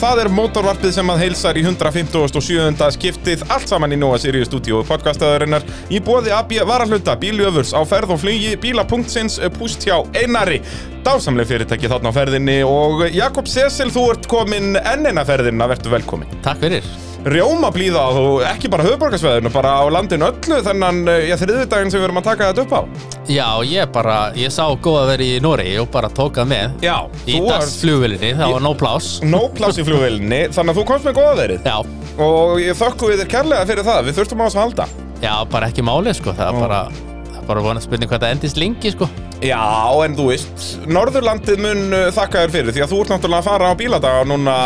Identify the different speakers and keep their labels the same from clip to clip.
Speaker 1: það er mótorvarpið sem að heilsar í 157. skiptið allt saman í Nóa Sirius stúdíu podcastaðurinnar í bóði AB varahluta, bíljöfurs á ferð og flugi, bíla.sins, púst hjá Einari, dásamleg fyrirtæki þarna á ferðinni og eh, Jakob Sesil, þú ert komin enn eina ferðina, vertu velkomin.
Speaker 2: Takk fyrir
Speaker 1: Rjóma blíða og ekki bara höfuborgarsveðinu, bara á landinu öllu þennan, já, þriðudaginn sem við erum að taka þetta upp á.
Speaker 2: Já, ég bara, ég sá góða verið í Noregi og bara tókað með
Speaker 1: Já,
Speaker 2: Í
Speaker 1: þú varst
Speaker 2: dagsflugvilinni, það var nóg plás
Speaker 1: no pláss í flugvélni, þannig að þú komst með góðaverið.
Speaker 2: Já,
Speaker 1: Og ég þökkum við þér kærlega fyrir það, við þurftum á þessu að halda.
Speaker 2: já, bara ekki máli sko Það
Speaker 1: Já.
Speaker 2: er bara, það er bara vonað spurning hvað það endist lengi sko
Speaker 1: Já, en þú veist, Norðurlandið mun uh, þakka þér fyrir því að þú ert náttúrulega að fara á bíladaga núna,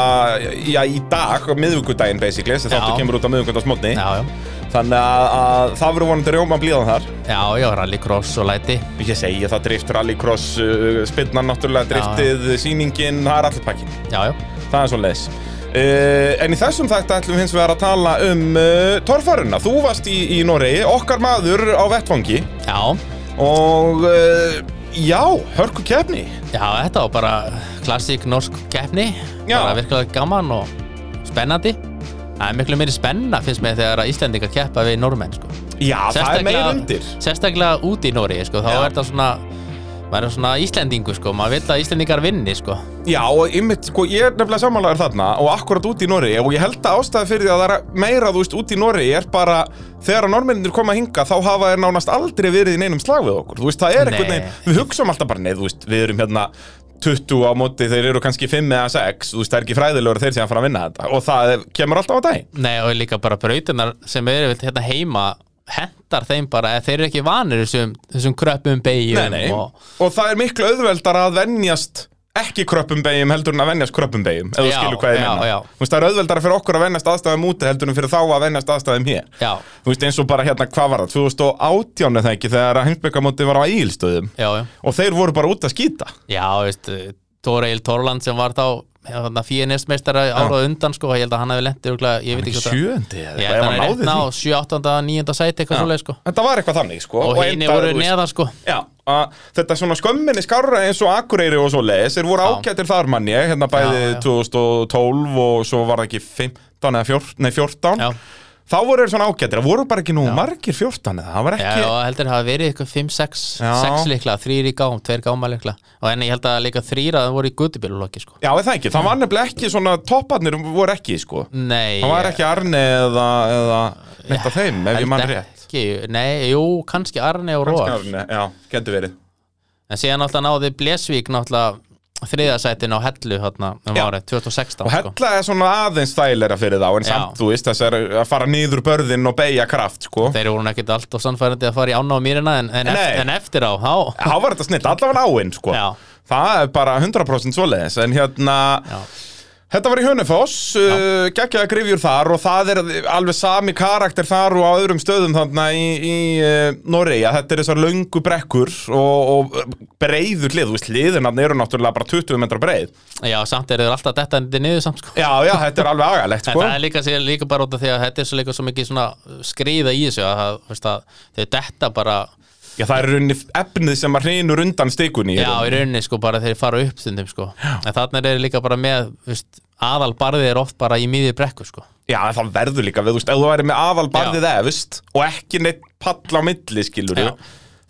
Speaker 1: já, í dag, miðvíkudaginn basically, þessi
Speaker 2: Já.
Speaker 1: þáttu kemur út á miðvíkudagsmotni.
Speaker 2: Já, já,
Speaker 1: Þannig að, að það verður vonandi rjóma blíðan þar.
Speaker 2: já, já, rallycross og læti
Speaker 1: Ég segi það drift, rallycross, uh, spinnan náttúrulega,
Speaker 2: Já.
Speaker 1: driftið, sýningin, það er allir pakkin.
Speaker 2: Já, já,
Speaker 1: Það er svo leiðis. Uh, en í þessum þætti ætlum við hins vegar að tala um uh, torfaruna. Þú varst í, í Noregi, okkar maður á vettfangi
Speaker 2: já,
Speaker 1: og uh, já, hörku kefni.
Speaker 2: já, þetta var bara klassík norsk keppni
Speaker 1: Já.
Speaker 2: Bara virkilega gaman og spennandi Það er miklu meiri spenna finnst mér þegar að Íslendinga keppa við normenn sko
Speaker 1: Já, það er meir undir.
Speaker 2: sérstaklega út í Nóri sko, þá
Speaker 1: Já.
Speaker 2: er það svona maður er svona Íslendingu sko, maður vil að Íslendingar vinni sko.
Speaker 1: Já, og ymmit, sko, ég er nefnilega samanlegaður þarna og akkurat út í Noregi og ég held að ástæði fyrir því að það er meira, þú veist, út í Noregi er bara, þegar að norminninir koma að hinga þá hafa þeir nánast aldrei verið í neinum slag við okkur, þú veist, það er einhvern
Speaker 2: Nei.
Speaker 1: veginn, við hugsaum alltaf bara, nei, þú veist, við erum hérna 20 á móti, þeir eru kannski 5 eða 6, þú veist, það er ekki fræðilegur að þeir sem að fara að vinna þetta og það kemur alltaf á daginn.
Speaker 2: Nei, og líka bara brautunar sem eru við hérna heima hentar þeim bara, eða þeir eru ekki vanir þessum, þessum kröppum
Speaker 1: Nei,
Speaker 2: beigjum
Speaker 1: nei,
Speaker 2: og
Speaker 1: og... það er miklu auðveldar að venjast ekki kröppum beigum heldur en að venjast kröppum beigum ef þú
Speaker 2: Já,
Speaker 1: skilur hvað ég
Speaker 2: já,
Speaker 1: menna
Speaker 2: já.
Speaker 1: Þú veist, það er auðveldara fyrir okkur að venjast aðstæðum úti heldur en fyrir þá að venjast aðstæðum hér
Speaker 2: já,
Speaker 1: þú veist eins og bara hérna hvað var það 2018 eða ekki þegar að heimsbyggamóti var á Egilstöðum
Speaker 2: já, já,
Speaker 1: og þeir voru bara út að skýta
Speaker 2: já veist, Tóreil Torland sem var þá hérna, fíinistmeistara árað undan sko, ég held að hann hefði lent örugglega- ég veit ekki hvort að-
Speaker 1: sjöndi eða eitthvað, ef
Speaker 2: Ég held að
Speaker 1: hann
Speaker 2: hann er
Speaker 1: náði
Speaker 2: rétt ná
Speaker 1: því
Speaker 2: 7, 8, 9 sæti eitthvað svoleið sko
Speaker 1: þetta var eitthvað þannig sko
Speaker 2: og hini
Speaker 1: endaði,
Speaker 2: voru
Speaker 1: þú veist,
Speaker 2: neðan sko
Speaker 1: Já, að, þetta svona skömminni skárra eins og Akureyri og svo leis, þeir voru
Speaker 2: Já.
Speaker 1: ágætir þar manni, hérna bæði
Speaker 2: Já, já.
Speaker 1: 2012 og svo var það ekki 15 eða 14, nei 14
Speaker 2: Já.
Speaker 1: þá voru þeir svona ágætir, það voru bara ekki nú margir 14 eða, það var
Speaker 2: Já,
Speaker 1: ekki
Speaker 2: og heldur hafa verið eitthvað 5-6
Speaker 1: Já.
Speaker 2: 6 líkla, 3 í gám, 2 gáma líkla og en ég held að líka 3 að það voru í guttubíluloki sko.
Speaker 1: Já, er það ekki, það var nefnilega ekki svona topparnir voru ekki, sko
Speaker 2: Nei
Speaker 1: Það var ekki Arne eða, eða neitt af þeim, ef
Speaker 2: held
Speaker 1: ég mann rétt. Sko.
Speaker 2: ekki, Nei, jú, kannski Arne og
Speaker 1: Kannski
Speaker 2: Róar
Speaker 1: Arne, já, getur verið.
Speaker 2: En síðan náttúrulega náði Blesvík náttúrulega þriðasætin á Hellu þarna um
Speaker 1: Já.
Speaker 2: árið 2016
Speaker 1: Og hella er svona aðeins þægilega fyrir þá, en
Speaker 2: Já.
Speaker 1: samt, þú veist, þess er að fara niður börðin og beigja kraft, sko.
Speaker 2: Þeir voru ekkert allt og sannfærandi að fara í ána á mýrina en, en,
Speaker 1: Nei.
Speaker 2: eft, en eftir á, þá
Speaker 1: Há var þetta snill, allavega áinn, sko.
Speaker 2: Já.
Speaker 1: Það er bara 100% svoleiðis, en hérna,
Speaker 2: Já.
Speaker 1: þetta var í Hönefoss, uh, geggjaða grifjur þar og það er alveg sami karakter þar og á öðrum stöðum þarna í, í uh, Noregi, að þetta er þessar löngu brekkur og, og breiður hlið, þú veist, hliðinarnir eru náttúrulega bara 20 metra breið.
Speaker 2: Já, samt eru þeir alltaf detta niður samt sko
Speaker 1: Já, já, þetta er alveg agalegt,
Speaker 2: En
Speaker 1: sko.
Speaker 2: það er líka, sé- líka bara út af því að þetta er svo líka svo mikið svona skriða í þessu að, það, veist, að þau detta bara
Speaker 1: Já, það er runni efnið sem að hrinur undan stikunni. í hérna.
Speaker 2: já,
Speaker 1: raun.
Speaker 2: í rauninni sko bara þeir fara upp stundum sko en þarna er líka bara með veist, aðalbarðið er oft bara í miðið brekku sko
Speaker 1: já en það verður líka við, þú veist, ef þú væri með aðal barðið efist og ekki neitt pall á milli, skilur
Speaker 2: Já.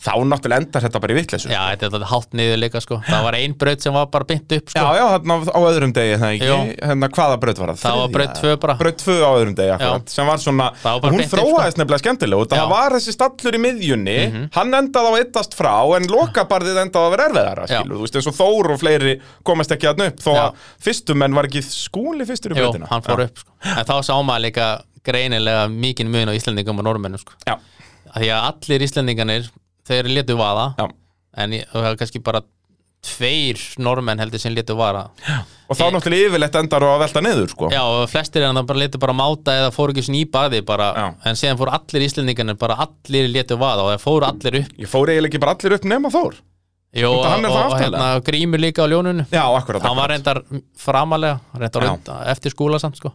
Speaker 1: þá náttúrulega endar þetta bara í vitleysu.
Speaker 2: já, þetta er þetta hátt niður líka sko það var ein braut sem var bara bynt upp
Speaker 1: já,
Speaker 2: sko
Speaker 1: já, hérna á öðrum degi, það ekki,
Speaker 2: Jú.
Speaker 1: hérna hvaða braut var það?
Speaker 2: Það var braut tvö bara.
Speaker 1: Braut tvö á öðrum degi, akkurat, sem var svona,
Speaker 2: Það var bara
Speaker 1: hún
Speaker 2: beint upp, sko.
Speaker 1: þróaðist nefnilega skemmtilega, og
Speaker 2: Já. Mhm.
Speaker 1: það var þessi stallur í miðjunni, hann endaði á eittast frá, en lokabarðið endaði að vera erfiðara,
Speaker 2: Já.
Speaker 1: skilur, þú veist, eins og Þór og fleiri komast ekki að upp, þó
Speaker 2: Já.
Speaker 1: að fyrstum en var ekki skúli fyrstur í
Speaker 2: Jú,
Speaker 1: brautina.
Speaker 2: hann fór upp sko en þá sá maður líka greinilega mikinn mun á Íslendingum og normennum sko
Speaker 1: Já,
Speaker 2: að því að allir Íslendinganir þeir letu vaða
Speaker 1: já.
Speaker 2: en ég- og það var kannski bara tveir normenn heldur sem letu vara
Speaker 1: Og þá
Speaker 2: Ég-
Speaker 1: náttúrulega yfirleitt endar á að velta niður, sko.
Speaker 2: Já, og flestir en það bara letu bara máta eða fóru ekki svona í baði bara,
Speaker 1: Já.
Speaker 2: en síðan fóru allir íslendingarnir bara allir letu vaða og það fóru allir upp
Speaker 1: Ég fór eiginlega ekki bara allir upp nema Þór.
Speaker 2: Jó,
Speaker 1: Út af hann er
Speaker 2: og,
Speaker 1: það
Speaker 2: og
Speaker 1: aftalega.
Speaker 2: hérna, Grímur líka á ljónunu
Speaker 1: Já, akkurat
Speaker 2: Hann var
Speaker 1: akkurat.
Speaker 2: reyndar framalega reyndar
Speaker 1: Já.
Speaker 2: undan, eftir skúla samt sko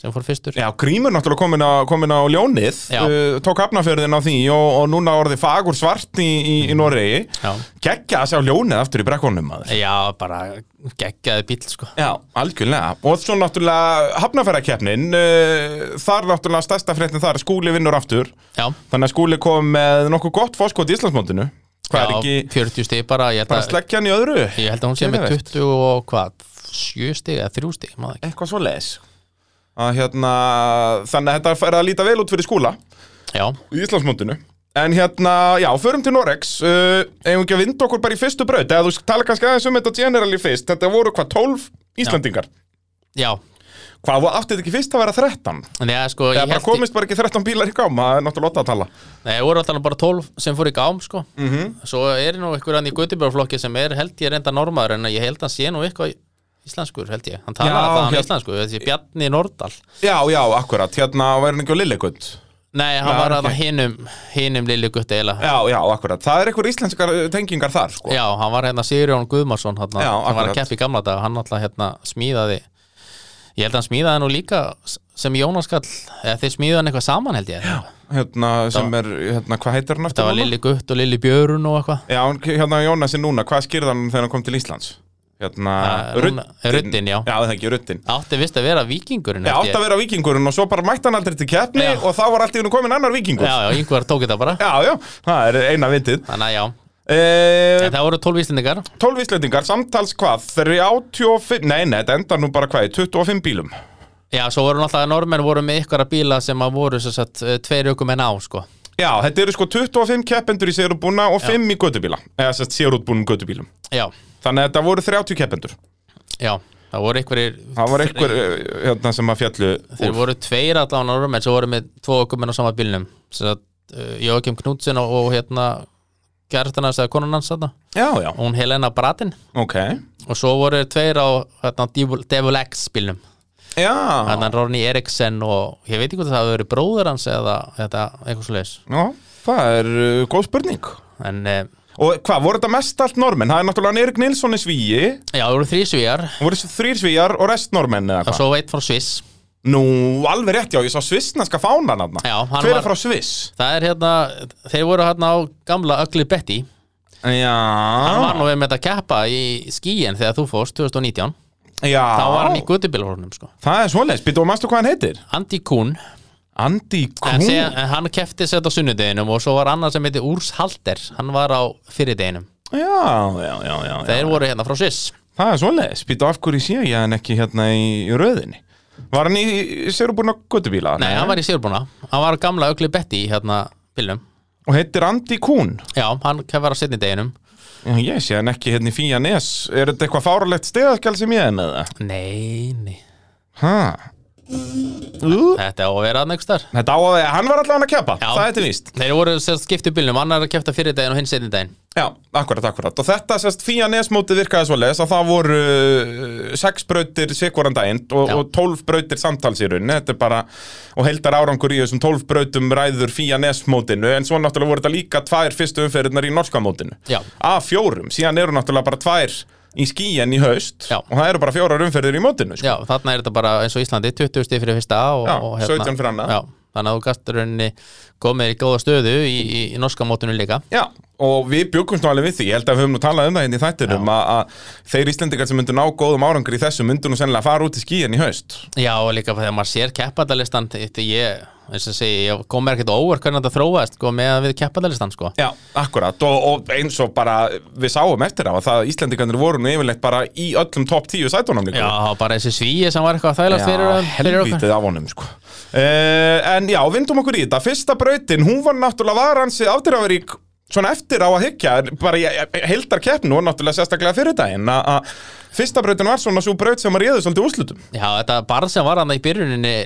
Speaker 2: sem fór fyrstur
Speaker 1: Já, Grímur náttúrulega komin, a, komin á ljónið
Speaker 2: Já.
Speaker 1: uh, Tók hafnafjörðin á því og, og núna orðið fagur svart í, í, í Noregi
Speaker 2: Mm. Já.
Speaker 1: Kekja að sjá ljónið aftur í brekkunum maður
Speaker 2: Já, bara geggjaði bíl sko
Speaker 1: Já, algjörlega. Og svo náttúrulega hafnafærakeppnin, uh, þar náttúrulega stærsta fréttin þar, skúli vinnur aftur.
Speaker 2: Já,
Speaker 1: Þannig að skúli kom með nokkuð gott fórskot í Íslandsmóndinu. Hvað er
Speaker 2: já
Speaker 1: ekki,
Speaker 2: 40 stig bara ég held,
Speaker 1: hvað er
Speaker 2: að,
Speaker 1: sleggjan í öðru?
Speaker 2: ég held að hún sé með
Speaker 1: Geðveikt.
Speaker 2: 20 og hvað 7 stig eða 3 stig maður ekki.
Speaker 1: Eitthvað svo leis. Að hérna, þannig að þetta er að líta vel út fyrir skúla
Speaker 2: Já,
Speaker 1: í Íslandsmóndinu. En hérna, já, förum til Norex, uh, eigum ekki að vinda okkur bara í fyrstu braut, eða þú tala kannski aðeins um þetta generali fyrst, þetta voru hvað, 12 Íslandingar?
Speaker 2: já
Speaker 1: Hvað, þú átti þetta ekki fyrst að vera 13?
Speaker 2: En ég, sko,
Speaker 1: Eða
Speaker 2: ég
Speaker 1: bara komist bara ekki 13 bílar í gáma, það er náttúrulega ótt að tala.
Speaker 2: Nei, það voru alltaf bara 12 sem fór í gám sko
Speaker 1: Mhm.
Speaker 2: Svo er nú einhver hann í Götubjörflokki sem er held ég reynda normaður en ég held hann sé nú eitthvað íslenskur held ég Hann
Speaker 1: Já,
Speaker 2: talaði alltaf hann
Speaker 1: hér-
Speaker 2: íslenskur, þessi Bjarni Nordal
Speaker 1: Já, já, akkurat, hérna var hann ekki á Lillegund
Speaker 2: Nei, hann
Speaker 1: Já,
Speaker 2: var
Speaker 1: ok.
Speaker 2: að hinum hinum lilli gutti eiginlega
Speaker 1: Já, já, akkurat, það er einhver íslenskar uh, tengingar þar, sko
Speaker 2: Já, hann var hérna Sigurjón Guðmarsson hann,
Speaker 1: Já,
Speaker 2: hann var
Speaker 1: akkurat.
Speaker 2: að keppa í gamla dag hann alltaf hérna smíðaði ég held að hann smíðaði nú líka s- sem Jónas Kall, eða þeir smíðaði hann eitthvað saman held ég Já,
Speaker 1: Hérna, sem er, hérna, hvað heitir hann
Speaker 2: það
Speaker 1: eftir
Speaker 2: var Lilli Gutt og Lilli Björun og eitthvað
Speaker 1: Já, hann- hérna Jónasi núna, hvað skýrði hann þegar hann kom til Íslands? Hérna,
Speaker 2: Ja, núna- Ruddinn, já.
Speaker 1: Já, það er ekki, Ruddin
Speaker 2: átti vist að vera vikingurinn
Speaker 1: Já, átt að vera vikingurinn og svo bara mætti hann aldrei til keppni
Speaker 2: Já.
Speaker 1: og þá var allt í hennu komin annar vikingur
Speaker 2: Já, já, yngvar tók þetta bara
Speaker 1: já, já, það er eina vitið
Speaker 2: Þannig að já,
Speaker 1: e
Speaker 2: en það voru 12 íslendingar
Speaker 1: 12 íslendingar, samtals hvað? 35, nei, nei, þetta endar nú bara hvað, í 25 bílum
Speaker 2: Já, svo voru náttúrulega normenn voru með ykkur að bíla sem að voru svo sett tveir aukumenn á sko
Speaker 1: Já, þetta eru sko 25 keppendur í sérútbúna og 5 í gödubíla, eða sérst sérútbúnum gödubílum.
Speaker 2: Já,
Speaker 1: Þannig að þetta voru 30 keppendur.
Speaker 2: já, það voru ykkurir
Speaker 1: Það voru einhver eh, hérna, sem að fjallu
Speaker 2: Þeir
Speaker 1: úr.
Speaker 2: voru tveir allan árum en svo voru með tvo okkumenn á sama bílnum Svo að uh, Jóakim Knudsen og, og hérna Gertana eða konan hans þarna
Speaker 1: Já, já,
Speaker 2: og hún Helena Bratin
Speaker 1: ok.
Speaker 2: og svo voru þeir tveir á hérna, Devil, Devil X bílnum
Speaker 1: Já,
Speaker 2: þannig að Ronny Eriksen og ég veit ekki hvað það hafi verið bróður hans eða þetta, eitthvað svo leis
Speaker 1: já það er uh, góð spurning.
Speaker 2: en uh,
Speaker 1: Og hvað, voru þetta mest allt normenn? Það er náttúrulega hann Erik Nilsson í svíi,
Speaker 2: já, það voru þrísvíjar
Speaker 1: það voru þessi þrýr svíjar og rest normenn eða
Speaker 2: og
Speaker 1: hvað.
Speaker 2: svo veit frá Sviss
Speaker 1: Nú, alveg rétt, já, ég sá svissneska fánan hann.
Speaker 2: Já, hann
Speaker 1: Hver
Speaker 2: var-
Speaker 1: er frá Sviss?
Speaker 2: það er hérna, þeir voru hérna á gamla Ugly Betty
Speaker 1: Já.
Speaker 2: hann
Speaker 1: Ah.
Speaker 2: var nú við með þetta keppa í skíin þegar þú fórst 2019
Speaker 1: Já.
Speaker 2: þá var hann í guttubilhórnum sko
Speaker 1: Það er svoleiðis, býttu og manstu hvað hann heitir?
Speaker 2: Andy Kuhn
Speaker 1: Andy
Speaker 2: En
Speaker 1: Kuhn.
Speaker 2: segja, en hann kefti sér þetta á sunnudeginum og svo var annar sem heiti Urs Halter hann var á fyrirdeginum
Speaker 1: Já, já, já, já, já.
Speaker 2: þeir voru hérna frá Sviss
Speaker 1: Það er svoleiðis, býtu af hverju sé ég hann ekki hérna í, í röðinni Var hann í, í sérubúna göttubíla?
Speaker 2: nei, hann var í Sérbúna, hann var á gamla Ugly Betty í hérna bílnum
Speaker 1: Og heitir Andy Kuhn
Speaker 2: já, hann kef var á setni deginum
Speaker 1: Já, ég sé hann ekki hérna í Fía Nes Er þetta eitthvað fáralegt stegaskjál sem ég er með það?
Speaker 2: nei, nei,
Speaker 1: Hæ?
Speaker 2: þetta á að vera hann einhvers þar
Speaker 1: Þetta á að, hann var allavega að keppa,
Speaker 2: Já.
Speaker 1: það er til víst
Speaker 2: þeir voru sérst skipti bílnum, annar að kefta fyrirdegin og hinn setni degin
Speaker 1: Já, akkurat, akkurat Og þetta sérst Fía Nes mótið virkaði svoleiðis að það voru uh, sex brautir sikvaran daginn og,
Speaker 2: Já.
Speaker 1: og tólf brautir samtals í rauninni Þetta er bara, og heldar árangur í þessum tólf brautum ræður Fía Nes mótinu En svo náttúrulega voru þetta líka tvær fyrstu umferðirnar í norska mótinu
Speaker 2: Já.
Speaker 1: Af fjórum, síðan eru náttúrulega bara tvær í skíin í haust
Speaker 2: Já.
Speaker 1: Og það eru bara fjórar umferðir í mótinu sko.
Speaker 2: já, þarna er þetta bara eins og Íslandi 20 stig fyrir fyrsta og,
Speaker 1: Já,
Speaker 2: og hérna-
Speaker 1: 17 fyrir annað.
Speaker 2: já, þannig að þú gastur henni komið í góða stöðu í, í, í norska mótinu líka
Speaker 1: Já, og við bjögumst nú alveg við því, ég held að við höfum nú talað um það hérna í þættinum að, að þeir Íslendingar sem myndu ná góðum árangur í þessu myndu nú sennilega fara út í skíin í haust
Speaker 2: Já, og líka þegar maður sér keppandalistan þetta ég, eins og segi, ég kom mér ekkert á óvart hvernig þetta þróaðist, sko, með að við keppandalistan, sko
Speaker 1: Já, akkurat og, og eins og bara við sáum eftir á að það Íslendikarnir voru nú yfirleitt bara í öllum topp 10 sætunum líka
Speaker 2: Já, það var bara þessi svíi sem var eitthvað að þælast fyrir, fyrir okkur
Speaker 1: helvítið af honum sko. uh, En já, vindum okkur í þetta Fyrsta brautin, hún var náttúrulega varansi afdýraverík Svona eftir á að hyggja Bara í heldar keppnu og náttúrulega sérstaklega fyrir daginn að- að Fyrsta brautin var svona svo braut sem að réðu svolítið úrslutum
Speaker 2: Já, þetta barn sem var hann í byrjuninni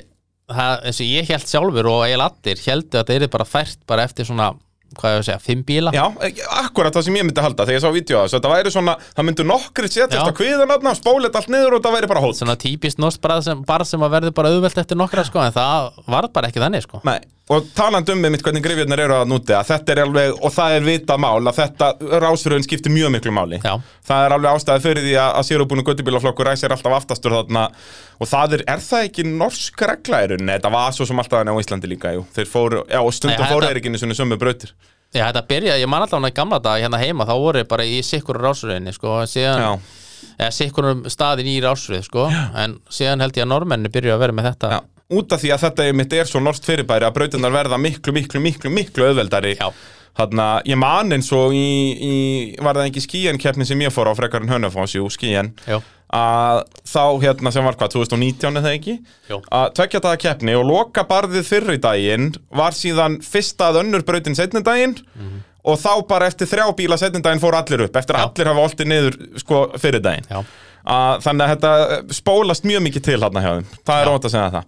Speaker 2: það, eins og ég held sjálfur og eiginlega allir heldur að þetta er bara fært bara eftir svona, hvað ég að segja, fimm bíla
Speaker 1: Já, eh, akkurat það sem ég myndi halda þegar ég sá vídeo að þessu Þetta væri svona, það myndu nokkri setjast
Speaker 2: Já.
Speaker 1: á kviðanatna Spóla þetta allt niður og það væri bara hótt
Speaker 2: Svona típist norsk barn sem, barn sem að verður bara auðvelt eftir nokkra, sko en það var bara ekki þannig, sko
Speaker 1: Nei, Og talandi um með mitt hvernig grifjarnar eru að núti að þetta er alveg, og það er vita mál að þetta rásröðun skiptir mjög miklu máli
Speaker 2: Já.
Speaker 1: það er alveg ástæði fyrir því að, að sérubúinu göttubílaflokkur ræsir alltaf aftastur þarna og það er, er það ekki norsk regla í rauninni, þetta var svo sem alltaf hann á Íslandi líka jú. þeir fóru, já og
Speaker 2: Nei,
Speaker 1: stundum
Speaker 2: þetta-
Speaker 1: fóru er ekki einu svona sömu brautir
Speaker 2: Já, þetta byrja, ég man allavega í gamla dag hérna heima, þá voru þeir bara í sikkur rásröðinni, sko, en síðan,
Speaker 1: Já.
Speaker 2: eða sikkur staðin í rásröð, sko, en síðan held ég að normenni byrju að vera með þetta.
Speaker 1: Já, út af því að þetta mitt er svo norst fyrirbæri að brautinnar verða miklu, miklu, miklu, miklu auðveldari
Speaker 2: Já.
Speaker 1: Þarna, ég man eins og í, í var það ekki skíjan keppni sem ég fór á frekar en Hönnefons, jú, skíjan
Speaker 2: Já.
Speaker 1: að þá hérna sem var hvað 2019 eða ekki
Speaker 2: Jú.
Speaker 1: að tvekja daga keppni og loka barðið fyrri daginn var síðan fyrsta að önnur brautin setni daginn og þá bara eftir þrjá bíla setni daginn fór allir upp eftir að
Speaker 2: Mhm. Já.
Speaker 1: allir hafa oltið niður sko fyrri daginn
Speaker 2: Já.
Speaker 1: að, þannig að þetta eh, spólast mjög mikið til hérna hjá þeim, það er ótt að segja það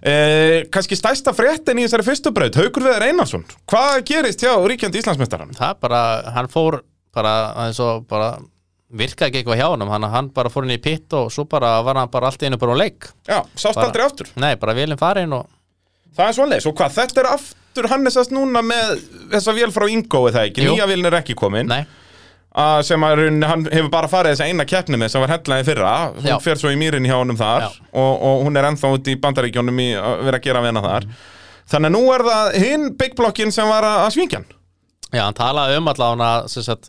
Speaker 1: e, kannski stærsta fréttin í þessari fyrstu braut, Haukur Veðar Einarsson hvað gerist hjá ríkjandi Íslandsmeistarann?
Speaker 2: Það er bara, hann fór bara, aðeins og bara virkaði ekki eitthvað hjá honum, hann, hann bara fór inn í pitt og svo bara var hann bara allt í einu bara á leik.
Speaker 1: Já, sást
Speaker 2: Bara-
Speaker 1: aldrei aftur
Speaker 2: Nei, bara velin farin og,
Speaker 1: Það er svoleiðis, og hvað, þetta er aftur Hannesast núna með þessa vél frá Ingo eða ekki,
Speaker 2: Jú.
Speaker 1: nýja vélin er ekki komin
Speaker 2: nei,
Speaker 1: að sem að rauninni hann hefur bara farið þessa eina keppni með sem var hellaði fyrra, hún
Speaker 2: Já.
Speaker 1: fer svo í mýrin hjá honum þar
Speaker 2: Já.
Speaker 1: og, og hún er ennþá út í bandaríkjónum í að vera að gera vena þar Þannig að nú er það hinn big blokkin sem var að að svingja hann
Speaker 2: já, hann talaði um allavega sem sagt,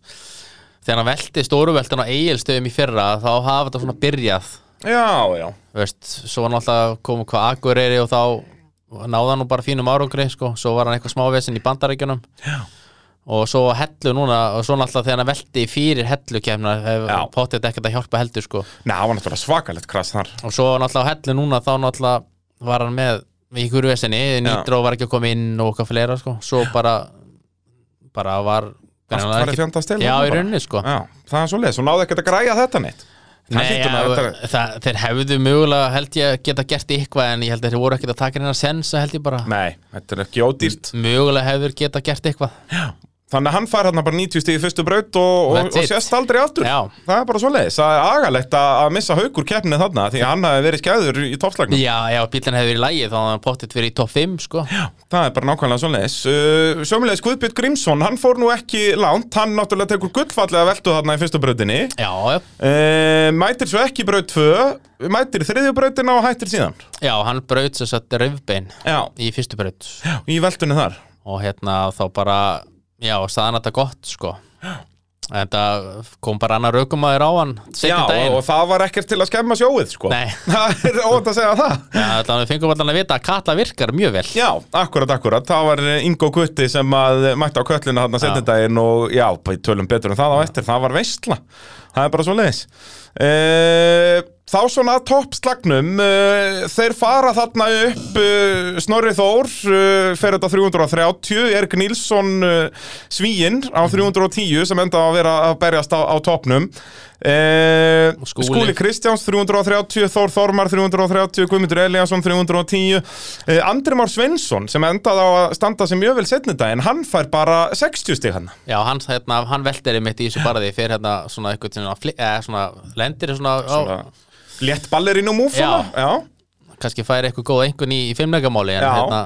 Speaker 2: þegar hann velti stóruveltin á eigilstöðum í fyrra, þá hafa þetta svona byrjað
Speaker 1: Já, já,
Speaker 2: Þú veist, svo var náttúrulega kom hvað Akureyri og þá náða hann nú bara fínum árangri sko. svo var hann eitthvað smávesen í bandarækjunum Já. og svo hellu núna og svo náttúrulega þegar hann velti fyrir hellu kemna
Speaker 1: Já.
Speaker 2: pottið ekkert að hjálpa heldur sko.
Speaker 1: Nei, það var náttúrulega svakalegt krass þar
Speaker 2: og svo náttúrulega á hellu núna þá náttúrulega var hann með í hverju vesenni, Nitro var ekki að koma inn og okkar fleira sko. svo bara bara var
Speaker 1: Allt farið fjandast til
Speaker 2: Já, í
Speaker 1: bara.
Speaker 2: rauninni sko
Speaker 1: Já, það er svoleiðis, hún náði ekkert að græja þetta neitt Það
Speaker 2: Nei,
Speaker 1: hlýtur maður að
Speaker 2: ja,
Speaker 1: þetta-
Speaker 2: það, þeir hefðu mögulega held ég að geta gert eitthvað en ég held að þeir voru ekkert að taka hérna sensa held ég bara
Speaker 1: Nei, þetta er ekki ódýrt
Speaker 2: mögulega hefur geta gert eitthvað
Speaker 1: Þannig að hann fær hérna bara 90 stig í fyrstu braut og, og,
Speaker 2: That's
Speaker 1: og
Speaker 2: it.
Speaker 1: sést aldrei aftur.
Speaker 2: Já.
Speaker 1: Það er bara svo leiðis. Það er agalegt að, að missa haukur keppnið þarna því að hann hafi verið skæður í toppslagnum.
Speaker 2: Já, já, bílinn hefur verið í lægi þá að hann pottitt verið í topp 5 sko.
Speaker 1: Það er bara nákvæmlega svo leiðis. Uh, Sjómulegis Guðbjörn Grímsson, hann fór nú ekki langt. Hann náttúrulega tekur gullfallega veltu þarna í fyrstu brautinni.
Speaker 2: Já, já,
Speaker 1: Uh, mætir svo ekki braut 2, mætir þriðju brautina og hættir síðan.
Speaker 2: já, hann braut sér satt röfbein
Speaker 1: Já,
Speaker 2: í fyrstu braut
Speaker 1: í veltunni þar.
Speaker 2: og hérna þá bara já, staðan þetta gott sko. en það kom bara annar raukumæður á hann
Speaker 1: Já,
Speaker 2: setjum
Speaker 1: og,
Speaker 2: daginn
Speaker 1: og það var ekkert til að skemma sjóið, sko.
Speaker 2: Nei.
Speaker 1: Það er óvænt að segja það.
Speaker 2: Já, Þannig að við fengum allan að vita að Katla virkar mjög vel
Speaker 1: Já, akkurat, akkurat, það var eh, Ingo Gutti sem að eh, mætti á köllina þarna setjandaginn og já, bara tölum betur en það á eftir, það var veistla, það er bara svo leiðis. Þá svona að toppslagnum, eh, þeir fara þarna upp, eh, Snorri Þór eh, fer þetta 330, Erik Nilsson Svíinn á 310 sem enda að vera að berjast á, á toppnum. Eh,
Speaker 2: Skúli.
Speaker 1: Skúli Kristjáns 330, Þór Þormar 330, Guðmundur Eliasson 310 eh, Andri Már Svensson sem endaði á að standa sem mjög vel setni daginn, hann fær bara 60 stig hann
Speaker 2: Já, hann, hérna, hann veldir einmitt í þessu barði fyrir hérna svona eitthvað svona, fli- eða svona lendir svona, svona.
Speaker 1: Svona Létt ballerinn og múf svona Já,
Speaker 2: kannski færi eitthvað góð einhvern í, í fimmleikamáli en,
Speaker 1: Já.
Speaker 2: hérna,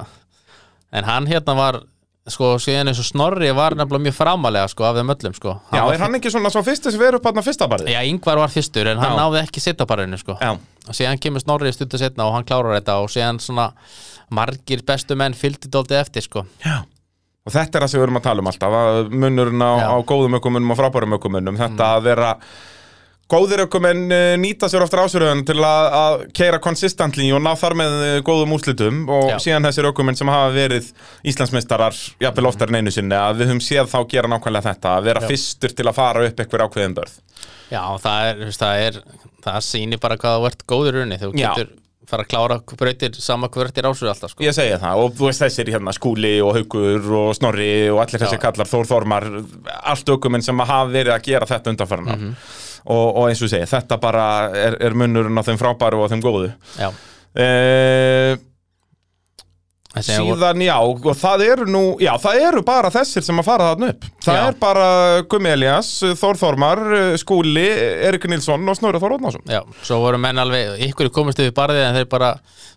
Speaker 2: en hann hérna var sko, síðan eins og Snorri var nefnilega mjög framalega sko, af þeim öllum sko.
Speaker 1: já,
Speaker 2: var,
Speaker 1: er hann ekki svona svo fyrsti sem verið upp hann fyrsta barði?
Speaker 2: já, Ingvar var fyrstur en
Speaker 1: Já.
Speaker 2: hann náði ekki sitta parinu sko.
Speaker 1: Já.
Speaker 2: og síðan kemur Snorri stundu setna og hann klárar þetta og síðan svona margir bestu menn fylgdi dóldi eftir sko.
Speaker 1: Og þetta er það sem við erum að tala um alltaf að munurinn á,
Speaker 2: Já. Mm.
Speaker 1: á góðum ökumunum og frábærum ökumunum þetta að vera góðir ökumenn eh, nýta sér ofta ásverðun til að, að keira konsistently og ná þar með eh, góðum úrslitum og
Speaker 2: Já.
Speaker 1: síðan þessir ökumenn sem hafa verið Íslandsmeistarar jafnvel oftar en einu sinni að við höfum séð þá gera nákvæmlega þetta að vera fyrstur til að fara upp einhver ákveðin börð
Speaker 2: já, og það er, þú veist, það er það sýnir bara hvað það vart góður unni þú
Speaker 1: Já.
Speaker 2: getur fara að klára brautir sama hvertir ásöðu alltaf sko.
Speaker 1: Ég segi það og þú veist þessir hérna skúli og haugur og snorri og allir þessir
Speaker 2: Já.
Speaker 1: kallar Þór Þormar, allt ökuminn sem hafa verið að gera þetta undanfarnar
Speaker 2: Mhm.
Speaker 1: og, og eins og ég segi, þetta bara er, er munnurinn á þeim frábæru og á þeim góðu
Speaker 2: já.
Speaker 1: e
Speaker 2: Þessi-
Speaker 1: Síðan, já, og það eru nú, já, það eru bara þessir sem að fara þarna upp Það
Speaker 2: Já.
Speaker 1: er bara Gummi Elias, Þór Þormar, Skúli, Erik Nilsson og Snorri Þór Ótnarsson.
Speaker 2: Já, svo voru menn alveg, ykkur komist yfir barðið en þeir bara,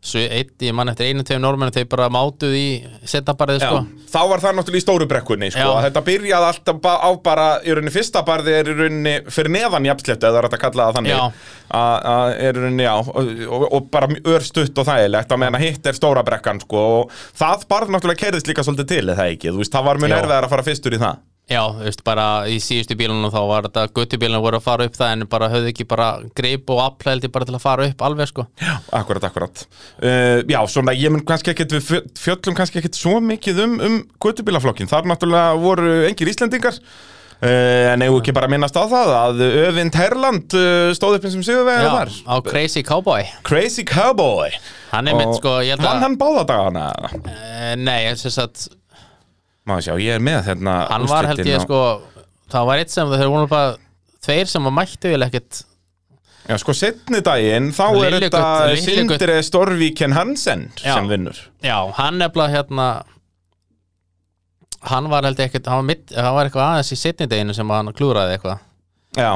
Speaker 2: svo eitt, ég man eftir einu tegum normenn, þeir bara mátuð í setnabarðið sko.
Speaker 1: Þá var það náttúrulega í stóru brekkunni sko.
Speaker 2: Já.
Speaker 1: að Þetta byrjaði alltaf ba- á bara í rauninni fyrsta barði er í rauninni fyrir neðan jafnsléttu eða er þetta kallað það
Speaker 2: Já.
Speaker 1: þannig Að- að er í rauninni já og, og, og bara mjög örstutt og þægilegt að meðan að hitt er stóra brekkan sko. og það barð náttúrulega kerðist líka svolítið til er það ekki, þú veist, það var mjög
Speaker 2: Já.
Speaker 1: nerðið að fara fyrstur í það
Speaker 2: Já, þú veist, bara í síðustu bílunum þá var þetta, guttubílunum voru að fara upp það en bara höfðu ekki bara greip og aflældi bara til að fara upp alveg sko.
Speaker 1: Akkurat, akkurat uh, Já, svona, ég mun kannski ekkit við fjö- fjöllum kannski ekkit svo mikið um, um götubílaflokkin Þar náttúrulega voru engir Íslendingar uh, En eigum við ekki bara að minnast á það að Övind Herland uh, stóð upp eins og sigurvegari
Speaker 2: Já,
Speaker 1: þar
Speaker 2: á Crazy Cowboy.
Speaker 1: Crazy Cowboy
Speaker 2: Hann er mitt
Speaker 1: Og
Speaker 2: sko, ég held
Speaker 1: Vann
Speaker 2: að,
Speaker 1: hann báða dagana?
Speaker 2: Eh, nei, ég syns að
Speaker 1: Má sjá, ég er með hérna
Speaker 2: hann var held
Speaker 1: úrslitin
Speaker 2: ég
Speaker 1: á-
Speaker 2: sko, það var eitt sem þeir voru bara tveir sem að mættu vel ekkert
Speaker 1: Já, sko, setni daginn, þá er
Speaker 2: Liljugutt-
Speaker 1: þetta
Speaker 2: Liljugutt-
Speaker 1: Sindri Storvíken Hansen
Speaker 2: Já.
Speaker 1: sem vinnur
Speaker 2: Já, hann nefnilega hérna hann var held ég ekkert hann var, mitt, hann var eitthvað aðeins í setni deginu sem hann klúraði eitthvað
Speaker 1: Já,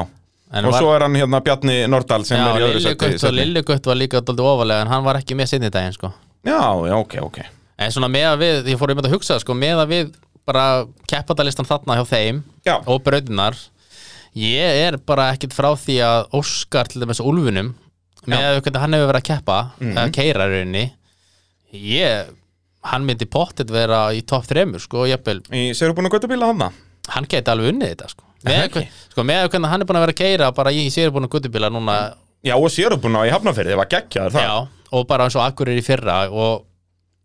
Speaker 2: en
Speaker 1: og
Speaker 2: var,
Speaker 1: svo er hann hérna Bjarni Nordal sem er í
Speaker 2: já,
Speaker 1: öðru sæti-
Speaker 2: Lilligutt og
Speaker 1: sæti.
Speaker 2: Lilligutt var líka dóldi ofalega en hann var ekki með setni degin sko.
Speaker 1: Já, já, ok, ok
Speaker 2: en svona með að við, ég fór einmitt að hugsa sko, með að við bara keppatalistan þarna hjá þeim
Speaker 1: Já.
Speaker 2: og braudinar ég er bara ekkert frá því að Óskar til dæmis Úlfunum með að hvernig hann hefur verið að keppa
Speaker 1: Mhm.
Speaker 2: eða keira í rauninni ég, hann myndi pottet vera í topp þremur sko, jafnvel
Speaker 1: Í sérubúna göttubíla hann
Speaker 2: hann geti alveg unnið þetta sko
Speaker 1: það
Speaker 2: með,
Speaker 1: ekki?
Speaker 2: sko, með að hvernig hann er búin að vera að keira bara í sérubunum guttubíla núna
Speaker 1: Já, og sérubúna í Hafnarfirði, það var geggjaður það
Speaker 2: já, og bara eins og akkur er í fyrra og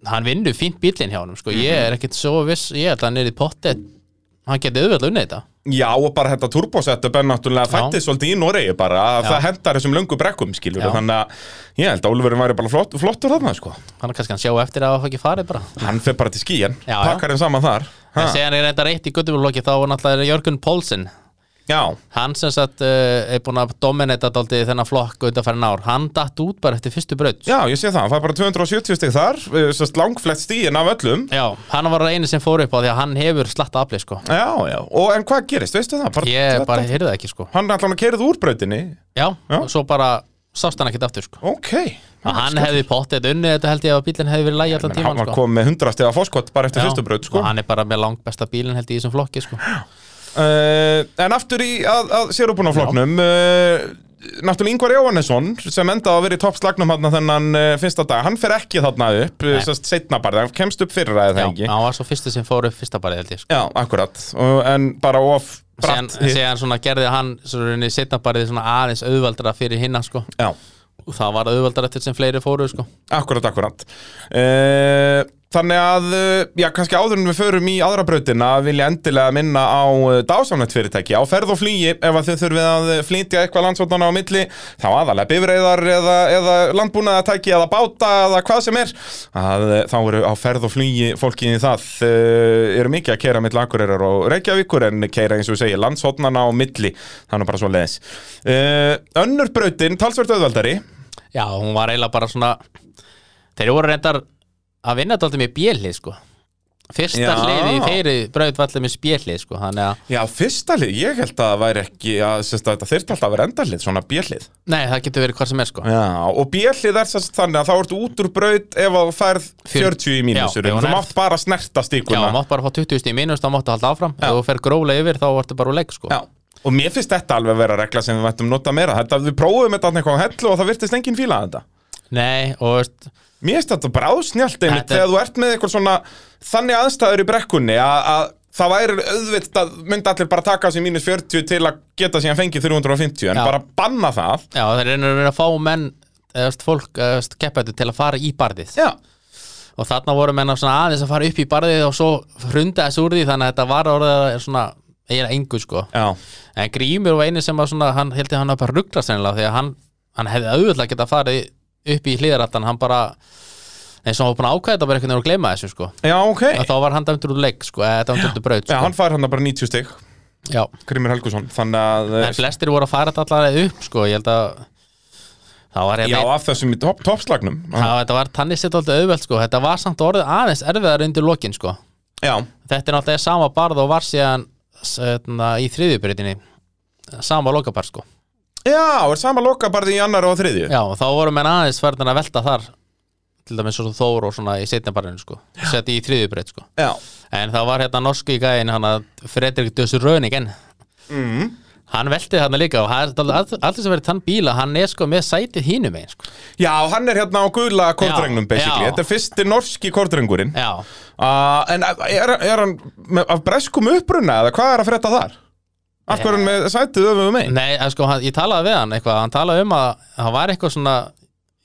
Speaker 2: hann vinnur fínt bílinn hjá hann sko. ég
Speaker 1: Mhm.
Speaker 2: er ekkert svo viss, ég held að hann er í potti hann geti auðvitað unnið þetta
Speaker 1: Já, og bara þetta turbosetup er náttúrulega
Speaker 2: Já.
Speaker 1: fættið svolítið í Noregi bara að
Speaker 2: Já.
Speaker 1: það hendar þessum löngu brekkum, skilur
Speaker 2: Já.
Speaker 1: þannig að ég held að Úlfurinn væri bara flott, flottur þarna, sko
Speaker 2: hann kannski hann sjá eftir að það ekki farið bara
Speaker 1: Hann fer bara til skíin,
Speaker 2: Já, já.
Speaker 1: pakkar hann saman þar ha.
Speaker 2: en segja hann er reynda reitt í guttubílflokki þá er náttúrulega Jörgun Pólsen
Speaker 1: Já,
Speaker 2: hann sem sagt uh, er búin að dominita daldið þennan flokk undanfærin ár hann datt út bara eftir fyrstu braut
Speaker 1: já, ég sé það, hann fær bara 270 stig þar eh, sérst langflett stíin af öllum
Speaker 2: Já, hann var einu sem fór upp á því að hann hefur slatta aflið sko
Speaker 1: Já, já, og en hvað gerist, veistu það?
Speaker 2: Ég bara heyrði það ekki sko
Speaker 1: Hann er allan að keirið úr brautinni
Speaker 2: Já,
Speaker 1: Já.
Speaker 2: og svo bara sást hann ekkert aftur sko
Speaker 1: Ok
Speaker 2: Og hann hefði pottið unnið þetta held ég að bílinn hefði verið lægi allan
Speaker 1: Menn, Hann
Speaker 2: tíman
Speaker 1: var
Speaker 2: sko
Speaker 1: komið með 100 stiga fórskott bara eftir
Speaker 2: Já,
Speaker 1: fyrstu braut, sko
Speaker 2: Og hann er bara með langbesta bílinn held ég í þessum flokki sko
Speaker 1: Uh, en aftur í að, að sérubunafloknum uh, Náttúrulega Ingvar Jóhannesson sem endaði að vera í toppslagnum hann þennan uh, fyrsta dag, hann fer ekki þarna upp
Speaker 2: Nei.
Speaker 1: sérst setna bara, hann kemst upp fyrra eða
Speaker 2: Já,
Speaker 1: ekki
Speaker 2: hann var svo fyrsti sem fór upp fyrsta barið held ég sko
Speaker 1: Já, akkurat, uh, en bara of
Speaker 2: Síðan,
Speaker 1: bratt hitt.
Speaker 2: síðan svona gerði hann svo rauninni setna barið svona aðeins auðvaldra fyrir hinna sko
Speaker 1: Já,
Speaker 2: og það var auðvaldra eftir sem fleiri fóru sko
Speaker 1: akkurat, akkurat uh, Þannig að, uh, já, kannski áður en við förum í aðra brautina vil ég endilega minna á uh, dásamlegt fyrirtæki, á ferð og flýi ef að þau þurfið að uh, flytja eitthvað landsvotnana á milli, þá aðalega bifreiðar eða, eða landbúnaðatæki eða báta eða hvað sem er, að uh, þá eru á ferð og flýi fólkið í það uh, eru mikið að keira milli Akureyrar og Reykjavíkur en keira eins og segja landsvotnana á milli, þannig bara svo leiðis uh, Önnur brautin, talsvert auðveldari
Speaker 2: Já, hún var eiginlega bara svona Þeir voru reyndar að vinna daldið með bjeli sko Fyrsta
Speaker 1: Já.
Speaker 2: hliði í þeirri braut vallið með spjeli sko Þannig að,
Speaker 1: Já, fyrsta lið, ég held að það væri ekki að, sérst, að þetta þyrfti alltaf að vera endarlið, svona bjellið
Speaker 2: nei það getur verið hvað sem er sko
Speaker 1: Já, og bjellið er sérst þannig að þá ertu út úr braut ef að þú færð 40 í mínusur
Speaker 2: Já, ef hún
Speaker 1: þú
Speaker 2: er-
Speaker 1: mátt bara snerta
Speaker 2: Já,
Speaker 1: stíkuna
Speaker 2: mátt bara fá 20 stíð mínus, þá máttu halda áfram
Speaker 1: Já.
Speaker 2: Ef þú fer grólega yfir, þá vartu bara úr leik sko
Speaker 1: Já, og mér finnst þetta alveg vera regla sem við vættum nota meira þetta, Við prófum þetta þarna eitthvað á hellu og það virtist engin fíla að þetta
Speaker 2: Nei, og veist
Speaker 1: Mér finnst þetta bara ásnjált einmitt
Speaker 2: Þetta er-
Speaker 1: þegar þú ert með eitthvað svona þannig aðstæður í brekkunni að, að það væri auðvitað, myndi allir bara taka sér mínus 40 til að geta síðan fengið 350 en
Speaker 2: Já.
Speaker 1: bara banna það
Speaker 2: Já, þeir reynir að vera að fá menn eða veist, fólk, eða veist, keppættu til að fara í barðið
Speaker 1: Já,
Speaker 2: og þarna voru menn að svona aðeins að fara upp í barðið og svo hrunda þessu úr því þannig að þetta var orðið svona, eiginlega engu sko
Speaker 1: já
Speaker 2: En Grímur var eini sem var svona, hann held ég hann að bara ruggla sennilega því að hann, hann hefði auðvitað geta farið upp í hliðarattan, hann bara eins og hann var búin að ákvæða þetta bara einhvern veginn og gleyma þessu sko.
Speaker 1: Já, ok
Speaker 2: Að þá var hann dæmdur úr leik sko, eða dæmdur úr braut
Speaker 1: Já,
Speaker 2: sko.
Speaker 1: hann fær hann bara 90 stygg,
Speaker 2: Já,
Speaker 1: Grimur Helgusson Þannig að, eh,
Speaker 2: en flestir voru að fara þetta allavega upp sko, ég held að það var
Speaker 1: já,
Speaker 2: hérna,
Speaker 1: af þessum í topp, toppslagnum
Speaker 2: það, þetta var tannig sitt alltaf auðvelt sko, þetta var samt orðið aðeins erfiðar undir lokin sko.
Speaker 1: Já,
Speaker 2: Þetta er náttúrulega sama barð og var síðan setna, í þriðjubreytinni sama lokapar sko
Speaker 1: Já, er sama lokabarði í annar og þriðju
Speaker 2: Já, og þá voru menn aðeins færðin að velta þar til dæmis svo Þór og svona í setnabarinu sko sett í þriðjubreyt sko
Speaker 1: Já.
Speaker 2: en það var hérna norsku í gæðin hann að Fredrik Dössur Röningen
Speaker 1: Mm.
Speaker 2: hann velti þarna líka og hann- allt allt sem verið tann bíla hann er sko með sætið hínum einn sko.
Speaker 1: Já, hann er hérna á gula kortrengnum
Speaker 2: Já,
Speaker 1: basically
Speaker 2: já.
Speaker 1: Þetta er fyrsti norski kortrengurinn
Speaker 2: Já,
Speaker 1: uh, En er, er hann með, af breskum uppruna eða hvað er að frétta þar? Af hverju er hann með sætið öfum megin?
Speaker 2: Eh. Nei, eh, sko, hann, ég talaði við hann eitthvað, hann talaði um að hann var eitthvað svona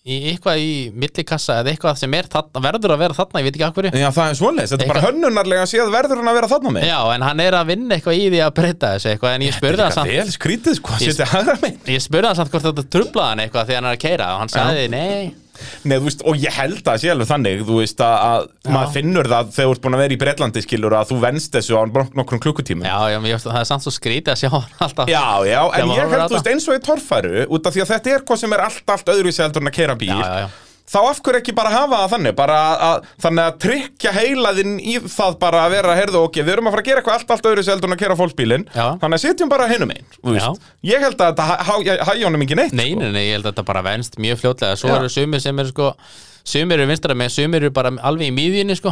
Speaker 2: í, eitthvað í millikassa eða eitthvað sem er þarna, verður að vera þarna, ég veit ekki af hverju
Speaker 1: Já, það er svoleiðis, þetta er bara hönnunarlega séð verður hann að vera þarna megin
Speaker 2: Já, en hann er að vinna eitthvað í því að breyta þessu eitthvað, en ég spurði hann
Speaker 1: Þetta
Speaker 2: samt
Speaker 1: er vel skrítið sko,
Speaker 2: Ég-
Speaker 1: setja hægra megin
Speaker 2: Ég spurði hann samt hvort þetta trublaði hann eitthvað þegar hann er að keira og hann sagði, nei,
Speaker 1: Nei, þú veist, og ég held að sé alveg þannig þú veist að, að maður finnur það þegar þú ert búin að vera í Breitlandi skilur að þú venst þessu á nok- nokkrum klukkutímum
Speaker 2: já, já, ég, það er samt svo skrítið að sjá hann alltaf
Speaker 1: já, já,
Speaker 2: Já,
Speaker 1: en
Speaker 2: maður
Speaker 1: ég
Speaker 2: horfir á
Speaker 1: held, þú veist, eins og í torfæru út af því að þetta er hvað sem er allt, allt öðru í seldur en að kera bíl
Speaker 2: já, já, já.
Speaker 1: þá af hverju ekki bara hafa það þannig bara að, að, þannig að tryggja heilaðinn í það bara að vera, heyrðu, ok, við erum að fara að gera eitthvað allt, allt öðru seldur en að kera fólksbílin
Speaker 2: Já.
Speaker 1: þannig að setjum bara hinum einn, þú veist ég held að þetta hægja honum ekki neitt
Speaker 2: Nei,
Speaker 1: sko.
Speaker 2: nei, nei, ég held að þetta bara venst mjög fljótlega Svo
Speaker 1: Já.
Speaker 2: eru sumir sem eru sko Sumir eru vinstra með, sumir eru bara alveg í miðjunni sko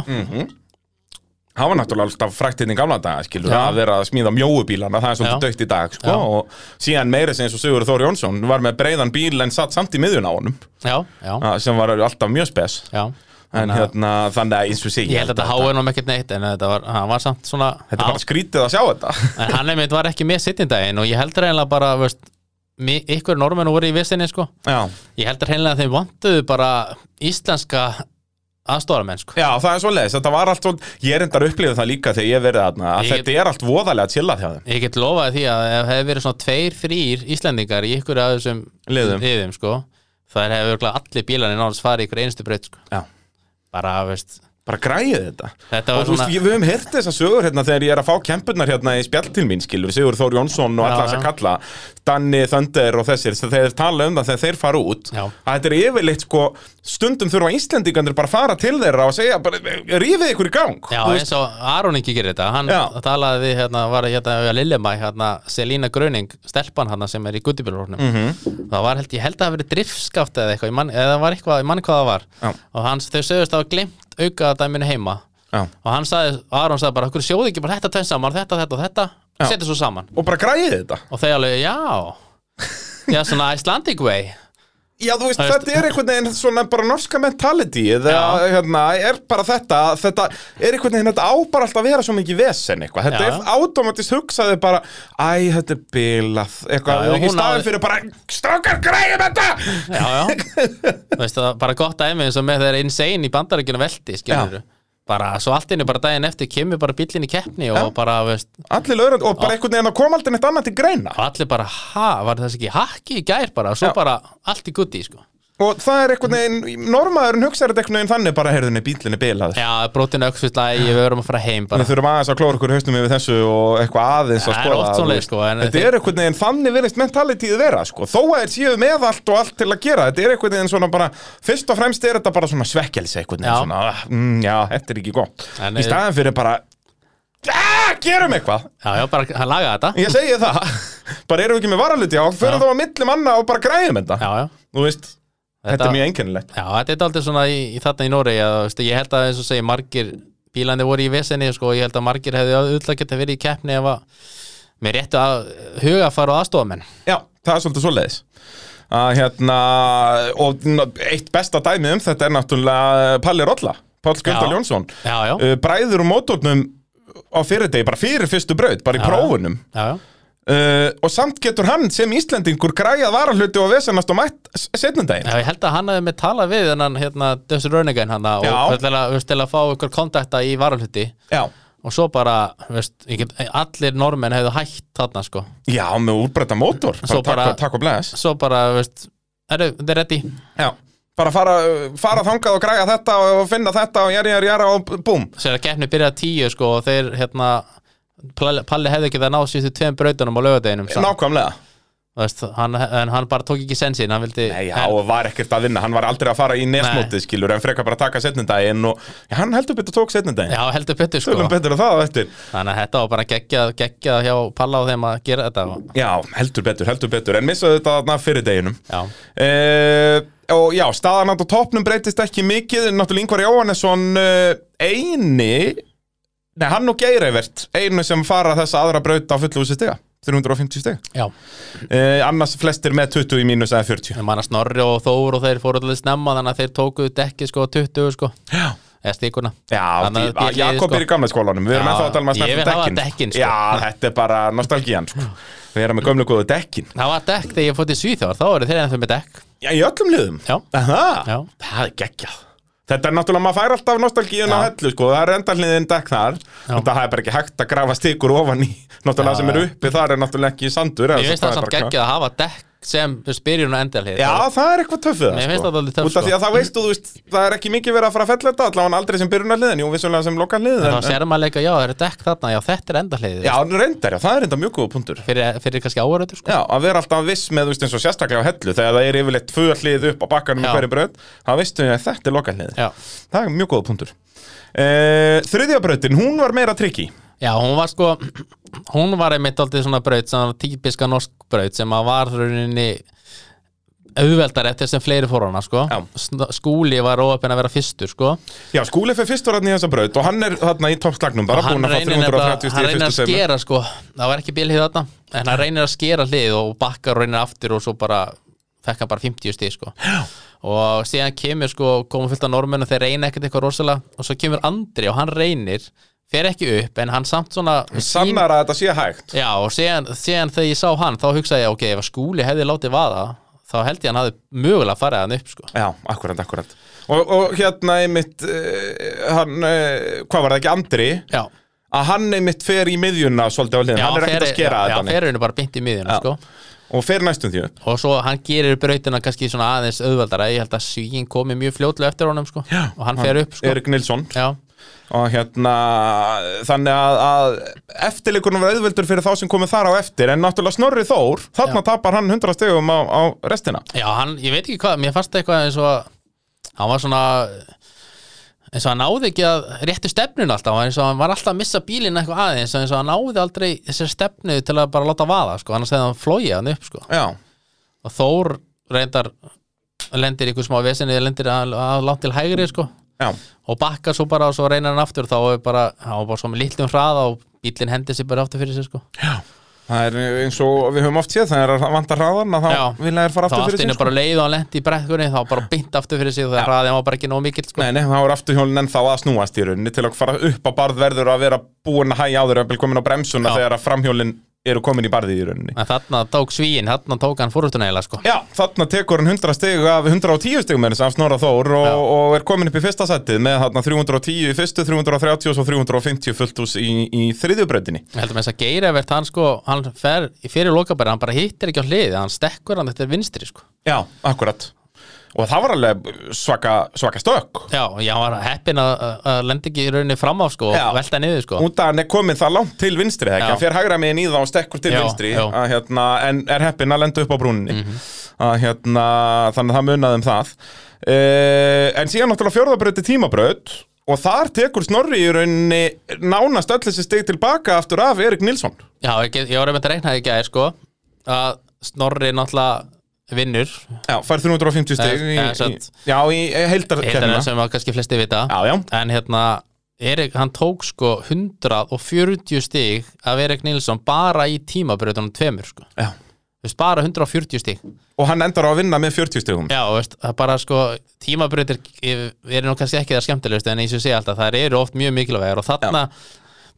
Speaker 1: Það var náttúrulega alltaf frækt hérna í gamla daga, skilur,
Speaker 2: Já.
Speaker 1: að vera að smíða mjóubílana, það er svolítið
Speaker 2: Já.
Speaker 1: dögt í dag, sko,
Speaker 2: Já.
Speaker 1: og síðan meira sem eins og Sigur Þóri Jónsson var með breiðan bíl en satt samt í miðjun á honum,
Speaker 2: Já, já,
Speaker 1: að- sem var alltaf mjög spes,
Speaker 2: já
Speaker 1: en hérna, þannig að eins og sé,
Speaker 2: Ég held að þetta háið nú ekkert neitt en þetta var, hann var samt svona
Speaker 1: Þetta er bara skrítið að sjá þetta.
Speaker 2: En hann einmitt var ekki með sittindaginn og ég heldur eiginlega bara, veist mi- ykkur normenn voru í vissinni sko
Speaker 1: Já.
Speaker 2: Ég heldur eiginlega að þeim vantuðu bara íslenska aðstóramenn sko
Speaker 1: Já, það er svolítið, þetta var allt svolítið, ég er endar upplifið það líka þegar ég verið þarna, að
Speaker 2: Ég-
Speaker 1: þetta er allt voðalega að chilla þjá þeim.
Speaker 2: Ég get lofaði því að ef hefði verið svona tveir, þrýr Íslendingar í ykkur af þessum
Speaker 1: Liðum.
Speaker 2: sko Það hefur örugglega allir bílarnir náttúrulega farið í ykkur einustu braut sko
Speaker 1: Já.
Speaker 2: bara, veist,
Speaker 1: Bara græðið þetta.
Speaker 2: þetta
Speaker 1: Og
Speaker 2: var
Speaker 1: þú veist,
Speaker 2: svona
Speaker 1: ég, við höfum hirt þessar sögur hérna þegar ég er að fá kempurnar hérna í spjall til mín, skilur, Sigur Þór Jónsson og
Speaker 2: Já,
Speaker 1: alla þess að
Speaker 2: já.
Speaker 1: kalla, Danni, Þönder og þessir, þegar þeir tala um það þegar þeir fara út,
Speaker 2: Já.
Speaker 1: að þetta er yfirleitt, sko, stundum þurfa Íslendingandir bara að fara til þeirra og segja, bara, rífið ykkur í gang.
Speaker 2: Já,
Speaker 1: Þú veist,
Speaker 2: eins og Aron ekki gerir þetta hann
Speaker 1: Já.
Speaker 2: talaði við, hérna, var hérna við Lillemæ, hérna, Selina Gröning stelpan hérna sem er í guttibjörnum
Speaker 1: Mhm.
Speaker 2: það var, held, ég held að það hafi verið driftskaft eða eitthvað, ég man, eða það var eitthvað, ég mann hvað það var
Speaker 1: Já.
Speaker 2: og hans, þau sögust að hafa glemt auka dæminu heima
Speaker 1: Já.
Speaker 2: og hann sagði, Aron sagði bara, okkur sjóði ekki bara þetta tvenn saman, þetta, þetta og þetta,
Speaker 1: Já.
Speaker 2: setja svo saman
Speaker 1: Og bara græðið þetta.
Speaker 2: og þau alveg, já já, svona Icelandic way
Speaker 1: Já, þú veist,
Speaker 2: Það veist-
Speaker 1: þetta er einhvern veginn svona bara norska mentality eða,
Speaker 2: Já.
Speaker 1: hérna, er bara þetta, þetta er einhvern veginn, þetta á bara alltaf að vera svo mikið vesen eitthvað, þetta
Speaker 2: Já.
Speaker 1: er automatist hugsaði bara, æ, þetta er bilað eitthvað,
Speaker 2: Já, já,
Speaker 1: og í
Speaker 2: hún
Speaker 1: staðin
Speaker 2: hafði-
Speaker 1: fyrir bara strákar græðum þetta
Speaker 2: já, já Þú veist, það er bara gott dæmi eins og með þeirra insane í bandaríkjunum velti, skilur bara, svo allt inni bara daginn eftir kemur bara bíllinn í keppni og bara, veist,
Speaker 1: allir lögrand, og bara einhvern veginn að koma aldrei neitt annað til greina,
Speaker 2: allir bara, ha, var þess ekki hakki í gær bara, svo
Speaker 1: Já.
Speaker 2: bara allt í gutti, sko
Speaker 1: og það er einhvern veginn normaðurinn hugsaði þetta einhvern veginn þannig bara, heyrðunni, bílinn er bilaður
Speaker 2: já, brotinu öxvilla, ég verðum að fara heim bara,
Speaker 1: Við þurfum aðeins að klóra okkur í haustum yfir þessu og eitthvað aðeins að
Speaker 2: Það er
Speaker 1: skoða
Speaker 2: oft
Speaker 1: þú
Speaker 2: svoleiðis,
Speaker 1: veist.
Speaker 2: sko, en
Speaker 1: Þetta
Speaker 2: þeir-
Speaker 1: er einhvern veginn þannig virðist mentalityð vera sko. Þó að þeir séu með allt og allt til að gera Þetta er einhvern veginn svona bara Fyrst og fremst er þetta bara svona svekkelsi einhvern veginn
Speaker 2: Já.
Speaker 1: svona, "Ah, mm, Já, þetta er ekki gott
Speaker 2: En eh,
Speaker 1: Í
Speaker 2: er-
Speaker 1: staðan fyrir bara "Ah, Gerum eitthvað
Speaker 2: já, já, bara að laga þetta
Speaker 1: Ég segi það Bara erum við ekki með varaluti á Fyrir
Speaker 2: Já.
Speaker 1: þá að milli manna og bara græðum þetta
Speaker 2: já, já,
Speaker 1: Þú veist, þetta,
Speaker 2: Þetta-
Speaker 1: er mjög einkennilegt
Speaker 2: já, þetta er aldrei svona í, í þarna í Noregi, að, veist, ég held að eins og segi margir bílandi voru í vesenni, sko, ég held að margir hefði auðvitað geta verið í keppni ef að með réttu að hugafar og aðstofamenn
Speaker 1: Já, það er svolítið svoleiðis að hérna og n- eitt besta dæmi um þetta er náttúrulega Palli Rolla, Páll Gjöndal
Speaker 2: Já.
Speaker 1: Jónsson
Speaker 2: já, já,
Speaker 1: Uh, bræður um mótornum á fyrirdegi, bara fyrir fyrstu braut, bara í
Speaker 2: Já.
Speaker 1: prófunum
Speaker 2: já, já
Speaker 1: uh, og samt getur hann sem Íslendingur græjað varahluti og vesennast og mætt setnundaginn
Speaker 2: Já, ég held að hann hefði með talað við hennan hérna, Dössur Röningen hann og
Speaker 1: Já.
Speaker 2: hverlega, veist, til að fá ykkur kontakta í varalhutti
Speaker 1: Já,
Speaker 2: og svo bara, veist, ég get, allir normenn hefðu hætt þarna, sko
Speaker 1: já, með úrbreyta mótor bara,
Speaker 2: Svo
Speaker 1: takk,
Speaker 2: bara-
Speaker 1: og, takk og bless
Speaker 2: svo bara, veist, eru, þetta er ready
Speaker 1: Já, bara fara, fara þangað og græja þetta og finna þetta og jæri, jæri, jæra og búm
Speaker 2: sér að keppni byrjaði að tíu, sko og þeir, hérna Palli Palli hefði ekki það náð síðustu tveim brautunum á laugardeginum samt.
Speaker 1: Nákvæmlega
Speaker 2: Þú veist, hann, en hann bara tók ekki sensin hann vildi
Speaker 1: Nei, já,
Speaker 2: en,
Speaker 1: og var ekkert að vinna, hann var aldrei að fara í nesmótið skilur en frekar bara að taka setnindaginn og já, hann heldur betur tók setnindaginn,
Speaker 2: já, heldur betur sko
Speaker 1: tölum betur að það á eftir
Speaker 2: þannig að þetta var bara geggjað geggjað hjá Palla og þeim að gera þetta sko. og-
Speaker 1: Já, heldur betur, heldur betur, en missaðu þetta þarna fyrir deginum
Speaker 2: já,
Speaker 1: Uh, og já, staðan á toppnum breytist ekki mikið, náttúrulega Ingvar Jóhannesson uh, eini Nei, hann og Geirivert, einu sem fara þessa aðra braut á fullu húsi stiga 350 stiga,
Speaker 2: já,
Speaker 1: uh, annars flestir með 20 í mínus eða 40
Speaker 2: en manna Snorri og Þór og þeir fóru allir snemma þannig að þeir tókuðu dekki sko 20 sko
Speaker 1: Já,
Speaker 2: eða stíkuna
Speaker 1: Já,
Speaker 2: Þannig að þetta er liðið,
Speaker 1: Jakob
Speaker 2: sko.
Speaker 1: er í gamla skólanum Við erum
Speaker 2: Já,
Speaker 1: ennþá að tala um að
Speaker 2: ég
Speaker 1: snerta
Speaker 2: vil hafa
Speaker 1: dekkin
Speaker 2: dekkin, sko.
Speaker 1: Já, þetta er bara nostalgían sko. Við erum með gömlu góðu dekkin
Speaker 2: það var dekk þegar ég fótt í Svíþjóðar þá eru þeir ennþá með dekk
Speaker 1: Já, í öllum liðum
Speaker 2: já,
Speaker 1: Aha,
Speaker 2: já,
Speaker 1: Það er geggjað Þetta er náttúrulega, maður fær alltaf nostalgíun á
Speaker 2: Já.
Speaker 1: hellu sko. Það er endalniðin dekk þar En það er bara ekki hægt að grafa stikur ofan í Náttúrulega
Speaker 2: Já,
Speaker 1: sem er
Speaker 2: já.
Speaker 1: uppi þar er náttúrulega ekki sandur eða
Speaker 2: ég
Speaker 1: svo
Speaker 2: veist það
Speaker 1: er
Speaker 2: samt
Speaker 1: bara-
Speaker 2: geggjað að hafa dekk sem spyrjun og endarlið
Speaker 1: Já, það er eitthvað töffið
Speaker 2: Mér finnst það dálítið töff,
Speaker 1: Út af
Speaker 2: sko.
Speaker 1: því að það veist, þú veist, það er ekki mikið verið að fara að fella þetta Allavega aldrei sem byrjunarliðin, jú, vissulega sem lokalliðin
Speaker 2: þá
Speaker 1: en-
Speaker 2: sér maður leika, já, það eru dekk þarna, já, þetta er endarlið
Speaker 1: Já, reyndar, já, það er enda mjög góða punktur
Speaker 2: fyrir, fyrir kannski áhverjöndur sko.
Speaker 1: Já, að vera alltaf viss með, þú veist, eins og sérstaklega á hellu þegar það er yfirleitt tvö hlið upp á bakkanum í
Speaker 2: Já.
Speaker 1: hverju brönd, þá veistu við að þetta er lokalhlið
Speaker 2: já.
Speaker 1: Það er mjög góða punktur uh, Þriðja bröndin, hún var meira trikki
Speaker 2: já, hún var sko hún var einmitt aldrei svona braut svona típiska norsk braut sem að var rauninni auðveldar eftir sem fleiri fór hana sko.
Speaker 1: Já.
Speaker 2: Sn- skúli var óöfn að vera fyrstur sko.
Speaker 1: Já, skúli fyrir fyrst var hann í þessa brönd og hann er þarna í toppslagnum bara
Speaker 2: Og hann
Speaker 1: búin að fá
Speaker 2: reynir, nefnilega-
Speaker 1: 330
Speaker 2: hann
Speaker 1: stíð
Speaker 2: reynir
Speaker 1: fyrstu
Speaker 2: að
Speaker 1: sem
Speaker 2: skera sko. það var ekki bilhið þarna en hann reynir að skera hlið og bakkar og reynir aftur og svo bara fekk hann bara 50 stíð sko. og síðan kemur sko, komum fullt af normenn og þeir reyna ekkert eitthvað rosalega og svo kemur Andri og hann reynir fer ekki upp en hann samt svona sýn-
Speaker 1: Sannar að þetta sé hægt
Speaker 2: já, og síðan, síðan þegar ég sá hann þá hugsaði ég ok, ef að skúli hefði látið vaða þá held ég hann hafði mögulega farið hann upp sko.
Speaker 1: Já, akkurat, akkurat Og, og hérna einmitt, uh, hann, uh, hvað var það ekki, Andri
Speaker 2: já,
Speaker 1: að hann einmitt fer í miðjuna svolítið á hliðin,
Speaker 2: já,
Speaker 1: hann er ekkert að
Speaker 2: fer-
Speaker 1: skera
Speaker 2: já,
Speaker 1: þetta
Speaker 2: já,
Speaker 1: neitt.
Speaker 2: ferurinn er bara bynt í miðjuna
Speaker 1: Já.
Speaker 2: sko.
Speaker 1: og fer næstum því upp
Speaker 2: og svo hann gerir brautina kannski svona aðeins auðveldara ég held að svíin komi mjög fljótlega eftir honum sko.
Speaker 1: Já,
Speaker 2: og hann fer upp sko.
Speaker 1: Erik Nilsson
Speaker 2: já,
Speaker 1: og hérna þannig að, að eftirleikunum var auðveldur fyrir þá sem komið þar á eftir en náttúrulega Snorri Þór, þarna tapar hann 100 stegum á, á restina
Speaker 2: já hann, ég veit ekki hvað mér fannst eitthvað eins og að- hann var svona eins og hann náði ekki að réttu stefnun alltaf eins og hann var alltaf að missa bílinn eitthvað aðeins eins og hann náði aldrei þessari stefnu til að bara láta vaða sko. annars hefði hann flóið hann upp sko.
Speaker 1: Já,
Speaker 2: og Þór reyndar lendir í ykkur smá vesinni lendir að, að langt til hægri sko.
Speaker 1: já,
Speaker 2: og bakkar svo bara og svo reynir hann aftur þá er bara, hann var bara svo með lítlum hraða og bílinn hendir sér bara aftur fyrir sér sko
Speaker 1: það er eins og við höfum oft séð það er að vanta hraðan að
Speaker 2: Já.
Speaker 1: þá vilja þér fara
Speaker 2: þá
Speaker 1: aftur
Speaker 2: aftur
Speaker 1: fyrir
Speaker 2: henni
Speaker 1: sig sko.
Speaker 2: bara leið og hann lendi í brekkunni þá bara beint aftur fyrir sig og þegar hraðið var bara ekki nóg mikill sko.
Speaker 1: Nei, nei, þá er afturhjólinn ennþá að snúast í rauninni til að fara upp á barð verður að vera búin að hægja á þeirra komin á bremsuna
Speaker 2: Já.
Speaker 1: þegar að framhjólinn eru komin í barðið í rauninni
Speaker 2: en þarna tók svíin, þarna tók hann fórhustuna eiginlega sko.
Speaker 1: Já, þarna tekur hann 100 stegu af 110 stegum með þess af Snorra Þór og,
Speaker 2: Já.
Speaker 1: og er komin upp í fyrsta sætið með þarna 310 í fyrstu, 330 og svo 350 fullt ús í, í þriðjubröndinni.
Speaker 2: ég heldur með þess að Geirivert hann sko, hann fer í fyrir lokabæri hann bara hittir ekki á hliði, hann stekkur hann þetta er vinstri sko.
Speaker 1: Já, akkurat. Og það var alveg svaka, svaka stökk.
Speaker 2: já, og ég var heppin að, að- að lendi ekki í rauninni fram af sko,
Speaker 1: Já.
Speaker 2: og velta niður sko.
Speaker 1: Út að hann er komin það langt til vinstri, eða ekki?
Speaker 2: Já.
Speaker 1: Hann fer hægra megin í það og stekkur til
Speaker 2: Já,
Speaker 1: vinstri,
Speaker 2: já. Mhm.
Speaker 1: Að, hérna, en er heppin að lenda upp á brúninni. að, hérna, þannig að það munaði um það. Uh, en síðan náttúrulega fjórðabröti tímabröð og þar tekur Snorri í rauninni nánast öll þessi steg tilbaka aftur af Erik Nilsson.
Speaker 2: já, ég, ég var einmitt að reikna það ekki að sko, að Snorri náttúrulega vinnur
Speaker 1: Já, fær 350 steg
Speaker 2: Eða-
Speaker 1: í,
Speaker 2: eða
Speaker 1: í,
Speaker 2: Eh, satt.
Speaker 1: já, í heildarkennina.
Speaker 2: Eitarinn sem að kannski flesti vita
Speaker 1: Já, já.
Speaker 2: en hérna Erik, hann tók sko 140 stig af Erik Nilsson bara í tímabröðunum tveimur sko.
Speaker 1: Já.
Speaker 2: Þú veist, bara 140 stig
Speaker 1: Og hann endar á að vinna með 40 stegum.
Speaker 2: já, þú veist, það er bara sko tímabröður eru nú kannski ekki það skemmtilegust en eins og ég sé alltaf, það eru oft mjög mikilvægar og þarna,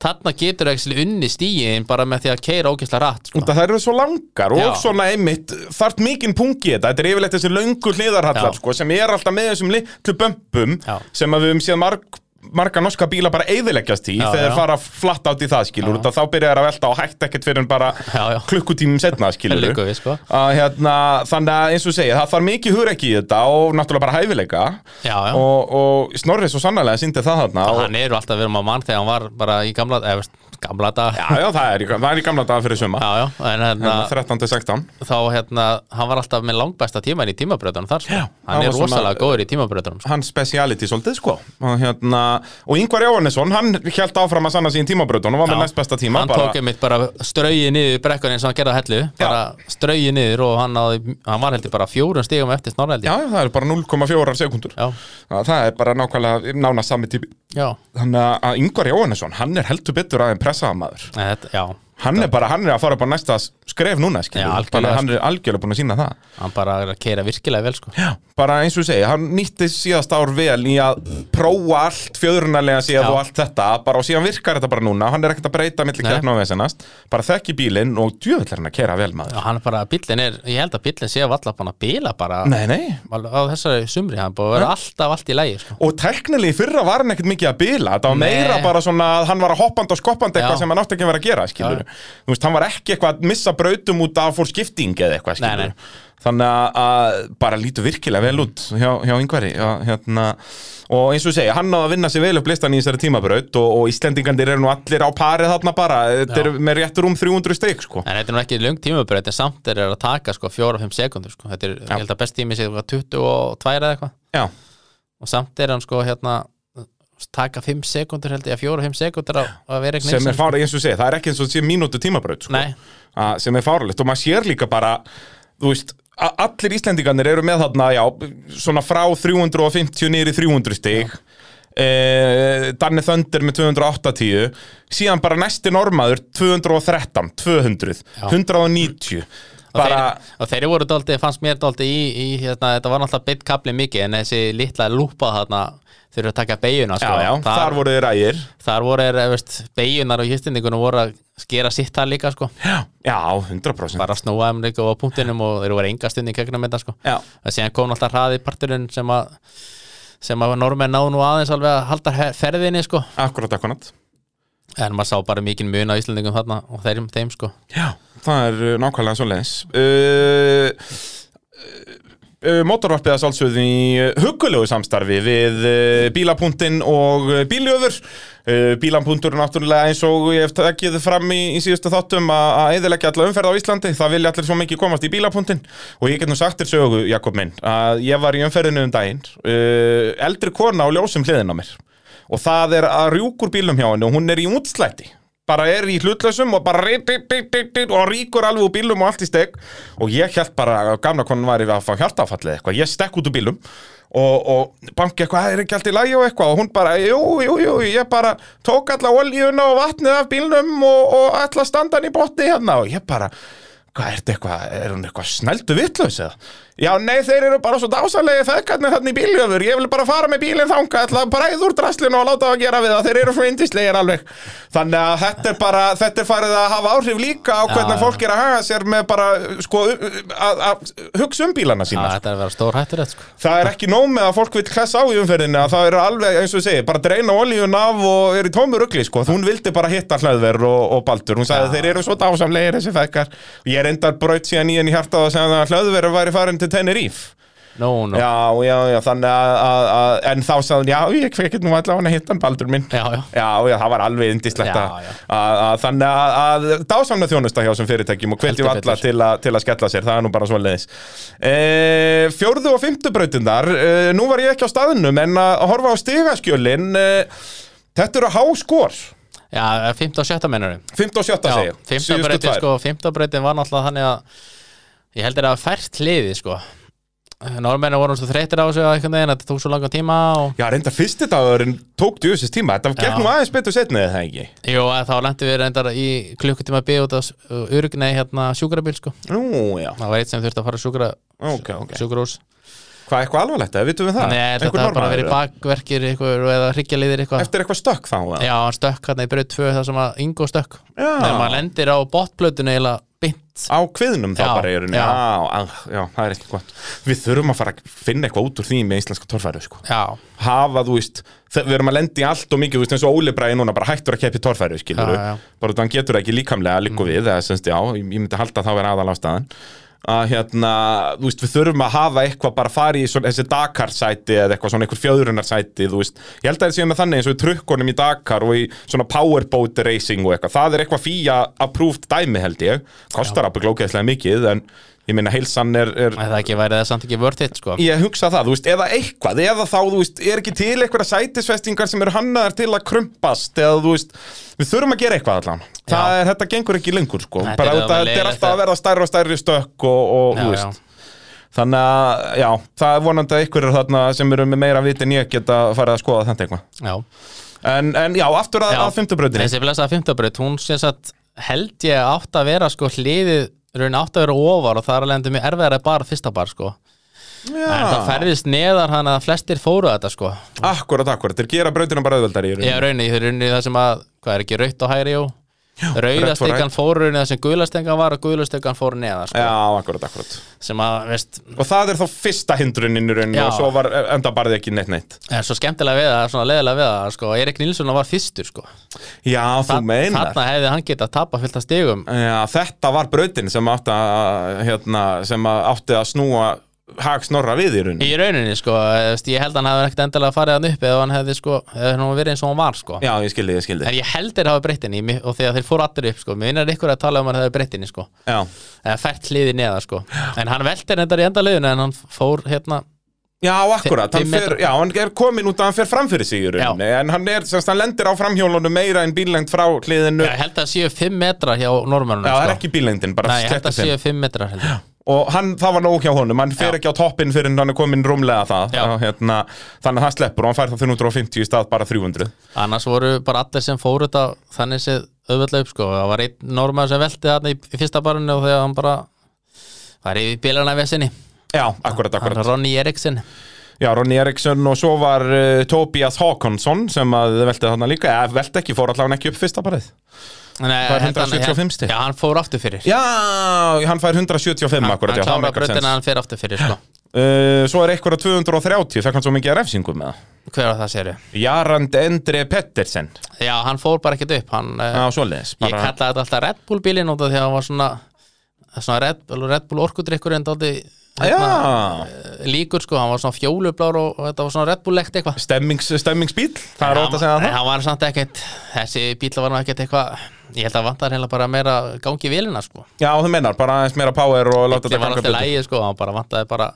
Speaker 2: þarna getur ekki unni stíin bara með því að keira ógeðslega rætt sko.
Speaker 1: Út að það eru svo langar og
Speaker 2: Já.
Speaker 1: svona einmitt þarft mikinn pungi í þetta, þetta er yfirleitt þessi löngu hliðarhallar
Speaker 2: Já.
Speaker 1: sko, sem er alltaf með þessum litlu bömpum
Speaker 2: Já.
Speaker 1: sem að við höfum séð marg marga norska bíla bara eyðileggjast í
Speaker 2: Já,
Speaker 1: þegar þeir
Speaker 2: já.
Speaker 1: fara flatt átt í það skilur já. þá byrjar þeir að velta og hægt ekkert fyrir en bara
Speaker 2: Já, já.
Speaker 1: klukkutímum setna
Speaker 2: Það
Speaker 1: skilur
Speaker 2: liggur við, sko.
Speaker 1: að, hérna, þannig að eins og segja það þarf mikið hugrekki í þetta og náttúrulega bara hæfileika
Speaker 2: Já, já.
Speaker 1: Og, og Snorri svo sannlega síndi það þarna og,
Speaker 2: Hann er alltaf verið maður mann þegar hann var bara í gamla, eða, veist, gamla dag.
Speaker 1: já, já, það er, í- það er í gamla daga fyrir suma
Speaker 2: Já, já, en hérna,
Speaker 1: 13-16
Speaker 2: þá hérna, hann var alltaf með langbæsta tíman í tímabröðunum þar, sko.
Speaker 1: hann
Speaker 2: Hann er
Speaker 1: var svona-
Speaker 2: rosalega góður í tímabröðunum, sko.
Speaker 1: hans speciality svolítið sko og, hérna, og Yngvar Jóhannesson, hann held áfram að sanna sín tímabröðun og var með
Speaker 2: Já.
Speaker 1: næst besta tíma
Speaker 2: hann
Speaker 1: bara-
Speaker 2: tók einmitt bara strauji niður brekkunni eins og hann gerði að hellu bara strauji niður og hann, náði, hann var heldur bara fjórum stigum eftir snorreldi
Speaker 1: Já, já, það er bara 0,4 sekundur
Speaker 2: já,
Speaker 1: Það það er bara nákvæmlega nána sami tími
Speaker 2: já.
Speaker 1: Þannig að- að Yngvar Jóhannesson, hann er heldur betur aðeins pressaða maður
Speaker 2: Nei, Þetta, já.
Speaker 1: Hann er bara, hann er að fara upp á næsta skref núna skilur
Speaker 2: Já,
Speaker 1: við.
Speaker 2: algjörlega, sko.
Speaker 1: Bara Hann er algjörlega búin að sína það
Speaker 2: hann bara er að keira virkilega vel sko.
Speaker 1: Já, bara eins og ég segi, hann nýtti síðast ár vel í að prófa allt fjöðrunarlega síðan
Speaker 2: Já.
Speaker 1: og allt þetta bara og síðan virkar þetta bara núna, hann er ekkert að breyta milli
Speaker 2: Nei.
Speaker 1: keppna og vesenast, bara þekki bílinn og djöfull er hann að kera vel maður
Speaker 2: Já, hann er bara, bíllinn er, ég held að bíllinn sé að valla bara að bila bara
Speaker 1: Nei, nei,
Speaker 2: alveg á þessari sumri, hann er búið að vera alltaf allt í lægi sko.
Speaker 1: og teknilega í fyrra var hann ekkert mikið að bila þetta var
Speaker 2: Nei.
Speaker 1: meira bara svona að hann var að hoppandi og skoppandi eitthvað
Speaker 2: Já.
Speaker 1: sem hann átti ekki að vera að gera skilur þú veist, hann var ekki eitthvað að missa brautum út af fór skipting eða eitthvað skilur
Speaker 2: Nei, nei.
Speaker 1: þannig að- að bara lítur virkilega vel út hjá, hjá yngvari já, hérna. og eins og ég segi, hann náði að vinna sér vel upp listan í þessari tímabraut og, og Íslendingandir eru nú allir á parið þarna bara þetta
Speaker 2: Já.
Speaker 1: eru með réttur um 300 stygg sko.
Speaker 2: en þetta er nú ekki löng tímabröð en samt er að taka sko, 4-5 sekundur sko. þetta er, ég held að best tími sé eitthvað 22 eða eitthvað
Speaker 1: já,
Speaker 2: og samt er hann sko hérna taka 5 sekundur held ég, 4-5 sekundur að, að vera
Speaker 1: sem er
Speaker 2: sko.
Speaker 1: fára, eins og ég segi, það er ekki eins og sé mínútu tímabraut sko.
Speaker 2: Nei,
Speaker 1: að, sem er fáralegt og maður sér líka bara þú veist, a- allir Íslendingarnir eru með þarna, já, svona frá 350 niður í 300 stig Eh, Danni Þöndir með 280 síðan bara næsti normaður 213, 200 190 bara,
Speaker 2: og, þeir, og þeir voru dálítið, fannst mér dálítið í, í hérna, þetta var náttúrulega beitt kapli mikið en þessi litla lúpa þarna þeir eru að taka beiguna sko.
Speaker 1: já, já, þar,
Speaker 2: þar,
Speaker 1: voru þið rægir
Speaker 2: þar voru er, veist, beigunar og hýstinningunum voru að skera sitt þar líka sko.
Speaker 1: já, 100%
Speaker 2: bara að snúa þeim líka á punktinum og þeir voru enga stund í kegnum þetta sko.
Speaker 1: já,
Speaker 2: en síðan kom alltaf hraði parturinn sem að sem að normenn náðu nú aðeins alveg að halda he- ferðinni sko.
Speaker 1: akkurat, akkurat
Speaker 2: en maður sá bara mikinn mun á Íslandingum þarna og þeim, þeim sko.
Speaker 1: Já, það er uh, nákvæmlega svo leiðis uh, uh, Mótorvarpið að sálsögðu í uh, huggulegu samstarfi við uh, bílapunktinn og uh, bíljöfur uh, Bílapunktur er náttúrulega eins og ég hef tekið fram í, í síðustu þáttum að- að eðilegja allar umferð á Íslandi það vilja allir svo mikið komast í bílapunktinn og ég get nú sagt þér sögu, Jakob minn að ég var í umferðinu um daginn uh, eldri kona á ljósum hliðin á mér og það er að rjúkur bílum hjá henni og hún er í útslætti bara er í hlutlausum og bara rit, rit, rit, rit, rit, og rýkur alveg úr bílum og allt í steg og ég held bara að gamla konan væri að fá hjartafallið eitthvað, ég stekk út úr bílum og, og banki eitthvað, "Það er ekki allt í lagi og eitthvað og hún bara, jú, jú, jú, ég bara tók alla olíuna og vatnið af bílnum og, og ætla að standa hann í botni hérna og ég bara, hvað er þetta eitthvað, er hún eitthvað snældu vitlaus eða? Já, nei, þeir eru bara svo dásalegi feðgarnir þarna í bíljöfur, ég vil bara fara með bílinn þanga, ætla að bræða úr draslinu og láta það að gera við það, þeir eru svo indislegir alveg. Þannig að þetta er bara, þetta er farið að hafa áhrif líka á hvernig
Speaker 2: já.
Speaker 1: fólk er að haga sér með bara, sko, að- að hugsa um bílana
Speaker 2: Já,
Speaker 1: sína. sko.
Speaker 2: þetta er að vera stór hættur sko.
Speaker 1: Það er ekki nóg með að fólk vil klessa á í umferðinu að það eru alveg, eins og ég segi, bara dreina olíun af og er í tómu rugli, sko. Hún vildi bara hitta hlaðver og, og baldur. Hún sagði þeir eru svo dásamlegir þessi fekkar. Ég reyndar braut síðan í henni hjartað og segði að hlaðver væri farin til Tenerife.
Speaker 2: no, no.
Speaker 1: Já, já, já, þannig að, að, að en þá sagði hún, já, ég fekk nú allavega að hitta hann baldur minn.
Speaker 2: Já, já.
Speaker 1: Já, já, það var alveg indislegt
Speaker 2: Já,
Speaker 1: að,
Speaker 2: já.
Speaker 1: að, að þannig að, að dásamna þjónusta hjá þessum fyrirtækjum og hvetjum
Speaker 2: Heldur
Speaker 1: alla
Speaker 2: betur.
Speaker 1: til, a, til að skella sér, það er nú bara svo leiðis. E, fjórðu og fymtu brautindar, e, nú var ég ekki á staðnum en að að horfa á stigaskjölin, e, þetta eru há skor,
Speaker 2: Já, 15 og 17 mennur
Speaker 1: fymta og sjötta
Speaker 2: Já,
Speaker 1: segja,
Speaker 2: 15 breytin sko, 15 breytin var náttúrulega þannig að ég heldur að fært hliði sko Normennu voru svo þreytir á sig á einhvern veginn, þetta tók svo langan tíma og
Speaker 1: Já, reynda fyrsti dagurinn tók djúsist tíma, þetta
Speaker 2: Já.
Speaker 1: gekk nú aðeins betur setnið eða það ekki.
Speaker 2: jú, að þá lendi við reyndar í klukkutíma bíð út á urgnei hérna sjúkrabíl sko
Speaker 1: Nú, já,
Speaker 2: það var eitt sem þurfti að fara á sjúkra,
Speaker 1: ok, ok.
Speaker 2: sjúkrahús
Speaker 1: Hvað, eitthvað alvarlegt, eða vitum við það?
Speaker 2: Nei, ég
Speaker 1: Einhver
Speaker 2: held að þetta hafi bara
Speaker 1: normaður,
Speaker 2: verið
Speaker 1: eða?
Speaker 2: bakverkir ykkur, eða hryggjarliðir eitthvað
Speaker 1: Eftir eitthvað stökk þá eða?
Speaker 2: Já, hann stökk hann í braut 2 þar sem að Ingo stökk
Speaker 1: Já.
Speaker 2: Þegar maður lendir á botplötunni eða bynt
Speaker 1: Á kviðnum þá
Speaker 2: Já,
Speaker 1: bara er henni já.
Speaker 2: já.
Speaker 1: ah, já, það er ekki gott Við þurfum að fara að finna eitthvað út úr því með íslenska torfæru sko.
Speaker 2: Já,
Speaker 1: Hafa, þú veist, þe- við erum að lendi allt og mikið þú veist, eins og Óli Bræði núna bara hættur að keppi torfæru skilur
Speaker 2: Já, Mm. já.
Speaker 1: bara þannig getur ekki líkamlega líku við eða, semst, já, ég ég myndi halda að það vera aðal ástæðan að hérna, þú veist, við þurfum að hafa eitthvað bara farið í svona, þessi Dakar-sæti eða eitthvað svona einhver fjöðrunarsæti, þú veist ég held að það séu með þannig eins og í trukkunum í Dakar og í svona powerboat racing og eitthvað það er eitthvað fíja approved dæmi held ég kostar að glókeðslega mikið en ég minna heilsan er, er
Speaker 2: Æ, það ekki væri það samt ekki worth it sko.
Speaker 1: ég hugsa það, þú veist, eða eitthvað eða þá, þú veist, er ekki til einhverja sætisvestingar sem eru hannaðar til að krumpast eða, þú veist, við þurfum að gera eitthvað allan það
Speaker 2: Já.
Speaker 1: er, þetta gengur ekki lengur, sko
Speaker 2: Þetta
Speaker 1: bara
Speaker 2: er
Speaker 1: þetta,
Speaker 2: alveg
Speaker 1: þetta er
Speaker 2: leiðilegt
Speaker 1: alltaf að
Speaker 2: að-
Speaker 1: verða stærri og stærri stökk og, og
Speaker 2: Já,
Speaker 1: þú
Speaker 2: já.
Speaker 1: veist þannig að, já, það er vonandi að ykkur er þarna sem eru með meira vit en ég geta farið að skoða þetta eitthvað
Speaker 2: Já,
Speaker 1: en, en já, aftur að,
Speaker 2: já.
Speaker 1: að fymtubröðinni
Speaker 2: Þessi blessaða fymtabraut, hún sem sagt held ég að átt að vera sko hliðið raun átt að vera ofar og það er alveg endur mjög erfiðar að bara fyrsta bar sko En það færðist neðar hann að flestir fóru að þetta sko
Speaker 1: akkurat, akkurat, þeir gera bröðina bara auðveldari í rauninni.
Speaker 2: Já, raunni, þeir runni það sem að, hvað er ekki, raut og hægri, jú?
Speaker 1: rautt og
Speaker 2: Rauðastengan fór raunni það sem guðlastengan var og guðlastengan fór neðar, sko.
Speaker 1: já, akkurat, akkurat
Speaker 2: Sem að, veist,
Speaker 1: og það er þá fyrsta hindrunin í rauninu
Speaker 2: Já.
Speaker 1: og svo var enda barðið ekki neitt neitt
Speaker 2: er svo skemmtilega við það, svona leðilega við það, sko. Erik Nilsson var fyrstur, sko.
Speaker 1: já, þú meinar
Speaker 2: Þarna hefði hann getað tapað fyllt að stigum.
Speaker 1: Já, þetta var brautin sem átti að, hérna, sem að átti að snúa hagsnorra við í rauninni.
Speaker 2: Í rauninni, sko, veist, ég held að hann hefði ekkert endilega farið hann upp eða hann hefði, sko, eða hann verið eins og hann var, sko.
Speaker 1: Já, ég skildi, ég skildi.
Speaker 2: En ég held þeir hafa breyttinni og þegar þeir fóru allir upp, sko, mér vinnar ykkur að tala um að hann hefði breyttinni, sko.
Speaker 1: Já,
Speaker 2: Eða fært hliði neða, sko. En hann veltir endar í enda liðinu en hann fór, hérna,
Speaker 1: já akkurat, hann,
Speaker 2: Fimm
Speaker 1: fer,
Speaker 2: metra.
Speaker 1: já, hann er komin út að hann fer fram fyrir sig í rauninni, en hann, er, semst, hann lendir á framhjólunum meira en bílengt frá hliðinu.
Speaker 2: Já, ég held að séu 5 metra hjá normannum
Speaker 1: Já, það er ekki bílengdin, bara
Speaker 2: Nei, ég held
Speaker 1: sléttu
Speaker 2: að
Speaker 1: fimm.
Speaker 2: séu 5 metrar held ég.
Speaker 1: og hann, það var nóg hjá honum, hann fer
Speaker 2: Já.
Speaker 1: ekki á toppin fyrir en hann er komin rúmlega það,
Speaker 2: Já.
Speaker 1: Þá, hérna, þannig að hann sleppur og hann fær það 350 í stað bara 300
Speaker 2: Annars voru bara allir sem fóru þetta þannig séð auðvitað upp sko Það var einn normann sem velti þarna í, í fyrsta barinu og þegar hann bara var yfir bílana við sinni
Speaker 1: Já, akkurat, akkurat
Speaker 2: Hann Ronny Eriksson
Speaker 1: Já, Ronny Eriksson og svo var uh, Tobias Håkonsson sem að velti þarna líka, eða velti ekki, fór allavega ekki upp fyrsta barið.
Speaker 2: Nei,
Speaker 1: Fær
Speaker 2: held hann-
Speaker 1: 175 stig.
Speaker 2: Já, hann fór aftur fyrir
Speaker 1: Já, hann fær 175 akkurat, já, það
Speaker 2: Hann klára
Speaker 1: meikar sens.
Speaker 2: bröndina, hann fer aftur fyrir sko
Speaker 1: Uh, svo er eitthvað 230, fekk hann svo mikið að refsingum með það.
Speaker 2: Hver var það séru?
Speaker 1: Jarand Endre Pettersen,
Speaker 2: Já, hann fór bara ekkert upp hann, eh,
Speaker 1: já, svoleiðis.
Speaker 2: Ég
Speaker 1: Bara,
Speaker 2: kallaði þetta alltaf Red Bull bílinn út af því að hann var svona, svona Red, Bull, Red Bull orkudrykkur en daldi
Speaker 1: já,
Speaker 2: líkur sko, hann var svona fjólublár og, og þetta var svona Red Bull lekt eitthvað
Speaker 1: stemmings, stemmingsbíl, það er
Speaker 2: En
Speaker 1: rót að
Speaker 2: hann-
Speaker 1: segja
Speaker 2: en
Speaker 1: það.
Speaker 2: hann var samt ekkert, þessi bíl var nú ekkert eitthvað ég held að vantar heila bara meira gangi í vélina sko
Speaker 1: Já, þú meinar, bara aðeins meira power og láta
Speaker 2: það
Speaker 1: þetta
Speaker 2: var
Speaker 1: ganga
Speaker 2: alltaf
Speaker 1: betur.
Speaker 2: lægi sko, hann bara vantaði bara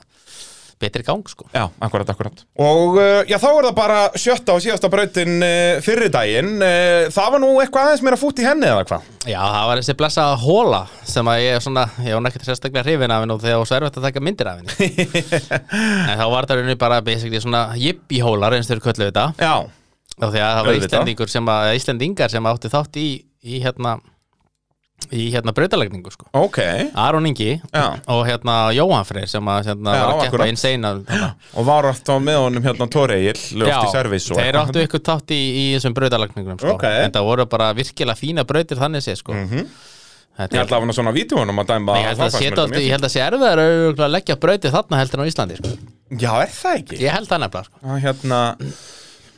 Speaker 2: betri gang sko
Speaker 1: Já, akkurat, akkurat. Og uh, já, þá er það bara sjötta og síðasta brautin uh, fyrri daginn. Uh, það var nú eitthvað aðeins meira fút í henni eða hvað?
Speaker 2: já, það var þessi blessaða hóla sem að ég er svona, ég var nú ekkert sérstaklega hrifin af henni og þegar var svo erfitt að taka myndir af henni en þá var það rauninu bara basically svona jippi hólar eins og þau kölluðu þetta
Speaker 1: Já,
Speaker 2: og því að það var
Speaker 1: Auðvitað.
Speaker 2: Íslendingur sem að, Íslendingar sem áttu þátt í, í hérna í hérna brautalegningu sko
Speaker 1: ok
Speaker 2: Aron Ingi
Speaker 1: Já.
Speaker 2: og hérna Jóhann Freyr sem að hérna,
Speaker 1: Já,
Speaker 2: var að
Speaker 1: akkurat.
Speaker 2: keppa inn seina
Speaker 1: Og var allt á með honum hérna Toreil Löft í servis og
Speaker 2: þeir áttu ykkur tátt í, í þessum brautalagningum sko.
Speaker 1: Ok.
Speaker 2: en það voru bara virkilega fína brautir þannig sé sko.
Speaker 1: Ég
Speaker 2: þetta
Speaker 1: ætla
Speaker 2: er
Speaker 1: að hafa svona vídjónum að dæma
Speaker 2: Ég held að
Speaker 1: það
Speaker 2: það
Speaker 1: fannst
Speaker 2: sé
Speaker 1: mér
Speaker 2: dálítið- ég
Speaker 1: mjög
Speaker 2: held að sé erfiðar örugglega að leggja brautir þarna heldur en á Íslandi sko.
Speaker 1: fínt. Já, er það ekki?
Speaker 2: Ég held það nefnilega sko.
Speaker 1: Já, hérna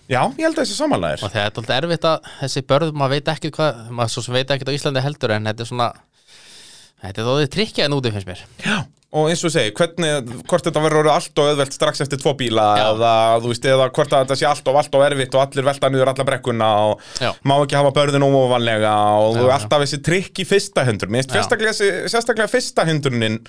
Speaker 1: Já, ég held að þessi samanlæðir
Speaker 2: og það er alltaf erfitt að þessi börð maður veit ekki hvað, maður svo sem veit ekki á Íslandi heldur en þetta er svona þetta er þóðið trikkja en úti finnst mér
Speaker 1: Og eins og ég segi, hvernig, hvort þetta verður orðið allt og öðvelt strax eftir tvo bíla
Speaker 2: Já.
Speaker 1: eða, þú veist, eða hvort að þetta sé allt og allt og erfitt og allir velta niður alla brekkuna og
Speaker 2: Já.
Speaker 1: má ekki hafa börðin óvanlega og þú
Speaker 2: Já, já.
Speaker 1: alltaf þessi trikk í fyrsta hendur Mér finnst
Speaker 2: Já.
Speaker 1: sérstaklega, þessi- sérstaklega fyrsta hendurin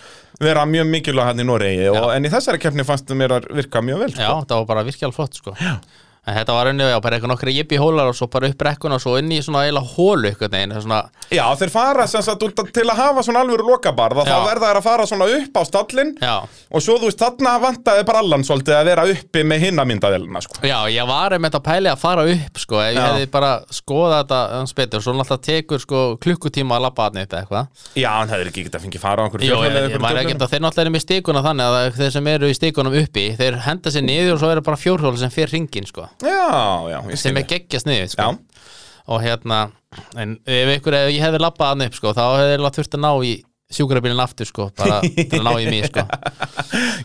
Speaker 1: vera mjög mikilvæg hann í Noregi og, en í þessari keppni fannst mér að virka mjög vel sko.
Speaker 2: Já, það var bara virkilega flott sko. en En þetta var unni, já, bara eitthvað nokkri jippi hólar og svo bara upp brekkuna og svo inn í svona eila hólu eitthvað neginn, svona,
Speaker 1: Já, þeir fara sem sagt út að- til að hafa svona alvöru lokabarða, þá
Speaker 2: Já.
Speaker 1: verða þeir að fara svona upp á stallin
Speaker 2: já.
Speaker 1: og svo þú veist, þarna vantaði bara allan svolítið að vera uppi með hinna myndavélina, sko.
Speaker 2: Já, ég var einmitt að pæli að fara upp, sko, ef ég
Speaker 1: Já.
Speaker 2: hefði bara skoðað þetta hans betur, svo náttúrulega tekur, sko, klukkutíma að labba hann eitthvað, eitthvað.
Speaker 1: Já, hann hefur ekki getað fengið fara á einhverju
Speaker 2: Jó, ég,
Speaker 1: fjallfjalli eða
Speaker 2: ég
Speaker 1: einhverju
Speaker 2: maður ekki
Speaker 1: töflunum.
Speaker 2: að þeir náttúrulega eru með stíkuna þannig að það- þeir sem eru í stíkunum uppi, þeir henda sér niður og svo eru bara fjórhjóla sem fer ringin, sko,
Speaker 1: Já, já, ég
Speaker 2: sem
Speaker 1: skil.
Speaker 2: er geggjast niður, sko.
Speaker 1: Já,
Speaker 2: Og hérna, en ef ykkur, ef ég hefði labbað hann upp, sko, þá hefði ég þurft að ná í sjúkrabílinn aftur, sko, bara til að ná í mig, sko.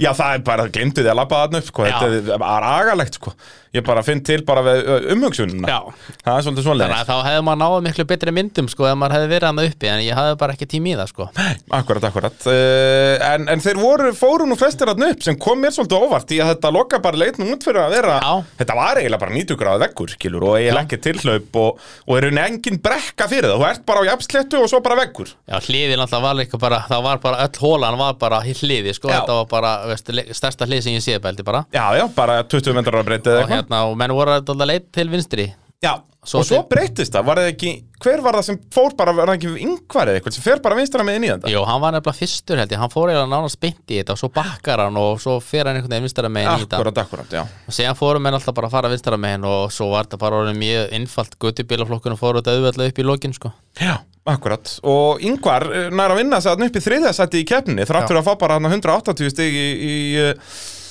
Speaker 1: já, það er bara, glemdi því að labba þarna upp, sko,
Speaker 2: Já.
Speaker 1: þetta er- það er agalegt, sko. Ég bara finn til bara við ö, umhugsunina.
Speaker 2: Já.
Speaker 1: Það er svolítið
Speaker 2: Þannig
Speaker 1: svolítið.
Speaker 2: að þá hefði maður náð miklu betri myndum, sko, ef maður hefði verið hann uppi, en ég hefði bara ekki tími í það, sko.
Speaker 1: Akkurat, akkurat. Uh, en, en þeir voru, fóru nú flestir þarna upp sem kom mér svolítið óvart í að þetta loka bara leit nú út fyrir að vera,
Speaker 2: Já.
Speaker 1: þetta var eiginlega bara 90 gráða veggur, skilur, og eiginlega ekki tilhlaup og, og er unni engin brekka fyrir það. Þú ert bara á jafnsléttu og svo bara veggur.
Speaker 2: Já, hliðin alltaf var líka bara, það var bara öll hólan var bara í hliði, sko,
Speaker 1: Já.
Speaker 2: þetta var bara veist, le- stærsta hlið sem ég sé bælti bara
Speaker 1: Já, já, bara 20 metrar að breyta eða
Speaker 2: og
Speaker 1: eitthvað.
Speaker 2: hérna, og menn voru alltaf leit til vinstri
Speaker 1: Já,
Speaker 2: Svo
Speaker 1: og svo
Speaker 2: til-
Speaker 1: breytist það, var það ekki, hver var það sem fór bara, var það ekki yngvar eða eitthvað sem fer bara vinstra með inn í þetta?
Speaker 2: Jú, hann var nefnilega fyrstur held ég, hann fór eiginlega nánast beint í þetta og svo bakkar hann og svo fer hann einhvern veginn vinstara megin í þetta
Speaker 1: Akkurat, akkurat, já.
Speaker 2: og síðan fórum menn alltaf bara að fara vinstara megin og svo var þetta bara orðin mjög innfalt guttubílaflokkunum fóru þetta auðveldlega upp í lokin, sko
Speaker 1: Já. Akkurat, og yngvar nær að vinna sæðan upp í þriðasætti í keppni þrátt
Speaker 2: Já.
Speaker 1: fyrir að fá bara þarna 180 stig í, í uh,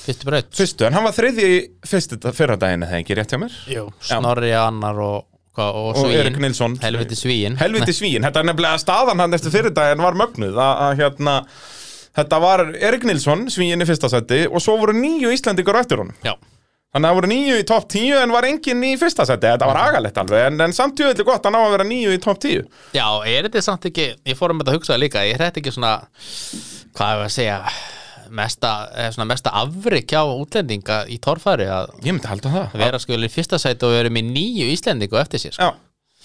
Speaker 2: Fyrstu braut
Speaker 1: fyrstu, en hann var þriði í fyrstu fyrra daginn eða ekki rétt hjá mér
Speaker 2: Jú, Snorri annar og, og, og,
Speaker 1: og
Speaker 2: Svíinn.
Speaker 1: Erik Nilsson
Speaker 2: Helviti svíin
Speaker 1: Helviti svíin, þetta er nefnilega staðan hann eftir fyrir daginn var mögnuð að, að hérna, þetta var Erik Nilsson svíin í fyrsta sætti og svo voru nýju Íslandingur eftir honum
Speaker 2: Já,
Speaker 1: Þannig að það voru nýju í topp tíu en var enginn í fyrsta seti, þetta var agalegt alveg, en, en samt jöðvöldi gott að ná að vera nýju í topp tíu.
Speaker 2: Já, er þetta samt ekki, ég fór um þetta að hugsa það líka, ég hrætti ekki svona, hvað hefur að segja, mesta, eh, svona mesta afrik hjá útlendinga í torfæri að
Speaker 1: Ég myndi halda það.
Speaker 2: vera skjölu í fyrsta sæti og verið með nýju Íslendingu eftir sér. Sko.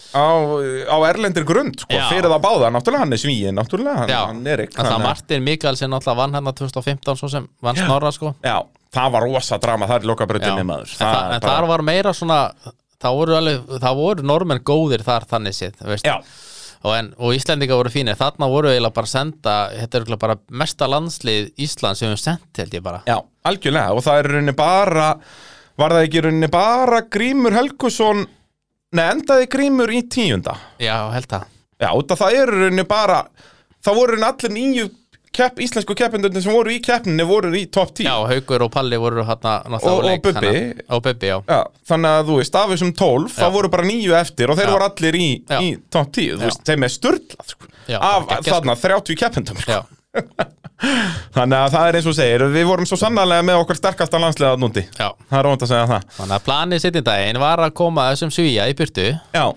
Speaker 1: Já, á, á erlendir grund, sko,
Speaker 2: Já.
Speaker 1: fyrir það báða, náttúrulega hann er svíin, náttúrulega hann,
Speaker 2: Já.
Speaker 1: hann er ekki.
Speaker 2: Þannig að Martin Mikkelsen alltaf vann hérna 2015 svo sem vann snorra sko.
Speaker 1: Já, það var rosa drama þar í
Speaker 2: Já.
Speaker 1: lokabröndinni
Speaker 2: En,
Speaker 1: maður.
Speaker 2: það, en þar var meira svona, það voru, alveg, það voru normenn góðir þar þannig séð, veist,
Speaker 1: Já,
Speaker 2: og, en, og Íslendinga voru fínir þarna voru eiginlega bara að senda þetta er eiginlega bara mesta landslið Ísland sem við sendi held ég bara
Speaker 1: já, algjörlega, og það er í rauninni bara, var það ekki í rauninni bara Grímur Helgusson, nei, endaði Grímur í tíunda.
Speaker 2: já held það
Speaker 1: Já, út að það eru í rauninni bara Það voru í rauninni allir nýju kepp, íslensku keppindunni sem voru í keppninni voru í topp 10
Speaker 2: Já, Haukur og Palli voru hérna
Speaker 1: Og- og Bubbi.
Speaker 2: Og Bubbi, já
Speaker 1: Já, þannig að þú veist, af þessum 12 þá
Speaker 2: Já.
Speaker 1: voru bara nýju eftir og þeir
Speaker 2: Já.
Speaker 1: voru allir í,
Speaker 2: Já.
Speaker 1: í topp 10
Speaker 2: Já.
Speaker 1: þú veist, þeim er sturlað sko.
Speaker 2: Já,
Speaker 1: af
Speaker 2: geggjað, sko.
Speaker 1: þarna 30 keppindum sko.
Speaker 2: Já,
Speaker 1: þannig að það er eins og þú segir, við vorum svo sannarlega með okkar sterkasta landslega að núndi
Speaker 2: já
Speaker 1: það er óvænt að segja það
Speaker 2: Þannig að planið setjum daginn var að koma þessum svíja í byrtu
Speaker 1: Já,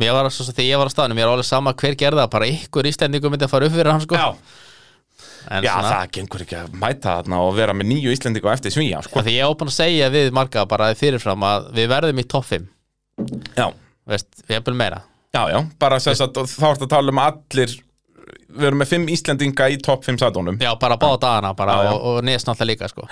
Speaker 2: Mér var að, svo sem þegar ég var á staðnum, mér var alveg sama hver gerða bara ykkur Íslendingu myndi að fara upp fyrir hann sko
Speaker 1: já,
Speaker 2: en
Speaker 1: já það gengur ekki að mæta þarna og vera með nýju íslendingu eftir svíja sko.
Speaker 2: af Því ég var búin að segja við marga bara fyrirfram að við verðum í topp 5
Speaker 1: Já,
Speaker 2: Veist, við erum meira
Speaker 1: Já, já, bara þess að þá ertu að tala um að allir Við erum með fimm Íslendinga í topp fimm sætunum
Speaker 2: Já, bara báða dagana bara,
Speaker 1: Já, já.
Speaker 2: og, og neðst náttúrulega líka sko.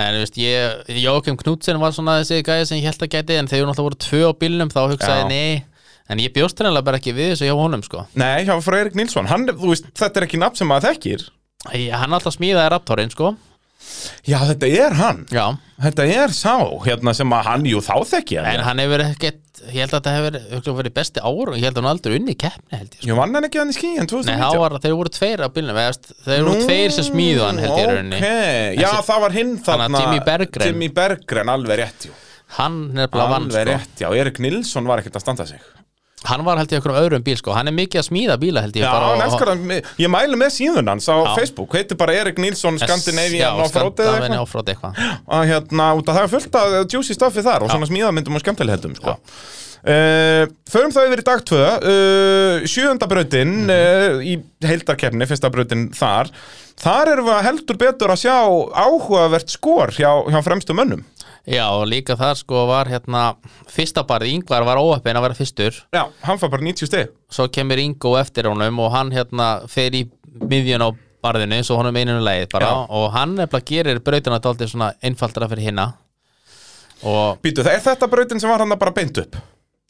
Speaker 2: En þú veist, ég, Jókim Knudsen var svona þessi gæði sem ég held að gæti En þegar náttúrulega voru tvö á bílnum þá
Speaker 1: Já.
Speaker 2: hugsaði ég nei En ég bjóst hennilega bara ekki við þessu hjá honum sko.
Speaker 1: Nei, hjá frá Erik Nilsson, hann, þú veist, þetta er ekki nafn sem maður þekkir
Speaker 2: ég, Hann alltaf smíðaði raptorinn sko.
Speaker 1: Já, þetta er hann,
Speaker 2: Já,
Speaker 1: þetta er sá Hérna sem að hann, jú, þá þekki ég
Speaker 2: en
Speaker 1: hann
Speaker 2: hann hefur ekkert Ég held að þetta hefur örugglega verið besti ára Ég held að hann aldrei unni keppni held ég sko.
Speaker 1: Jú, vann hann ekki hann í skíin
Speaker 2: Nei, þá
Speaker 1: 2019
Speaker 2: var þeir voru tveir á bílnum eða, þú veist, Þeir voru tveir sem smíðu hann held ég rauninni
Speaker 1: okay. Já,
Speaker 2: Þessi-
Speaker 1: það var hinn
Speaker 2: Þannig að
Speaker 1: þarna
Speaker 2: Jimmy Berggren-
Speaker 1: Jimmy Berggren, alveg rétt, jú
Speaker 2: Hann nefnilega vann
Speaker 1: Alveg
Speaker 2: sko.
Speaker 1: rétt, já, Erik Nilsson var ekkert að standa sig
Speaker 2: Hann var held ég okkur um öðrum bíl sko. Hann er mikið að smíða bíla held ég
Speaker 1: Já,
Speaker 2: bara,
Speaker 1: hann
Speaker 2: og-
Speaker 1: elskar hann, ég mælu með síðun hans á
Speaker 2: Já.
Speaker 1: Facebook, heitir bara Erik Nilsson Skandinavian
Speaker 2: Já,
Speaker 1: Offroad eða eitthvað
Speaker 2: Skandinavian Offroad eitthvað
Speaker 1: að hérna, út að það er fullt af juicy staffi þar og svona smíðamyndum og skemmtilegheldum sko. Uh, förum þá yfir í dag 2 uh, sjöunda brautin
Speaker 2: Mhm.
Speaker 1: uh, í heildarkeppni, fyrsta brautin þar þar erum við að heldur betur að sjá áhugavert skor hjá, hjá fremstu mönnum
Speaker 2: Já, og líka þar sko var hérna fyrsta barði, Ingvar var óöppin að vera fyrstur
Speaker 1: já, hann fær bara 90 stig
Speaker 2: svo kemur Ingo eftir honum og hann hérna fer í miðjun á barðinu svo honum eininu leið bara
Speaker 1: Já.
Speaker 2: og hann nefnilega gerir brautina daldið svona einfaldra fyrir hinna og
Speaker 1: Býtu, það er þetta brautin sem var hann bara beint upp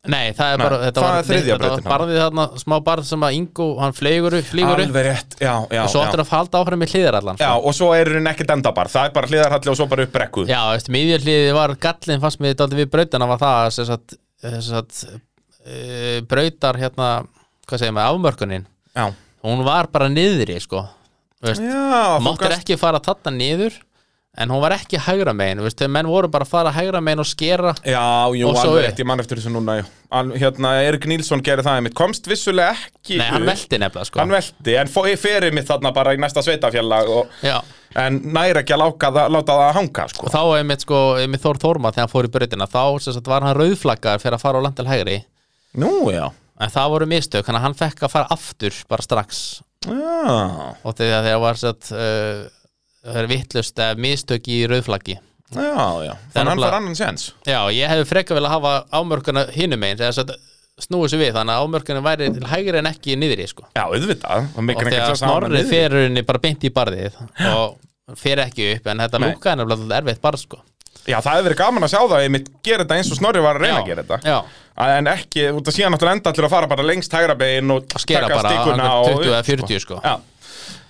Speaker 2: nei, það er
Speaker 1: Nei,
Speaker 2: bara þetta
Speaker 1: það
Speaker 2: var,
Speaker 1: er þriðja
Speaker 2: þetta
Speaker 1: brautin,
Speaker 2: var barðið þarna, smá barð sem að Ingo, hann fleygur upp, flýgur upp
Speaker 1: Alveg rétt, já, já,
Speaker 2: og svo
Speaker 1: já.
Speaker 2: áttur að halda áfram í hliðarallan
Speaker 1: já Og svo er hann ekkert endabar, það er bara hliðarhalli og svo bara upp brekku
Speaker 2: Já, eftir miðjarhliðið var gallin fannst mér þetta við brautana var það að sem sagt, sem sagt, e, brautar hérna, hvað segir maður, afmörkunin
Speaker 1: já.
Speaker 2: hún var bara niðri, sko Þú veist,
Speaker 1: Já, þú
Speaker 2: máttir
Speaker 1: gast-
Speaker 2: ekki fara þarna niður en hún var ekki hægra megin, þú veist, þegar menn voru bara að fara hægra megin og skera
Speaker 1: Já, jú,
Speaker 2: Og svo
Speaker 1: alveg
Speaker 2: upp.
Speaker 1: rétt, ég man eftir þessu núna já. Al, Hérna, Erik Nílsson gerði það einmitt Komst vissulega ekki
Speaker 2: Nei, hann
Speaker 1: upp.
Speaker 2: velti nefnilega, sko
Speaker 1: Hann velti, en fó- ferið mitt þarna bara í næsta sveitafjallag og,
Speaker 2: Já,
Speaker 1: En næri ekki að láka, það, láta það hanga sko.
Speaker 2: og þá einmitt, sko, einmitt Þór Þórma þegar hann fór í brautina, þá sem sagt, var hann rauðflaggar fyrir að fara á landil hægri
Speaker 1: Nú, já
Speaker 2: en það voru mistök, hann, hann fekk að fara aftur bara strax
Speaker 1: Já,
Speaker 2: og þegar þegar var satt, uh, það er vittlust eða eh, mistök í rauðflaggi
Speaker 1: já, já
Speaker 2: Það er
Speaker 1: Þannig hann
Speaker 2: nefnilega-
Speaker 1: fær annan séns
Speaker 2: já, ég hefði frekar vel að hafa ámörkuna hinum megin eða satt, snúið sér við, þannig að ámörkuna væri til hægri en ekki niðri sko.
Speaker 1: Já, auðvitað Og
Speaker 2: og
Speaker 1: mikil
Speaker 2: þegar snorrið ferurinn bara beint í barðið og fer ekki upp, en þetta
Speaker 1: Nei.
Speaker 2: lúka er nefnilega dálítið erfitt barð sko.
Speaker 1: Já, það hefði verið gaman að sjá það Ég mitt gera þetta eins og Snorri var að reyna
Speaker 2: Já,
Speaker 1: að gera þetta
Speaker 2: já,
Speaker 1: En ekki, út að síðan náttúrulega enda allir að fara bara lengst hægra begin og
Speaker 2: að skera
Speaker 1: taka
Speaker 2: bara
Speaker 1: stikuna
Speaker 2: angan
Speaker 1: og
Speaker 2: 20 eða
Speaker 1: upp,
Speaker 2: 40 sko.
Speaker 1: Já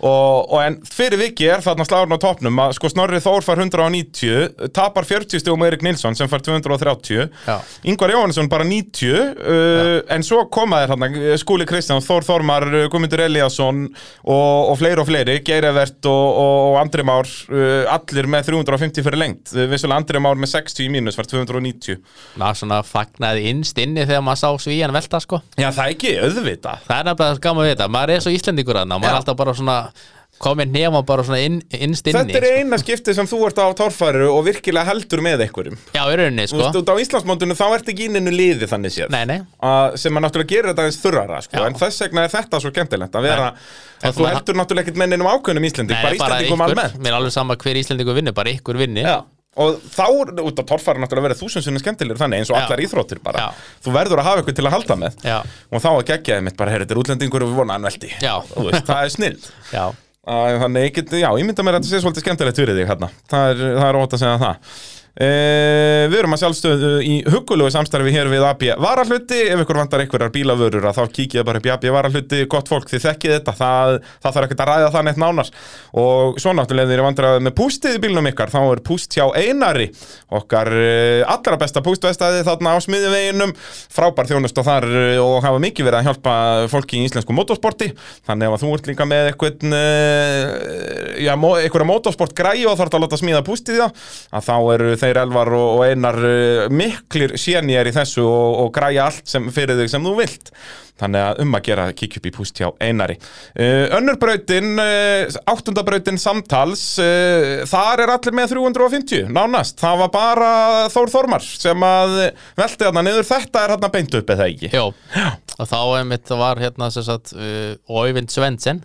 Speaker 1: Og, og en fyrir viki er þarna slagurinn á topnum að sko Snorri Þór fær 190 tapar 40 stegum Eirik Nilsson sem fær 230
Speaker 2: Já.
Speaker 1: Ingvar Jóhannesson bara 90 uh, en svo koma þér þarna eh, Skúli Kristján, Þór Þormar, uh, Guðmundur Eliasson og, og fleiri og fleiri Geirivert og, og, og Andri Már uh, allir með 350 fyrir lengt uh, vissulega Andri Már með 60 í mínus fær 290
Speaker 2: maður svona fagnaði innst inni þegar maður sá svíjan velta sko.
Speaker 1: Já það er ekki, auðvitað
Speaker 2: Það er nefnilega gaman við þetta, maður er svo íslendingur aðna maður
Speaker 1: Já.
Speaker 2: er alltaf bara svona komin nema bara svona inn, innst inni sko.
Speaker 1: Þetta er eina skiptið sem þú ert á tórfæru og virkilega heldur með einhverjum
Speaker 2: Já, í rauninni,
Speaker 1: Þú
Speaker 2: sko
Speaker 1: veist, út á Íslandsmóndinu þá ert ekki inninu liði þannig séð
Speaker 2: Nei, nei
Speaker 1: Uh, sem að náttúrulega gerir þetta aðeins þurrara sko.
Speaker 2: Já.
Speaker 1: en þess vegna er þetta svo kemdilegt að vera
Speaker 2: En
Speaker 1: að þú
Speaker 2: þú-
Speaker 1: heldur náttúrulega ekkert menninum ákveðnum Íslending
Speaker 2: Nei,
Speaker 1: bara Íslendingum
Speaker 2: ykkur,
Speaker 1: almennt
Speaker 2: Mér er alveg sama hver Íslendingur vinnur, bara ykkur vinnur
Speaker 1: Já. og þá er út af torfara náttúrulega verið þúsundsunni skemmtilegur þannig eins og
Speaker 2: Já.
Speaker 1: allar íþróttir bara
Speaker 2: Já.
Speaker 1: þú verður að hafa ykkur til að halda með
Speaker 2: Já.
Speaker 1: og þá að gegja þeim mitt bara, heyrðu, þetta er útlendingur og við vona hann veldi
Speaker 2: Já.
Speaker 1: Þú veist, það er snill
Speaker 2: Já.
Speaker 1: Æ, Þannig, ég get, já, ég mynda mér að þetta sé svolítið skemmtilegt fyrir þig hérna. Það er, það er ótt að segja það. E, við erum að sjálfstöðu í huggulegu samstarfi hér við AB Varahluti. Ef ykkur vantar einhverjar bílavörur að þá kikið bara upp í AB Varahluti. Gott fólk, þið þekkið þetta. Það, það þarf ekkert að ræða það neitt nánar. Og svo náttúrulega ef þið eru vandrað með pústið í bílnum ykkar. Þá er púst hjá Einari. Okkar eh, allra besta pústvestaði þarna á smiðuveginum. Frábær þjónust og þar eh, og hafa mikið verið að hjálpa fólki í íslensku motorsporti. Þannig ef að þú ert líka með eitthvað, já, mó- einhverja motorsport græi og þarf að láta smíða pústið í það, að þá eru þeir elvar og, og einar eh, miklir sénjar í þessu og, og græja allt sem fyrir þig sem þú vilt. Þannig að um að gera kíkja upp í púst hjá Einari. Uh, önnur brautin, uh, áttunda brautin samtals, uh, þar er allir með 350, nánast. Það var bara Þór Þormar sem að velti þarna niður, þetta er þarna beint upp eða ekki.
Speaker 2: Jó. Og þá einmitt var hérna sem sagt uh, Óivind Svensson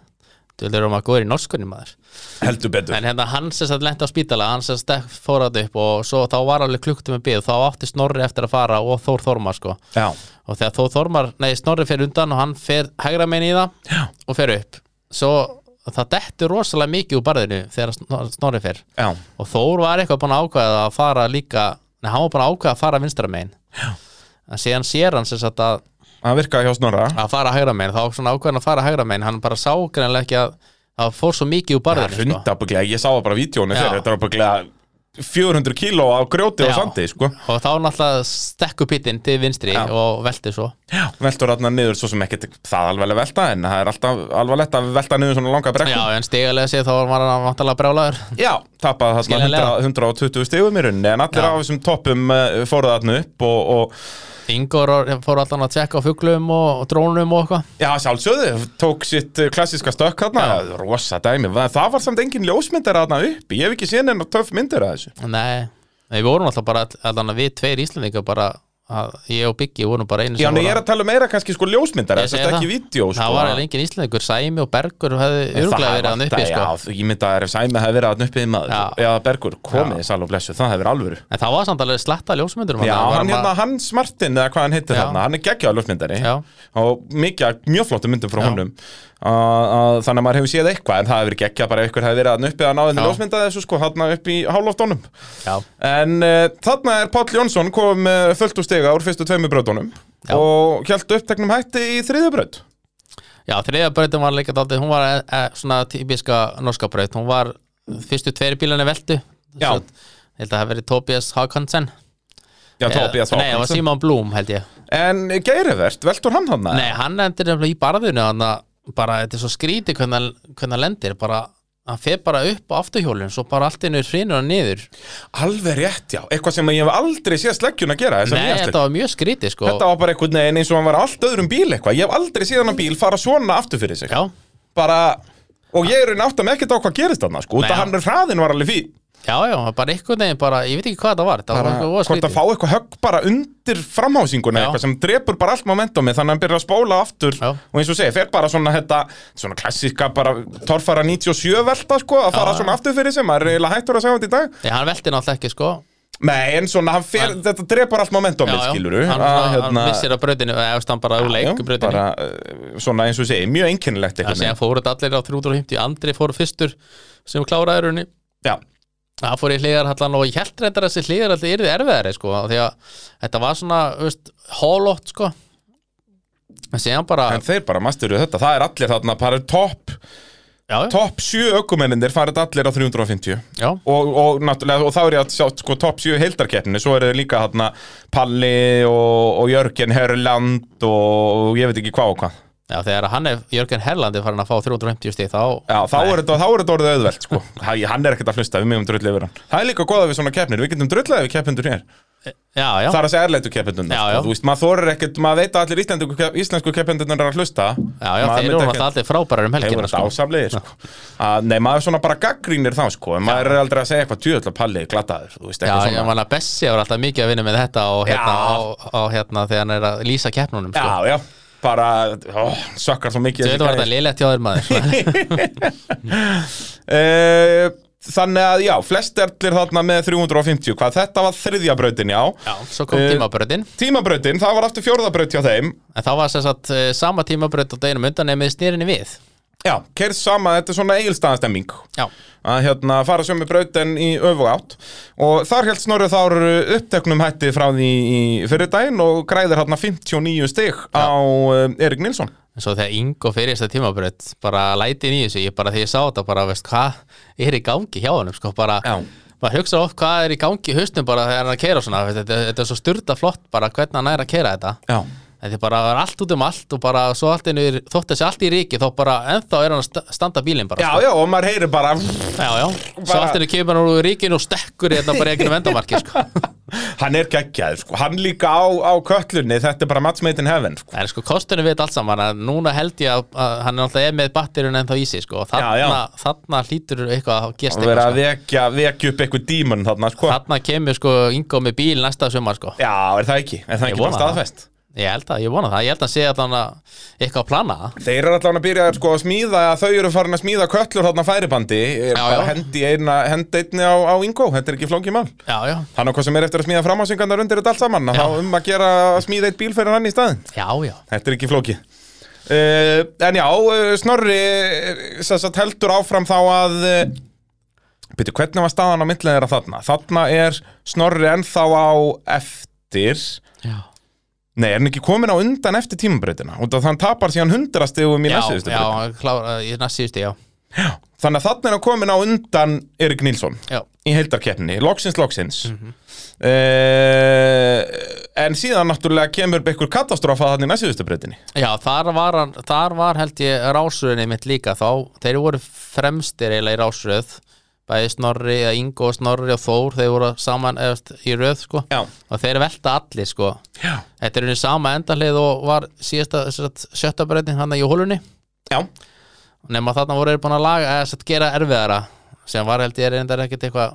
Speaker 2: Þú heldur um að góður í norskunni maður
Speaker 1: Heldur betur.
Speaker 2: En hérna hann sem sagt lenti á spítala Hann sem sagt fór að upp og svo þá var alveg klukkt með bið Þá átti Snorri eftir að fara og Þór Þormar sko
Speaker 1: Já.
Speaker 2: og þegar Þór Þormar, nei Snorri fer undan og hann fer hægra megin í það
Speaker 1: Já.
Speaker 2: og fer upp svo það dettur rosalega mikið úr barðinu þegar Snor- Snorri fer
Speaker 1: Já.
Speaker 2: og Þór var eitthvað búin að ákveða að fara líka nei, hann var búin að ákveða að fara vinstra megin Já. en síðan sér hann sem sagt að,
Speaker 1: Það virkaði hjá Snorra.
Speaker 2: að fara hægra megin þá var svona ákveðan að fara hægra megin hann bara sá greinlega ekki að það fór svo mikið úr
Speaker 1: Það er
Speaker 2: barðinu sko.
Speaker 1: hunda bygglega, ég sá það bara á vídjónu
Speaker 2: Já.
Speaker 1: þegar þetta var bygglega 400 kíló á grjóti og
Speaker 2: Já.
Speaker 1: sandi, sko.
Speaker 2: og þá náttúrulega stekku pittin til vinstri
Speaker 1: Já.
Speaker 2: og velti svo
Speaker 1: Veltur þarna niður, svo sem ekkert það alvarlega velta, en það er alltaf alvarlegt að velta niður svona langa brekku.
Speaker 2: Já, en stigalega séð þá var hann vantalega brjálaður
Speaker 1: Já, tapaði það svona
Speaker 2: Skiljanlega.
Speaker 1: 100, 120 stegum í rauninni en allir
Speaker 2: Já.
Speaker 1: af þessum toppum uh, fóruð þarna upp og, og
Speaker 2: Ingor fór alltaf að tjekka á fuglum og, og drónum og eitthvað
Speaker 1: já, sjálfsögðu, tók sitt eh, klassíska stökk þarna, rosa dæmi Va- það var samt engin ljósmyndar þarna upp ég hef ekki séð neina töff myndir að þessu
Speaker 2: Nei, nei, við vorum alltaf bara all- allan að við tveir Íslendingar bara að ég og Biggi vorum bara einu
Speaker 1: Já, en
Speaker 2: voru
Speaker 1: ég er að tala meira kannski sko ljósmyndar
Speaker 2: Ég
Speaker 1: Þetta
Speaker 2: segi
Speaker 1: er ekki
Speaker 2: það.
Speaker 1: vídeo sko.
Speaker 2: Það var eiginlega engin íslendingur, Sæmi og Bergur hefði
Speaker 1: En
Speaker 2: öruglega
Speaker 1: það
Speaker 2: verið hann uppi
Speaker 1: vantaði-
Speaker 2: sko.
Speaker 1: Já, ég myndi að ef Sæmi hefði verið hann uppið maður
Speaker 2: Já.
Speaker 1: Já, Bergur, komið þið sæl og blessu, það hefur verið alvöru
Speaker 2: En það var samt alveg slatta ljósmyndur
Speaker 1: Já, hann hérna, Hans Martin eða hvað hann heitir
Speaker 2: Já.
Speaker 1: þarna, hann er geggjaður ljósmyndari
Speaker 2: Já.
Speaker 1: og mikið, af mjög flottum myndum frá honum uh, uh, þannig að maður hefur séð eitthvað en það hefur verið geggjað bara ef ykkur hefði verið hann uppið að náðið með
Speaker 2: Já.
Speaker 1: ljósmyndaði þessu sko, hann upp í hálóftónum
Speaker 2: Já,
Speaker 1: En uh, þarna er Páll Jónsson kom með fullt úr stiga úr fyrstu tveimur bröðunum
Speaker 2: Já.
Speaker 1: og hjælt uppteknum hætti í þriðju bröð
Speaker 2: já þriðja brautin var líka daldið, hún var e, e, svona típiska norska braut, hún var fyrstu tveiri bílarni veltu
Speaker 1: Já.
Speaker 2: Svo- Ég held að það hafi verið Tobias Hawkinson
Speaker 1: Já, Eh, Tobias
Speaker 2: Eh, Nei, það var
Speaker 1: Hawkinson
Speaker 2: Simon Blum held ég
Speaker 1: En Geirivert, veltur hann hann?
Speaker 2: Nei, hann endur nefnilega í barðinu hann bara, þetta er svo skrítið hvernig, hann- hvernig hann lendir bara, hann fer bara upp á afturhjólun svo bara allt innur hrinur hann niður
Speaker 1: Alveg rétt, já, eitthvað sem ég hef aldrei séð sleggjun að gera þessar
Speaker 2: Nei,
Speaker 1: nýjastir.
Speaker 2: þetta var mjög skrítið sko
Speaker 1: Þetta var bara einhvern veginn eins og hann var á allt öðrum bíl eitthvað Ég hef aldrei síðan að bíl fara svona aftur fyrir sig
Speaker 2: Já,
Speaker 1: Bara, og ég er í náttum ekkert á hvað gerist þarna sko Út
Speaker 2: Nei,
Speaker 1: að
Speaker 2: já.
Speaker 1: hann hraðin var alveg fín
Speaker 2: já, já, bara einhvern veginn bara, ég veit ekki hvað þetta var Þetta var
Speaker 1: bara,
Speaker 2: eitthvað
Speaker 1: Hvort
Speaker 2: voða
Speaker 1: að
Speaker 2: skrítið
Speaker 1: fá eitthvað högg bara undir framhásinguna
Speaker 2: Já.
Speaker 1: eitthvað sem drepur bara allt momentumið Þannig að hann byrjar að spóla aftur
Speaker 2: Já.
Speaker 1: Og eins og segja, fer bara svona þetta Svona klassíska bara torfara 97 velta sko Að fara
Speaker 2: já.
Speaker 1: svona aftur fyrir sig, maður er eiginlega hættur að segja þetta í dag
Speaker 2: Nei, hann velti náttúrulega ekki sko
Speaker 1: Nei, en svona, hann fer,
Speaker 2: Hann-
Speaker 1: þetta drepur allt momentumið skilur
Speaker 2: hann, hann, hann missir að brautinu eða eftir hann bara úr
Speaker 1: hérna- Já,
Speaker 2: leik brautinu
Speaker 1: bara, uh, svona eins og ég segi, mjög einkennilegt
Speaker 2: það
Speaker 1: einhvern
Speaker 2: sé að fóru þetta allir á 350 Andri fór fyrstur sem kláraði raunni
Speaker 1: veginn. Já,
Speaker 2: það fór í hliðarhallan og ég held reyndar að þessi hliðarhalli yrði erfiðari sko af því að þetta var svona þú veist, hólótt sko en síðan bara
Speaker 1: en þeir bara masteruðu þetta, það er allir þarna, bara topp
Speaker 2: já, já,
Speaker 1: top 7 ökumennindir farið allir á 350
Speaker 2: já,
Speaker 1: og, og, náttúrulega- og þá er ég að sjá sko, topp 7 heildarkeppninu, svo eru líka þarna Palli og, og Jörgen Hörland og ég veit ekki hvað og hvað
Speaker 2: já, þegar hann er Jörgen Herlandi farin að fá 350 stíð þá
Speaker 1: Já, þá er þetta, þá er þetta orðið auðvelt sko. Hæ, hann er ekkert að hlusta, við mögum drullið yfir hann Það er líka góða við svona keppnir, við getum drullið yfir keppindur hér
Speaker 2: já, já,
Speaker 1: Það er að segja erleitu keppindunum
Speaker 2: Já,
Speaker 1: sko.
Speaker 2: já.
Speaker 1: Þú veist, maður þorir ekkert, maður veit að allir íslensku, kepp- íslensku keppindunum er að hlusta
Speaker 2: já, já þeir eru náttúrulega allir frábærar um
Speaker 1: Þeir voru
Speaker 2: helgina
Speaker 1: þetta
Speaker 2: sko.
Speaker 1: ásamlegir sko. Að, Nei, maður svona bara gaggrínir þá sko, en maður er aldrei að segja eitthvað tjöðla palli glataður, þú veist,
Speaker 2: já,
Speaker 1: eitthvað
Speaker 2: ég
Speaker 1: svona
Speaker 2: man að Bessi var alltaf mikið að vinna með þetta og hérna,
Speaker 1: Já.
Speaker 2: og, og, hérna þegar hann er að lýsa keppnunum sko.
Speaker 1: Já, já, bara ó, sökkar svo mikið
Speaker 2: Þú veit að var þetta lélegt hjá þér maður sko.
Speaker 1: uh, Þannig að já, flest erlir þarna með 350 hvað, þetta var þriðja brautin, já,
Speaker 2: Já, svo kom
Speaker 1: Eh,
Speaker 2: tímabröðin
Speaker 1: Tímabrautin, það var aftur fjórða braut hjá þeim
Speaker 2: En þá var sem sagt eh, sama tímabröð á deginum undan nefnið snýrinni við
Speaker 1: Já, keirð sama, þetta er svona eigilstaðanstemming
Speaker 2: Já,
Speaker 1: að hérna, fara sömu brautin í öf og átt og þar held Snorri þár uppteknum hætti frá því í fyrirdaginn og græðir hérna 59 stig á um, Erik Nilsson
Speaker 2: en svo þegar Ingo fyrir þess að tímabröð bara lætin í þessu, ég bara þegar ég sá þetta bara, veist, hvað er í gangi hjá honum sko, bara,
Speaker 1: Já.
Speaker 2: maður hugsa oft hvað er í gangi í haustum bara þegar hann er að keira svona veist, þetta, þetta er svo styrta flott bara hvernig hann er að keira þetta
Speaker 1: Já,
Speaker 2: Þetta er bara það er allt út um allt og bara svo allt einu er, þótt þessi allt í ríki þá bara ennþá er hann að sta- standa bílinn bara
Speaker 1: já,
Speaker 2: sko.
Speaker 1: já, og maður heyrir bara
Speaker 2: já, já. Svo
Speaker 1: Bara-
Speaker 2: allt einu kemur hann úr ríkinu og stekkur þetta bara í einhvern vendamarki sko.
Speaker 1: hann er geggjaður, sko, hann líka á, á köllunni, þetta er bara match made in heaven sko.
Speaker 2: Það er sko kostunum við þetta allt saman að núna held ég að, að hann er alltaf með batterun ennþá í sig sko og þarna,
Speaker 1: Já,
Speaker 2: þarna hlýtur eitthvað að gesta
Speaker 1: og vera að
Speaker 2: eitthvað sko.
Speaker 1: vekja, vekja upp eitthvað dímun þarna, sko
Speaker 2: Þarna kemur sko Ingo með bíl næsta sumar sko
Speaker 1: Já, er það ekki, er það
Speaker 2: Ég
Speaker 1: ekki bara
Speaker 2: vona það.
Speaker 1: staðfest
Speaker 2: Ég held að, ég vona það, ég held að hann sé að hann eitthvað að plana það
Speaker 1: Þeir eru allan að byrja sko, að smíða, þau eru farin að smíða köllur þarna á færibandi, já, bara
Speaker 2: já.
Speaker 1: hendi eina, hendi einni á, á Ingo, þetta er ekki flókið mál
Speaker 2: Já, já,
Speaker 1: Þannig að hvað sem er eftir að smíða framhásingarnar undir þetta allt saman að þá um að gera að smíða eitt bíl fyrir hann í staðin
Speaker 2: já, já
Speaker 1: Þetta er ekki flókið uh, En já, uh, Snorri eh, sem sagt, heldur áfram þá að uh, Býtu, hvernig var staðan á myndlega þeirra þarna? Þarna er Snorri ennþá á eftir
Speaker 2: Já,
Speaker 1: Nei, er hann ekki komin á undan eftir tímabrautina út af þann tapar síðan hundrastegum í
Speaker 2: já,
Speaker 1: næstu
Speaker 2: já, klár, eh, í næst síðustu, já
Speaker 1: Þannig að þarna er hann komin á undan Erik Nilsson
Speaker 2: Já,
Speaker 1: í heildarkeppni, loksins, loksins mm en síðan náttúrulega kemur einhver katastrófa þannig næstíðustu breytinni
Speaker 2: já þar, var, hann- þar var held ég rásurinn mitt líka þá Þeir voru fremstir eiginlega í rásuröð Bæði Snorri, eða Ingo, Snorri og Þór Þeir voru saman eðast, í röð sko
Speaker 1: já,
Speaker 2: og þeir velta allir sko
Speaker 1: já,
Speaker 2: þetta er unni sama endahlið og var síðasta sem sagt, sjötta breytin hann í hólunni
Speaker 1: já,
Speaker 2: nema þarna voru þeir búin að laga eða satt, gera erfiðara sem var held ég reyndar ekkert eitthvað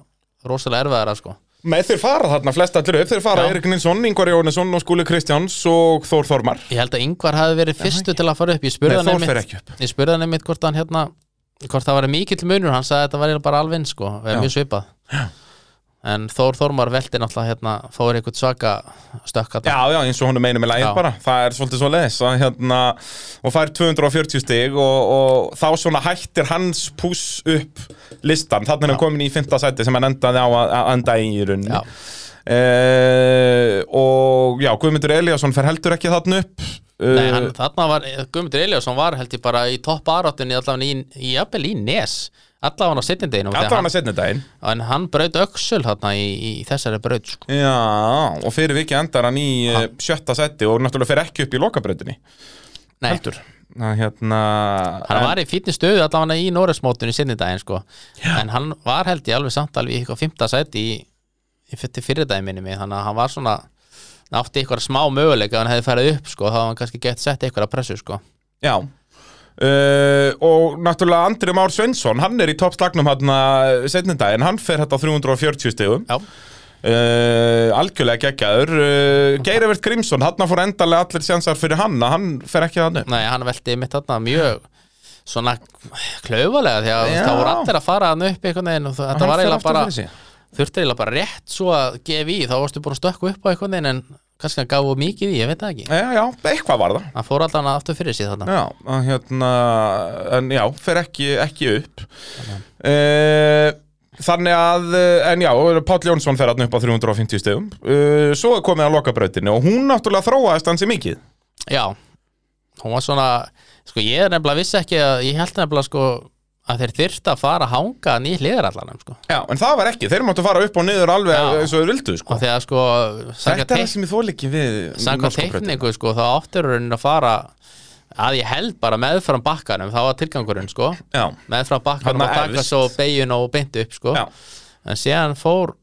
Speaker 2: rosalega erfiðara sko
Speaker 1: Með þeir fara þarna flest allir upp, þeir fara
Speaker 2: Já.
Speaker 1: Erik Nilsson, Ingvar Jónesson og Skúli Kristjáns og Þór Þormar
Speaker 2: Ég held að Ingvar hafi verið fyrstu til að fara upp Ég spurði
Speaker 1: Nei, Þór fer
Speaker 2: hann einmitt
Speaker 1: ekki upp
Speaker 2: Ég spurði hann einmitt hvort hann hérna Hvort það var mikill munur, hann sagði að þetta var bara alveg eins, sko, eða
Speaker 1: Já.
Speaker 2: mjög svipað En Þór Þormar velti náttúrulega hérna Fór eitthvað svaka stökk
Speaker 1: Já,
Speaker 2: hérna
Speaker 1: já, eins og honum einum með lægir
Speaker 2: Já.
Speaker 1: bara Það er svolítið svo leðis hérna, og fær 240 stig og, og þá svona hættir hans pús upp listan Þannig er hann komin í fymta sæti sem hann endaði á að að enda í í rauninni
Speaker 2: Já.
Speaker 1: Eh, og já, Guðmundur Eliasson fer heldur ekki þarna upp Eh,
Speaker 2: Nei, hann, þarna var, eh, Guðmundur Eliasson var held ég bara í toppáráttunni allavega í, í, jafnvel í nes allavega hann á setjendeginu
Speaker 1: Alltaf hann að setna daginn
Speaker 2: en hann braut öxul þarna í, í, í þessari braut sko.
Speaker 1: Já, og fyrir viki endar hann í ha. sjötta seti og náttúrulega fer ekki upp í lokabröndinni
Speaker 2: Nei,
Speaker 1: heldur Ná, hérna,
Speaker 2: hann var í fínni stöðu allavega í Norrismótinu í setjendegin sko. en hann var held ég alveg samt alveg í eitthvað fymta sæti í, í fyrir fyrirdæmi minni mig þannig að hann var svona hann átti eitthvað smá möguleika ef hann hefði færið upp sko, þá hafði hann kannski gett sett eitthvað að pressu sko.
Speaker 1: Já Uh, og náttúrulega Andri Már Svensson hann er í toppslagnum hérna, hann setninda en hann fer þetta á 340 stegum
Speaker 2: Já,
Speaker 1: uh, algjörlega geggjaður uh, Geirivert Grímsson, hann fór endalega allir sjansar fyrir hann, að hann fer ekki þannig
Speaker 2: Nei, hann velti mitt þarna mjög svona klaufalega því að
Speaker 1: Já.
Speaker 2: það voru allir að fara hann upp einhvern veginn og það- þetta var eiginlega bara þurfti eiginlega bara rétt svo að gefa í þá varstu búin að stökku upp á einhvern veginn en kannski hann gaf of mikið í, ég veit það ekki
Speaker 1: Já, já, eitthvað var það
Speaker 2: hann fór alltaf hann aftur fyrir sig þarna
Speaker 1: Já, að hérna, en já, fer ekki, ekki upp uh, Þannig að, eh, en já, Páll Jónsson fer hann upp á 350 stegum uh, Svo er komið að lokabrautinu og hún náttúrulega þróaðist hansi mikið
Speaker 2: Já, hún var svona sko ég er nefnilega vissi ekki að ég held nefnilega sko að þeir þyrfti að fara að hanga hann í hliðarallanum sko
Speaker 1: Já, en það var ekki, þeir máttu fara upp og niður alveg
Speaker 2: Já.
Speaker 1: eins og þeir vildu, sko
Speaker 2: og þegar sko
Speaker 1: Þetta er
Speaker 2: samkvæmt
Speaker 1: það sem ég þól ekki við
Speaker 2: samkvæmt
Speaker 1: norska brautina.
Speaker 2: teikningu sko, þá áttur raunin að fara að ég held bara meðfram bakkanum, það var tilgangurinn sko
Speaker 1: Já,
Speaker 2: meðfram bakkanum
Speaker 1: Þarna
Speaker 2: og taka
Speaker 1: efst.
Speaker 2: svo beiguna og beinti upp sko
Speaker 1: Já.
Speaker 2: en síðan fór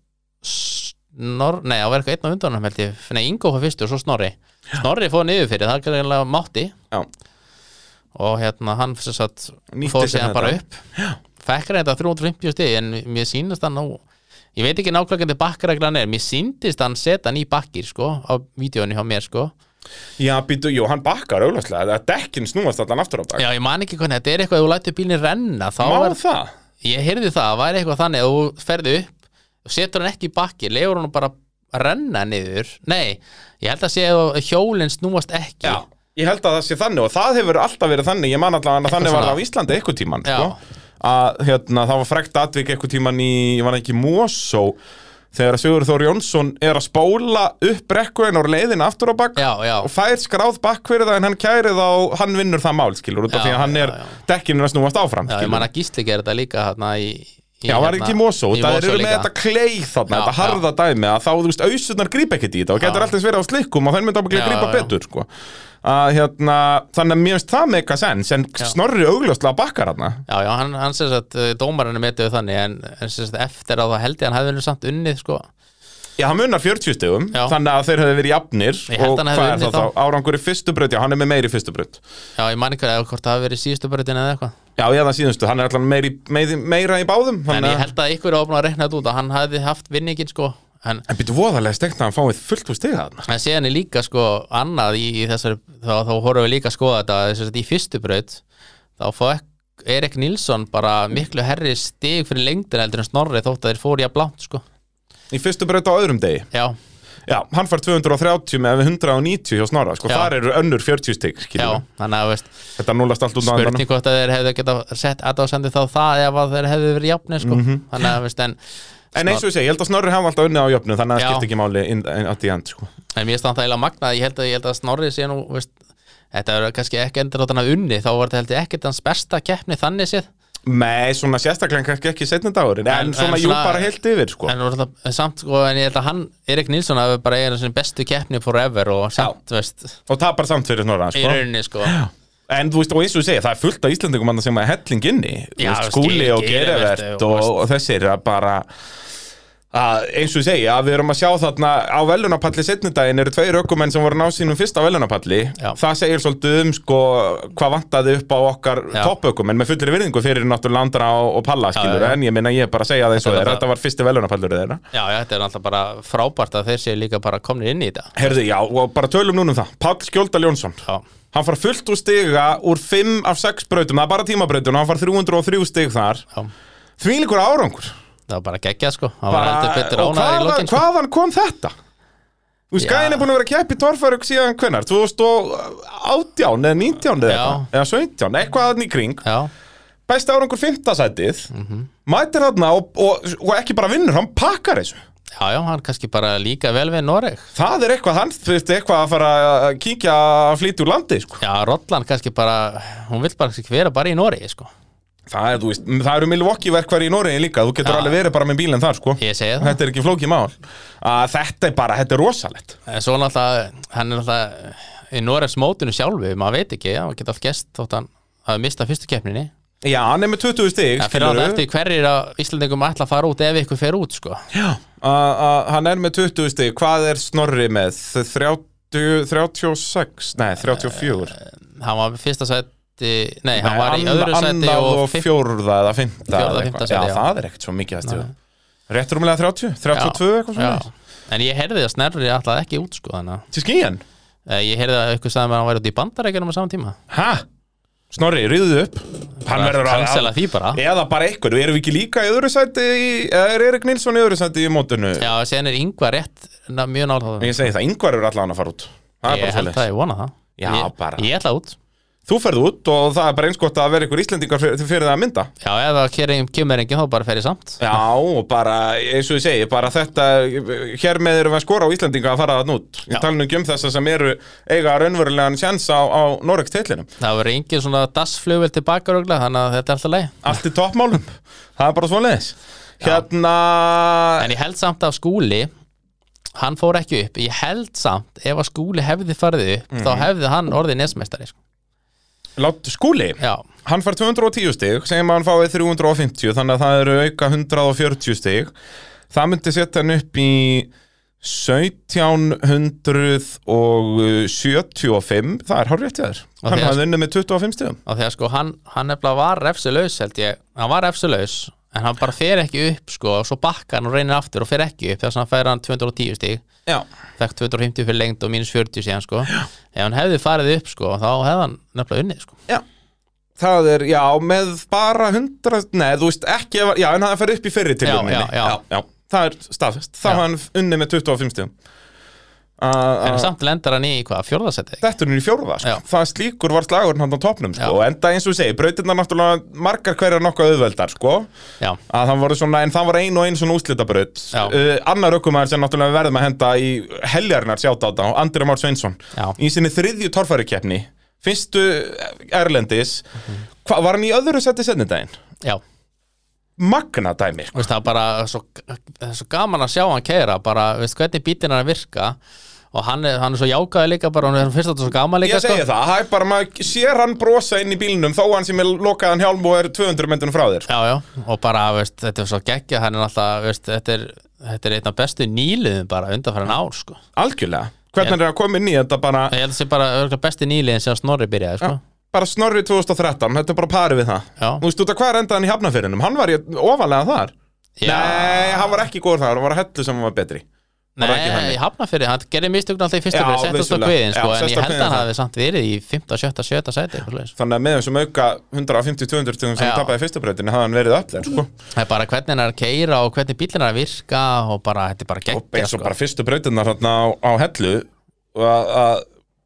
Speaker 2: snor, nei, það var eitthvað einn á undanum held ég, nei, Ingo var fyrstu og svo Snorri Snorri fór niður fyrir, það er einlega mátti
Speaker 1: Já.
Speaker 2: og hérna hann sem sagt
Speaker 1: Nýtti
Speaker 2: fór
Speaker 1: sér
Speaker 2: síðan
Speaker 1: þetta.
Speaker 2: bara upp fekk hann þetta 350 stig en mér sýnist hann á ég veit ekki nákvæmlega hvernig bakkareglan er mér sýndist hann setja hann í bakkir sko á vídeóinu hjá mér sko
Speaker 1: já býtu, jú, hann bakkar auðvæslega Það dekkin snúast allan aftur á bak
Speaker 2: já ég man ekki hvernig þetta er eitthvað að þú lætur bílinn renna þá
Speaker 1: Má
Speaker 2: var,
Speaker 1: það?
Speaker 2: ég heyrði það, það væri eitthvað þannig að þú ferði upp og setur hann ekki í bakki, lefur hann bara að renna niður, nei ég held að sé að hjólinn snúast ekki
Speaker 1: Já, ég held að það sé þannig og það hefur alltaf verið þannig, ég man allavega að þannig var
Speaker 2: svona.
Speaker 1: það á Íslandi eitthvað tíman
Speaker 2: Já.
Speaker 1: sko? að hérna, það var frekt atvik eitthvað tíman í, ég var ekki Mosó þegar Sigur Þór Jónsson er að spóla upp brekkuinn og leiðin aftur á bakk
Speaker 2: já, já,
Speaker 1: og fær skráð bakk fyrir það en hann kærið á, hann vinnur það mál skilur út af
Speaker 2: Já,
Speaker 1: því að hann
Speaker 2: já,
Speaker 1: er dekkinu að snúast áfram
Speaker 2: já ég
Speaker 1: skilur
Speaker 2: man að gísli gera þetta líka hérna í, í hérna,
Speaker 1: Já, það er ekki í Mosó,
Speaker 2: í
Speaker 1: það eru með
Speaker 2: líka.
Speaker 1: þetta kleið þarna,
Speaker 2: Já,
Speaker 1: þetta harða dæmi að þá, þú veist, ausurnar grípa ekkert í þetta og getur alltaf verið á slikkum og þannig myndi ábygglega
Speaker 2: Já,
Speaker 1: grípa
Speaker 2: já.
Speaker 1: betur, sko að, hérna, Þannig að mér finnst það meika sens en snorri augljóslega bakkar þarna
Speaker 2: Já, já, hann, hann sem sagt, eh, dómarinu metiðu þannig en, en sem sagt, eftir að það held ég hann hefði nú samt unnið, sko
Speaker 1: Já, hann munar 40 stegum,
Speaker 2: Já.
Speaker 1: þannig að þeir hefðu verið jafnir
Speaker 2: Ég held
Speaker 1: og
Speaker 2: hann hefði
Speaker 1: hvað er
Speaker 2: unnið
Speaker 1: það þá? Árangur í fyrstu braut, já, hann er með meiri fyrstu braut
Speaker 2: Já, ég man ekki að hvort það hafi verið í síðustu breytin eða eitthvað
Speaker 1: Já, ég það síðustu, hann er allan meiri, meiri, meira í báðum
Speaker 2: En
Speaker 1: þannig
Speaker 2: ég
Speaker 1: að-
Speaker 2: held að ykkur er ofnum að reikna þetta út að hann hefði haft vinningin, sko en,
Speaker 1: En býtu voðalega stegt að hann fáið fullt úr stiga þarna
Speaker 2: en síðan er líka, sko, annað í, í þessari, þá, þá horfum við líka að skoða þetta sem sagt, í fyrstu braut þá fók Erik Nilsson bara miklu herri stig fyrir lengdina heldur en snorri þótt að þeir fór í að blánt, sko
Speaker 1: Í fyrstu braut á öðrum degi
Speaker 2: Já,
Speaker 1: Já, hann fær 230 með 190 hjá Snorra, sko,
Speaker 2: Já.
Speaker 1: þar eru önnur 40 stig,
Speaker 2: já,
Speaker 1: skiljum við.
Speaker 2: þannig að, veist
Speaker 1: Þetta núlast allt út á endanum
Speaker 2: spurning hvort að þeir hefðu geta sett aðdáðsendu þá það ef að þeir hefðu verið jafnir sko.
Speaker 1: Mhm.
Speaker 2: þannig að veist en
Speaker 1: En eins og ég segi, ég held að Snorri hafa alltaf unnið á jöfnu Þannig að
Speaker 2: Já.
Speaker 1: það skipt ekki máli inn- inn- at the end sko.
Speaker 2: en mér stand það eiginlega magnað ég held að, ég held að Snorri sé nú veist, þetta er kannski ekki endur á þannig að unni þá var þetta held ég ekkert hans besta keppni þannig séð
Speaker 1: Nei, svona sérstaklega kannski ekki setna dagur En,
Speaker 2: En-
Speaker 1: svona,
Speaker 2: en
Speaker 1: jú,
Speaker 2: svona-
Speaker 1: bara heilt yfir sko.
Speaker 2: en, það, samt sko en ég held að hann Erik Nilsson hafi bara eigin sinni bestu keppni forever og samt veist
Speaker 1: Og tapar samt fyrir Snorra
Speaker 2: í
Speaker 1: sko.
Speaker 2: rauninni sko
Speaker 1: En þú veist, og eins og ég segi, það er fullt af Íslandingum annað sem að helling inni Þú
Speaker 2: Já,
Speaker 1: veist,
Speaker 2: skil-
Speaker 1: Skúli og
Speaker 2: Geirivert
Speaker 1: Gerivert
Speaker 2: og-
Speaker 1: og, og þessir að bara að eins og ég segi að við erum að sjá þarna á velunapalli setnudaginn eru tveir ökumenn sem voru að ná sínum fyrsta velunapalli
Speaker 2: Já.
Speaker 1: það segir svolítið um sko hvað vantaði upp á okkar
Speaker 2: Já.
Speaker 1: toppökumenn með fullri virðingu fyrir náttúrulega andra og, og palla skilur
Speaker 2: já, já.
Speaker 1: en ég minna ég er bara að segja það eins og
Speaker 2: Þetta er
Speaker 1: þeir
Speaker 2: bara-
Speaker 1: þetta var fyrsti velunapallur þeirra
Speaker 2: Já, já, þetta er alltaf bara frábært að þeir séu líka bara komnir inn í þetta
Speaker 1: Herðu, já, og bara tölum núna um það Páll Skjóldal Jónsson
Speaker 2: Já,
Speaker 1: Hann far fullt úr stiga úr 5 af 6 brautum, það er bara tímabrautum og hann far 303 stig þar
Speaker 2: já,
Speaker 1: Því líkur árangur
Speaker 2: það var bara geggjað sko Það var
Speaker 1: bara,
Speaker 2: heldur betur
Speaker 1: Og
Speaker 2: ánæður í
Speaker 1: hvaðan,
Speaker 2: lokin sko.
Speaker 1: hvaðan kom þetta? Þú veist,
Speaker 2: Já.
Speaker 1: gæðin er búin að vera að keppa í torfærug síðan hvenar 2018 eða 19 eða
Speaker 2: Já.
Speaker 1: eitthvað Eða 17, eitthvað þannig í kring
Speaker 2: Já,
Speaker 1: Bæsti árangur 5. sætið
Speaker 2: Mhm.
Speaker 1: Mætir þarna og, og, og ekki bara vinnur, hann pakkar þessu
Speaker 2: já, já, hann kannski bara líka vel við Noreg
Speaker 1: Það er eitthvað hann, þú veist, eitthvað að fara að kíkja að flytja úr landi, sko
Speaker 2: Já, Rottland kannski bara, hún vill bara kannski vera bara í Noregi sko
Speaker 1: Það, er, þú veist, það eru Milwaukee verkværi í Noregi líka Þú getur
Speaker 2: Já.
Speaker 1: alveg verið bara með bílinn þar sko
Speaker 2: Ég segi það
Speaker 1: Þetta er ekki flókið mál að Þetta er bara, þetta er rosalett
Speaker 2: En svo náttúrulega, hann er náttúrulega í Noregs mótinu sjálfu, maður veit ekki, já, hann geta allt gest þótt hann hafi mistað fyrstu keppninni.
Speaker 1: Já, hann er með 20 stig
Speaker 2: Það fyrir hann eftir hverjir að Íslandingum ætla að fara út ef ykkur fer út, sko.
Speaker 1: Hann er með 20 stig, hvað er Snorri með? 30, 36, nei 34
Speaker 2: Hann var fyrsta sæti, nei, Eh, hann var í
Speaker 1: Nei,
Speaker 2: öðru
Speaker 1: ann-
Speaker 2: sæti
Speaker 1: annað
Speaker 2: og
Speaker 1: og
Speaker 2: fimm.
Speaker 1: fjórða eða fimmta
Speaker 2: Fjórða,
Speaker 1: eða
Speaker 2: fimmta
Speaker 1: eitthvað.
Speaker 2: sæti,
Speaker 1: Já,
Speaker 2: já.
Speaker 1: það er ekkert svo mikið að stjóða Rétt rúmlega 30, 32 eitthvað
Speaker 2: Já,
Speaker 1: svona
Speaker 2: en ég heyrði að Snerri ætlaði ekki út, sko, þannig að
Speaker 1: Til skíjan?
Speaker 2: Eh, ég heyrði að ykkur sagði að hann væri út í bandarækjunum á saman tíma.
Speaker 1: Ha? Snorri, rýðu upp Hann verður að-
Speaker 2: Cancela því bara.
Speaker 1: Eða bara eitthvað, við erum við ekki líka í öðru sæti í, eða er Erik Nilsson í öðru sæti í mótinu?
Speaker 2: Já, síðan er Ingvar rétt, na, mjög náttúrulega.
Speaker 1: Ég segi það, yngvar eru allan að fara út. Það er
Speaker 2: Ég
Speaker 1: bara
Speaker 2: held
Speaker 1: svolítið.
Speaker 2: að ég vona það
Speaker 1: Já,
Speaker 2: ég,
Speaker 1: bara.
Speaker 2: Ég ætla út
Speaker 1: Þú ferð út og það er bara eins gott að vera ykkur Íslendingar fyrir, fyrir það að mynda.
Speaker 2: Já, ef það kemur- kemur enginn þá bara fer ég samt
Speaker 1: Já, og bara, eins og ég segi, bara þetta, hér með erum við að skora á Íslendinga að fara þann út.
Speaker 2: Já.
Speaker 1: Ég tala nú ekki um þessa sem eru eiga raunverulegan sjans á, á Norreks teitlinum.
Speaker 2: Það verður engin svona dasflugvel tilbaka röglega Þannig að þetta er alltaf leið
Speaker 1: Allt í toppmálum. það er bara svona leðis. Hérna,
Speaker 2: En ég held samt að skúli Hann fór ekki upp Ég held samt ef að skúli hefði farið upp Þá
Speaker 1: Mhm.
Speaker 2: hefði hann orðið nesmestari sko.
Speaker 1: látt skúli.
Speaker 2: Já,
Speaker 1: Hann fær 210 stig, segjum að hann fái 350, þannig að það eru auka 140 stig. Það myndi setja hann upp í 1775, það er hárrétt í þær.
Speaker 2: Og
Speaker 1: Hann
Speaker 2: þegar-
Speaker 1: hafði unnið með 25 stigum.
Speaker 2: af því að sko Hann, hann nefnilega var refsilaus held ég Hann var refsilaus En hann bara fer ekki upp sko Og svo bakka hann og reynir aftur og fer ekki upp Þess að hann fær hann 210 stig
Speaker 1: Já.
Speaker 2: fekk 250 fyrir lengd og mínus 40 síðan sko. ef hann hefði farið upp sko, þá hefði hann nefnilega unnið sko.
Speaker 1: Já. Það er, já, með bara 100, nei, þú veist ekki, ef- já, en hann fær upp í fyrri til
Speaker 2: já, já.
Speaker 1: já. Það er staðfest. Þá
Speaker 2: Já.
Speaker 1: hafði hann unnið með 25 stigum. Uh,
Speaker 2: en samt lendar hann í hvað, fjórðasetti
Speaker 1: dettur hún í fjórða sko.
Speaker 2: Já.
Speaker 1: það slíkur var slagurinn hann á topnum sko.
Speaker 2: Já.
Speaker 1: og enda eins og ég segi, brautirnar náttúrulega margar hverjar nokkuð auðveldar sko.
Speaker 2: já,
Speaker 1: að það voru svona, en það var ein og ein svona úslitabraut
Speaker 2: Já.
Speaker 1: uh, annar ökumæður sem náttúrulega við verðum að henda í heljarinnar sjátt á þetta Andri Már Sveinsson,
Speaker 2: Já.
Speaker 1: í sinni þriðju torfærukeppni fyrstu Erlendis hvað var hann í öðru seti sennindaginn?
Speaker 2: já Þú
Speaker 1: Magna dæmi sko.
Speaker 2: veist, það er bara svo, það er svo gaman að sjá hann keira bara, veist, hvernig bítin hann er að virka og hann er, hann er svo jákaði líka bara, hann er fyrst að þetta svo gaman líka
Speaker 1: Ég segi
Speaker 2: sko.
Speaker 1: það, það er bara maður sér hann brosa inn í bílnum þó hann sem er lokaðan hjálm og er 200 myndunum frá þér sko.
Speaker 2: já, já, og bara, veist, þetta er svo geggja hann er alltaf, veist, þetta er þetta er einn af bestu nýliðum bara undanfæran ár sko.
Speaker 1: algjörlega hvernig er að koma inn í þetta bara
Speaker 2: ég held að sé bara örugglega besti nýliðin sem Snorri byrjaði sko.
Speaker 1: bara Snorri 2013, þetta er bara parið við það
Speaker 2: Já.
Speaker 1: Þú veist út að hvað er endaðan í hafnafyrinum? Hann var í ofalega þar
Speaker 2: Já.
Speaker 1: Nei, hann var ekki góður þar, hann var að hellu sem hann var betri Var ekki
Speaker 2: Nei,
Speaker 1: þannig.
Speaker 2: ég hafna fyrir, hann gerði mistökn alltaf í fyrstu
Speaker 1: Já,
Speaker 2: fyrir, settast á
Speaker 1: vissulega.
Speaker 2: kviðin, sko,
Speaker 1: Já,
Speaker 2: en
Speaker 1: settist á
Speaker 2: ég held að
Speaker 1: kviðinn,
Speaker 2: hann
Speaker 1: það.
Speaker 2: hafi samt verið í 15, 17, 17 sæti, eitthvað slags.
Speaker 1: Þannig að með þessum auka 150-200 stugum sem
Speaker 2: Já.
Speaker 1: hann tapaði fyrstu breytinu hafði hann verið upp þér sko.
Speaker 2: Það er bara hvernig hann er að keira og hvernig bílinn er að virka og bara, þetta er bara
Speaker 1: og
Speaker 2: geggja,
Speaker 1: eins og
Speaker 2: sko.
Speaker 1: bara fyrstu breytinu þarna á, á hellu og að- að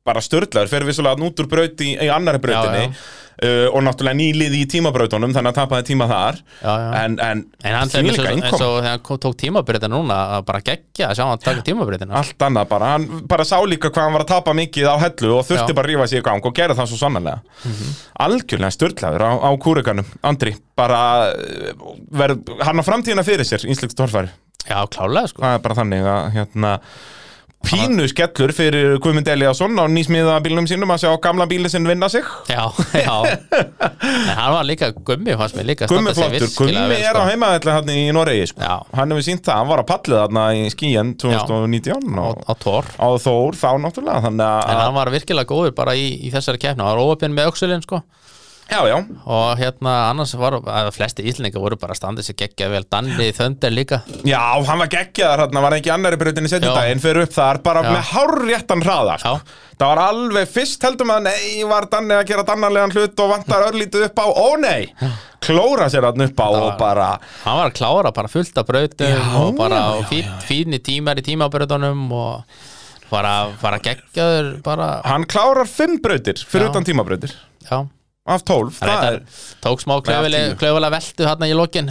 Speaker 1: bara störtlaður fer vissulega nút úr braut í, í annari breytinu
Speaker 2: Já, já.
Speaker 1: uh, og náttúrulega nýlið í tímabrautunum þannig að tapaði tíma þar
Speaker 2: Já, já.
Speaker 1: En, en,
Speaker 2: En hann þegar
Speaker 1: þvílíka
Speaker 2: eins og- eins
Speaker 1: innkoma.
Speaker 2: og þegar hann kom- tók tímabreytin núna, að bara geggja að sjá hann taka tímabreytina.
Speaker 1: allt annað bara, hann bara sá líka hvað hann var að tapa mikið á hellu og þurfti
Speaker 2: Já. Mhm.
Speaker 1: bara að rífa sig í gang og gera það svo sannlega algjörlega störtlaður á, á kúrikanum Andri, bara eh, verð, hann á framtíðina fyrir sér, íslensk torfæri
Speaker 2: Já, klálega, sko.
Speaker 1: það er bara þannig að hérna pínu skellur fyrir Guðmund Eliasson á nýsmiða bílnum sínum að sjá gamla bíli sinn vinna sig
Speaker 2: Já, já En hann var líka, Gummi fannst mér líka
Speaker 1: Gummi flottur, Gummi er á heimaðalli hann í Noregi sko.
Speaker 2: sko. Já.
Speaker 1: hann hefur sínt það, hann var að pallið þarna í skíin 2019
Speaker 2: á,
Speaker 1: og,
Speaker 2: á tór
Speaker 1: á Þór þá náttúrulega þannig
Speaker 2: En
Speaker 1: að,
Speaker 2: hann var virkilega góður bara í, í þessari keppni Hann var óöpinn með öxulinn sko
Speaker 1: já, já,
Speaker 2: Og hérna annars var að Flesti íslendingar voru bara að standa sér geggja vel Danni Þönder líka
Speaker 1: já, hann var geggjaðar hann var hann ekki í annari breytinni setjum
Speaker 2: Já.
Speaker 1: daginn fyrir upp þar, bara
Speaker 2: Já.
Speaker 1: með hárréttan hraða sko.
Speaker 2: Já.
Speaker 1: það var alveg fyrst heldum að nei, var Danni að gera dannarlegan hlut og vantar örlítið upp á, ó nei klóra sér hann upp á og bara
Speaker 2: Hann var að klára bara fullt af brautum
Speaker 1: Já,
Speaker 2: Og bara
Speaker 1: já,
Speaker 2: já, fín, fínir tímar í tímabrautunum Og bara, bara geggjaður bara,
Speaker 1: hann klárar fimm brautir fyrir
Speaker 2: Já.
Speaker 1: utan tímabrautir
Speaker 2: Já
Speaker 1: af tólf, það er
Speaker 2: Reyndar, tók smá
Speaker 1: Nei, af tíu.
Speaker 2: klöfulega veltu hérna í lokin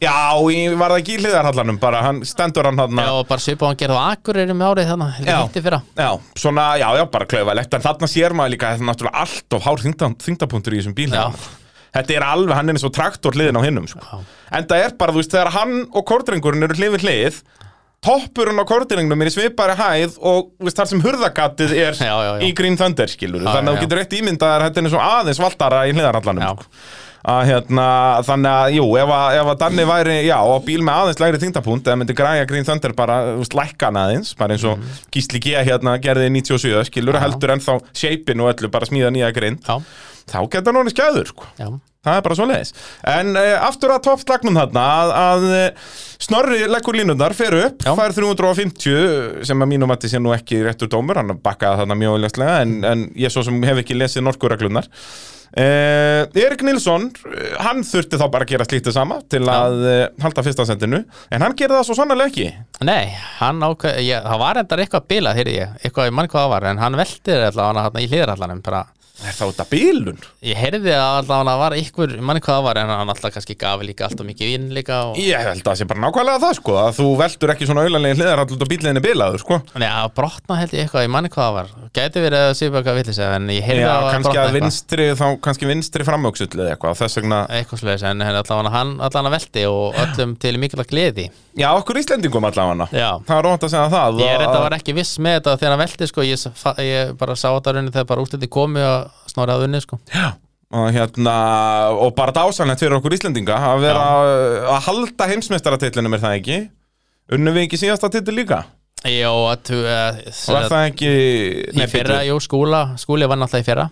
Speaker 1: Já, ég var það ekki í hliðarhallanum bara, hann stendur hann hann
Speaker 2: Já, og bara svipa hann gerði á Akureyri með árið þannig Heldur
Speaker 1: Já.
Speaker 2: hitti fyrra
Speaker 1: Já, svona, já, já, bara klaufalegt En þarna sér maður líka, þetta er náttúrulega allt of hár þyngda, þyngdapunktur í þessum bíl hérna.
Speaker 2: Já.
Speaker 1: Þetta er alveg, hann er eins og traktor hliðin á hinnum sko. En það er bara, þú veist, þegar hann og kordrengurinn eru hlið við hlið Toppurinn á kordrengnum er í svipari hæð Og þú veist, þar sem hurðagatið er
Speaker 2: Já, já, já.
Speaker 1: í Green Thunder, skilur
Speaker 2: Já,
Speaker 1: Þannig að
Speaker 2: já,
Speaker 1: þú
Speaker 2: já.
Speaker 1: getur rétt ímyndaðar, þetta er eins og aðeins valtara í hliðarhallanum
Speaker 2: Já.
Speaker 1: sko. að hérna, þannig að, jú, ef að, ef að Danni væri, já, á bíl með aðeins lægri þyngdapunkt, eða myndi græja Green Thunder bara, þú veist, lækkan aðeins, bara eins og Gísli G hérna gerði í 97, skilur, heldur ennþá shapein og öllu, bara smíða nýja grind,
Speaker 2: Já,
Speaker 1: þá geta hann orðið skæður, sko.
Speaker 2: já,
Speaker 1: Það er bara svo leiðis. En uh, aftur að toppslagnum þarna, að, að eh, Snorri leggur línundar, fer upp,
Speaker 2: Já.
Speaker 1: fær 350, sem að mínum að sé nú ekki réttur dómur, hann bakkaði þarna mjög ólegslega, en, en ég svo sem hef ekki lesið norkureglunar. Uh, Erik Nilsson, eh, hann þurfti þá bara að gera slítið sama til að uh, halda fyrsta sendinu, en hann gerði það svo sannarlega ekki.
Speaker 2: nei, hann ákveð ég, það var endar eitthvað bilað, heyrði ég eitthvað, ég mann hvað það var, en hann velti þér allavega hann í hliðarallanum, bara,
Speaker 1: Er það út af bílun?
Speaker 2: ég heyrði að allavega var ykkur, ég mann hvað það var, en hann alltaf kannski gaf líka alltaf mikið vín líka og,
Speaker 1: Ég held að það sé bara nákvæmlega það, sko, að þú veltur ekki svona auðanlega hliðar alltaf bílinni bilaður, sko.
Speaker 2: nei, að brotna held ég eitthvað, ég mann hvað það var gæti verið að séu eitthvað villis, en ég heyrði
Speaker 1: Já,
Speaker 2: að
Speaker 1: kannski
Speaker 2: brotna
Speaker 1: að
Speaker 2: eitthvað
Speaker 1: vinstri, þá kannski vinstri framöksull eða eitthvað, þess vegna
Speaker 2: eitthvað slags, en allavega hann allavega velti og öllum til mikilvægt gleði
Speaker 1: Já, okkur Íslendingum allavega
Speaker 2: Já.
Speaker 1: Það er rónt að segja það
Speaker 2: Ég er þetta
Speaker 1: að-
Speaker 2: var ekki viss með þetta þegar hann velti sko, ég, s- fa- ég bara sá þetta raunin þegar bara útliti komi að snorri að unni sko.
Speaker 1: og, hérna, og bara dásanlegt fyrir okkur Íslendinga að vera að halda heimsmeistaratillinum er það ekki Unnum við ekki síðasta titil líka
Speaker 2: Jó, að þú eh,
Speaker 1: Og er
Speaker 2: sem
Speaker 1: það ekki
Speaker 2: sagt, í fyrra,
Speaker 1: bíddu.
Speaker 2: jú, skúla skúli var náttúrulega í fyrra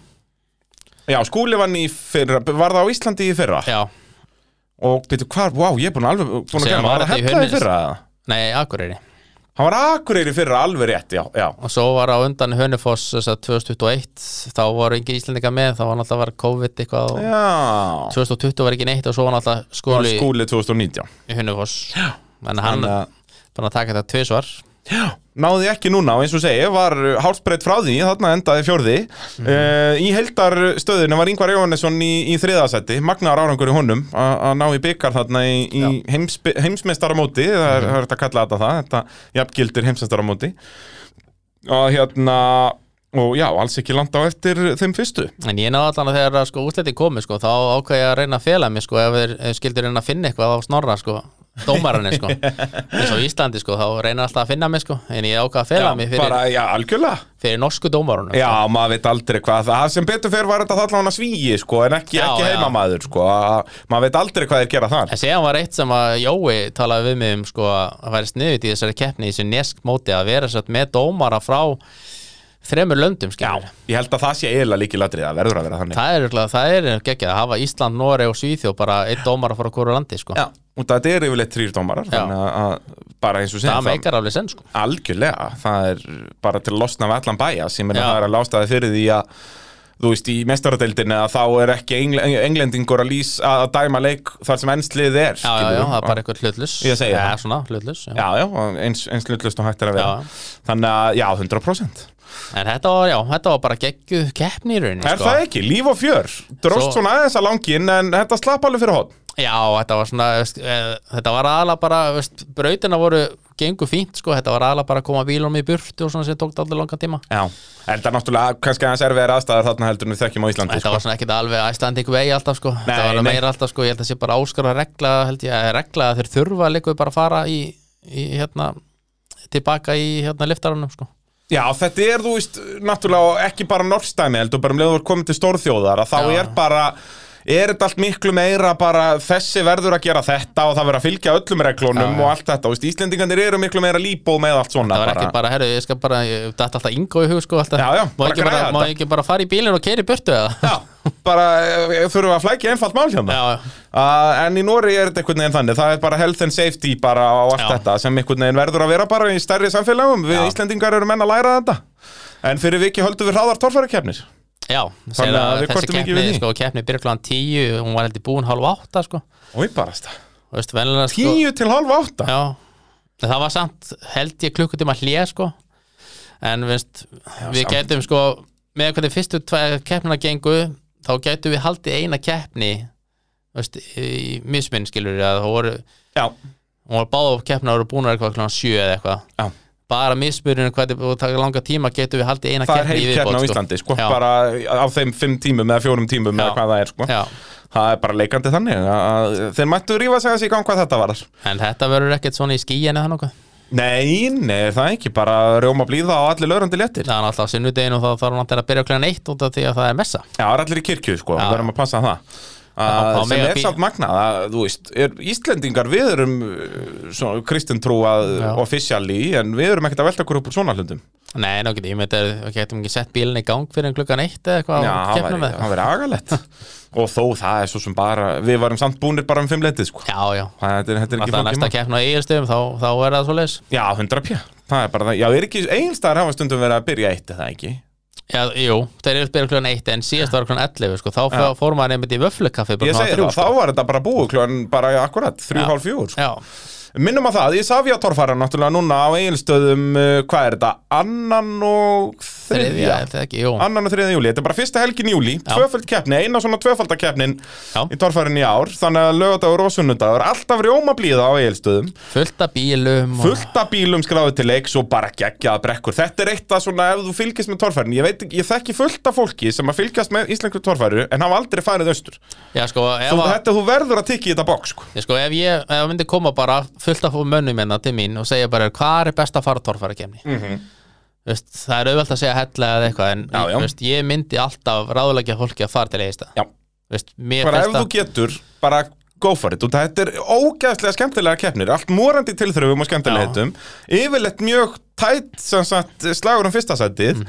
Speaker 1: Já, skúli vann í fyrra Var það á Íslandi í fyrra
Speaker 2: Já,
Speaker 1: Og byrju, hvar, vá, ég er búin að alveg búin að
Speaker 2: Sem
Speaker 1: gera
Speaker 2: var
Speaker 1: Var það
Speaker 2: þetta í
Speaker 1: hefla í
Speaker 2: Hunnis.
Speaker 1: fyrra eða?
Speaker 2: nei, Akureyri
Speaker 1: Hann var akureyri í fyrra, alveg rétt, já, já
Speaker 2: og svo var á undan Hönufoss þess að 2021, þá voru engin íslendinga með þá var náttúrulega var COVID eitthvað og
Speaker 1: Já
Speaker 2: 2020 var ekki neitt og svo var náttúrulega skúli
Speaker 1: Skúli 2019
Speaker 2: í Hönufoss en hann
Speaker 1: Þannig að-
Speaker 2: búin að taka þetta tvisvar
Speaker 1: náði ekki núna og eins og segi var hálsbreytt frá því, þarna endaði fjórði
Speaker 2: Mhm.
Speaker 1: mm í heldarstöðinu var Ingvar Jóhannesson í, í þriðasetti magnaðar árangur í honum a- að ná í byggar þarna í, í heimsbe- heimsmeistaramóti það
Speaker 2: Mhm.
Speaker 1: er, það er hægt að kalla þetta það þetta jafngildir heimsmeistaramóti og hérna og já, alls ekki landa á eftir þeim fyrstu
Speaker 2: En ég náði allan að þegar að, sko, útliti komi sko, þá ákveði ég að reyna að fela mig sko, ef þeir eh, skildu reyna að finna eitthvað á snorra sko, dómaranir sko. eins og í Íslandi sko, þá reyna alltaf að finna mig sko, en ég ákveði að fela
Speaker 1: já,
Speaker 2: mig fyrir,
Speaker 1: bara, já, algjörlega
Speaker 2: fyrir norsku dómarunum
Speaker 1: Já, maður veit aldrei hvað það sem betur fyrir var þetta þarna hana svíi sko, en ekki,
Speaker 2: Já,
Speaker 1: ekki
Speaker 2: já.
Speaker 1: heimamaður sko, að- maður veit aldrei hvað þeir gera þar
Speaker 2: En séðan var eitt sem að Jói talaði við mig um sko, að væri sniðut í þessari keppni í þessu nesk móti að vera satt, með dómara frá þremur löndum skilur.
Speaker 1: Ég held að það sé eiginlega líkilatrið að verður að vera þannig
Speaker 2: það er, örugglega- það er geggjað að hafa Ísland, Noreg og Svíþjóð bara einn dómara frá hverju landi sko.
Speaker 1: Já, og það er yfirleitt þrýr dómarar
Speaker 2: Já.
Speaker 1: þannig að- að bara eins og segja
Speaker 2: það meikar alveg senn sko.
Speaker 1: algjörlega, það er bara til að losna við allan bæja sem er
Speaker 2: Já.
Speaker 1: það er að lástaði fyrir því að þú veist, í mestaradeildinni að þá er ekki engl englendingur að lýs að að dæma leik þar sem ennslið er
Speaker 2: Já, já,
Speaker 1: skilurðu.
Speaker 2: já, það er bara eitthvað hlutlus
Speaker 1: Ég segi
Speaker 2: Já,
Speaker 1: það.
Speaker 2: svona, hlutlus já.
Speaker 1: Já, já, eins, eins hlutlust og hægt er að vera
Speaker 2: Já.
Speaker 1: Þannig að, já, 100%
Speaker 2: En þetta var, já, þetta var bara gegguð keppni í rauninni
Speaker 1: Er
Speaker 2: sko.
Speaker 1: það ekki? Líf og fjör Dróst
Speaker 2: Svo-
Speaker 1: svona aðeins að langin en þetta slapp alveg fyrir hótt
Speaker 2: Já, þetta var svona, veist, eh, þetta var aðalega bara veist, Brautina voru gengu fínt sko. Þetta var aðalega bara að koma bílum í burtu Og svona sem tók allir langan tíma
Speaker 1: Já En það er náttúrulega kannski aðeins erfiðar aðstæðar þarna heldur en við þekkjum á Íslandi sko.
Speaker 2: Þetta var svona ekkit alveg Icelandic way alltaf sko. Þetta var alveg
Speaker 1: nei.
Speaker 2: meira alltaf, sko. ég held að sé bara áskara regla held ég, eh, Regla að þeir þurfa líka bara að fara í, í hérna Tilbaka í hérna liftaranum sko.
Speaker 1: Já, þetta er, þú veist, náttúrulega ekki bara norstæmi, heldur bara um leiður komið til stórþjóðar að þá
Speaker 2: Já.
Speaker 1: er bara er þetta allt miklu meira bara þessi verður að gera þetta og það verður að fylgja öllum reglunum og allt þetta, þú veist, Íslendingarnir eru miklu meira líbó með allt svona
Speaker 2: það var ekki bara, herru, ég skal bara ég dætt alltaf yngo í hug sko alltaf,
Speaker 1: Já, já,
Speaker 2: má,
Speaker 1: bara
Speaker 2: ekki bara,
Speaker 1: græða
Speaker 2: má
Speaker 1: þetta.
Speaker 2: ekki bara fara í bílinn og keiri burtu eða
Speaker 1: Já, bara eh, þurfum við að flækja einfalt mál hérna
Speaker 2: Já, já.
Speaker 1: Uh, En í Nóri er þetta einhvern veginn þannig það er bara health and safety bara á allt
Speaker 2: Já.
Speaker 1: þetta sem einhvern veginn verður að vera bara í stærri samfélagum við
Speaker 2: Já.
Speaker 1: Íslendingar eru menn að læra þetta En fyrir viki höldum við hráðar torfærakefnir
Speaker 2: Já, segir
Speaker 1: að við
Speaker 2: að þessi
Speaker 1: kvörtum ekki við
Speaker 2: keppni,
Speaker 1: því.
Speaker 2: sko, keppni byrja klán 10, hún var heldur búin hálf átta, sko og
Speaker 1: Új, barasta
Speaker 2: veistu, venlega, sko
Speaker 1: Tíu til hálfa átta
Speaker 2: Já, en það var samt held ég klukkutíma hlje, sko en veist, við
Speaker 1: samt.
Speaker 2: gætum, sko með hvernig fyrstu tvær keppnina gengu þá gætum við haldið eina keppni veist, í misminn skilur við að það voru,
Speaker 1: Já,
Speaker 2: hún var báða keppna voru búin eitthvað klán 7 eða eitthvað
Speaker 1: Já.
Speaker 2: bara mismurinn hvað þetta taka langa tíma getum við haldið eina
Speaker 1: það er
Speaker 2: keppni í
Speaker 1: heil
Speaker 2: viðbót,
Speaker 1: keppna á
Speaker 2: sko.
Speaker 1: Íslandi sko,
Speaker 2: Já.
Speaker 1: bara á þeim fimm tímum eða fjórum tímum
Speaker 2: Já.
Speaker 1: eða hvað það er sko.
Speaker 2: Já.
Speaker 1: það er bara leikandi þannig að- að þeir mættu rífa sig að sig í gang hvað þetta var
Speaker 2: En þetta verður ekkert svona í skíin eða nokkuð
Speaker 1: Nei, nei, er það ekki, bara rjóma blíða og allir lögrandi léttir
Speaker 2: Það er alltaf á sunnudeginu og þá þarf hann að byrja okkur eitt út af því að það er messa
Speaker 1: Já, það er allir í kirkju, sko,
Speaker 2: Já.
Speaker 1: við verðum að passa að það að,
Speaker 2: þá
Speaker 1: sem
Speaker 2: mega
Speaker 1: er
Speaker 2: bí-
Speaker 1: samt magnað að, þú veist, er, Íslendingar við erum kristintrúað
Speaker 2: Já.
Speaker 1: officially, en við erum ekkert að velta okkur upp úr svona hlutum
Speaker 2: Nei, ná getum ég myndi að við getum ekki sett bílinn í gang fyrir en klukkan eitt eða
Speaker 1: Já,
Speaker 2: eitthvað á
Speaker 1: það
Speaker 2: keppnum
Speaker 1: væri-
Speaker 2: eða-
Speaker 1: það verið agalett og þó það er svo sem bara við varum samt búnir bara um fimm leitið, sko
Speaker 2: Já, já
Speaker 1: Það þetta er, þetta er ekki
Speaker 2: Alltaf
Speaker 1: flókið
Speaker 2: næsta
Speaker 1: mál.
Speaker 2: keppn á eigilstöðum þá, þá er það svo leis
Speaker 1: Já, 100 pjá, það er bara það Já, er ekki, eiginstæðar hafa stundum verið að byrja eitt, er það ekki?
Speaker 2: Já, jú, þeir eru að byrja klukkan eitt en síðast var klukkan 11 sko, þá fó- fór maður einmitt í vöflukaffi bara
Speaker 1: Ég
Speaker 2: klukkan
Speaker 1: segi
Speaker 2: þrjú, sko.
Speaker 1: það, þá var þetta bara búið kljóðan bara akkurat, þrjú
Speaker 2: Já.
Speaker 1: hálf sko. fjúr
Speaker 2: Já,
Speaker 1: Minnum að það, ég safi að torfara náttúrulega núna á eiginstöðum, uh, hvað er þetta, annan og
Speaker 2: þriðja,
Speaker 1: þriðja
Speaker 2: er það ekki, jú
Speaker 1: Annan og þriðja júli, þetta er bara fyrsta helgin í júli, tvöföld keppni, eina svona tvöfaldakeppnin
Speaker 2: Já.
Speaker 1: í torfærin í ár, þannig að lögadagur og sunnudagur, alltaf rjóma blíða á eiginstöðum
Speaker 2: Fullt af bílum og...
Speaker 1: fullt af bílum skráðu til leiks og bara geggjaða brekkur þetta er eitt að svona ef þú fylgist með torfærin ég, veit, ekki- ég þekki fullt af fólki sem að fylgjast með íslensku torfæru en hafa aldrei farið austur þú,
Speaker 2: Já, sko, ef, að-
Speaker 1: þetta, þú verður að tikka í þetta bók sko.
Speaker 2: Ég sko, ef ég ef það myndi koma bara fullt af mönnum hérna til mín og segja bara hvað er best að fara torfæra kemni mm veist, það er auðvelt að segja hella eða eitthvað en
Speaker 1: Mhm. Já, já.
Speaker 2: Veist, ég myndi alltaf ráðleggja fólki að fara til eigista
Speaker 1: Já.
Speaker 2: veist, mér
Speaker 1: bara ef
Speaker 2: finnst
Speaker 1: þú
Speaker 2: það
Speaker 1: getur, bara go for it og þetta er ógæðslega skemmtilega keppnir allt morandi tilþröfum og skemmtilegitum yfirleitt mjög tætt sem sagt, slagur um fyrsta sætið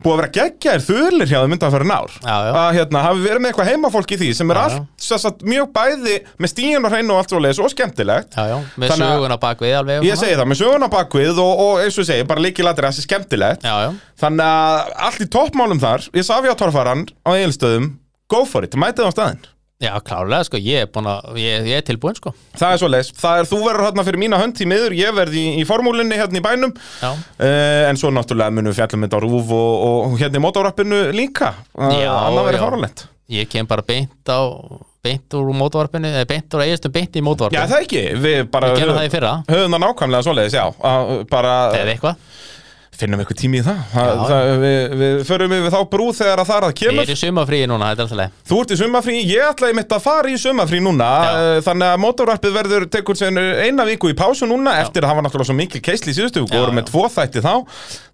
Speaker 1: búið að vera geggjaðir þulir hjá þeim undan fyrir nár
Speaker 2: Já, Mhm. já.
Speaker 1: að hérna, hafi verið með eitthvað heimafólk í því sem er
Speaker 2: Já, já.
Speaker 1: allt sem sagt, mjög bæði með stíðun og hreinu og allt svoleiðis og skemmtilegt
Speaker 2: já, já, með
Speaker 1: Þannig að-
Speaker 2: söguna bak við alveg og
Speaker 1: ég
Speaker 2: svona.
Speaker 1: segi það með sögun á bakvið og, og eins og ég segi bara líkilatir þessi skemmtilegt
Speaker 2: já, já,
Speaker 1: þannig að allt í toppmálum þar ég sá við á torfaran á eilstöðum go for it, mætið á staðinn
Speaker 2: já, klárlega sko, ég er, búin að, ég, ég er tilbúin sko
Speaker 1: Það er svo leis, það er, þú verður hérna fyrir mína hönd í miður, ég verð í, í formúlinni hérna í bænum
Speaker 2: já.
Speaker 1: uh, En svo náttúrulega munum við fjallum þetta á rúf og, og hérna í mótórappinu líka Eh,
Speaker 2: Já,
Speaker 1: Annað verður
Speaker 2: já.
Speaker 1: fáránlegt
Speaker 2: ég kem bara beint á beint úr mótvarpinu, eða beint úr eigistum beint í
Speaker 1: Já,
Speaker 2: mótvarpinu,
Speaker 1: það ekki, við bara
Speaker 2: ég gerði það í fyrra
Speaker 1: höfum það nákvæmlega svo leis, já að, Bara
Speaker 2: eða eitthvað,
Speaker 1: finnum eitthvað tími í það, það,
Speaker 2: Já.
Speaker 1: það við, við förum yfir þá brú þegar að það er að
Speaker 2: ég
Speaker 1: kemur
Speaker 2: er í sumafríi núna þetta er alltaf leið
Speaker 1: Þú ert í sumafrí, ég ætlaði mitt að fara í sumafrí núna
Speaker 2: Já.
Speaker 1: eh, Þannig að mótorvarpið verður tekur sér eina viku í pásu núna Eftir að hafa náttúrulega svo mikil keisli í síðustu viku
Speaker 2: Já,
Speaker 1: voru með
Speaker 2: já.
Speaker 1: tvo þætti þá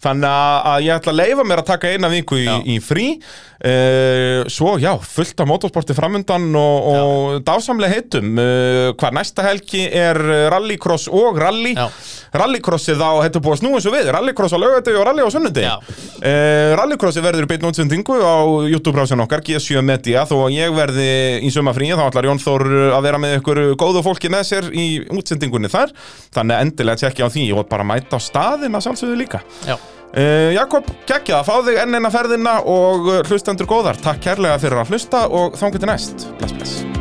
Speaker 1: Þannig að- að ég ætla að leifa mér að taka eina viku í,
Speaker 2: Já.
Speaker 1: í frí uh, Svo já, fullt af mótorsporti framundan og, og dásamlega heitum uh, Hvað næsta helgi er eh, rallycross og rally
Speaker 2: Já.
Speaker 1: Rallycrossið á, þetta er búið að snúa svo við Rallycross á laugardegi og rally á sunnudegi
Speaker 2: Já.
Speaker 1: uh, Rallycrossi verður í beinu útsendingu á YouTube-rásin okkar, G7 Media þó að ég verði í sumafríi þá ætlar Jón Þór eh, að vera með ykkur góðu fólki með sér í útsendingunni þar þannig að endilega tjekkja á því og bara mæta á staðina sjálfsögðu líka
Speaker 2: já,
Speaker 1: uh, Jakob, kekkja það, fá þig enn eina ferðina og eh, hlustendur góðar, takk kærlega fyrir að hlusta og þá getur næst Bless, bless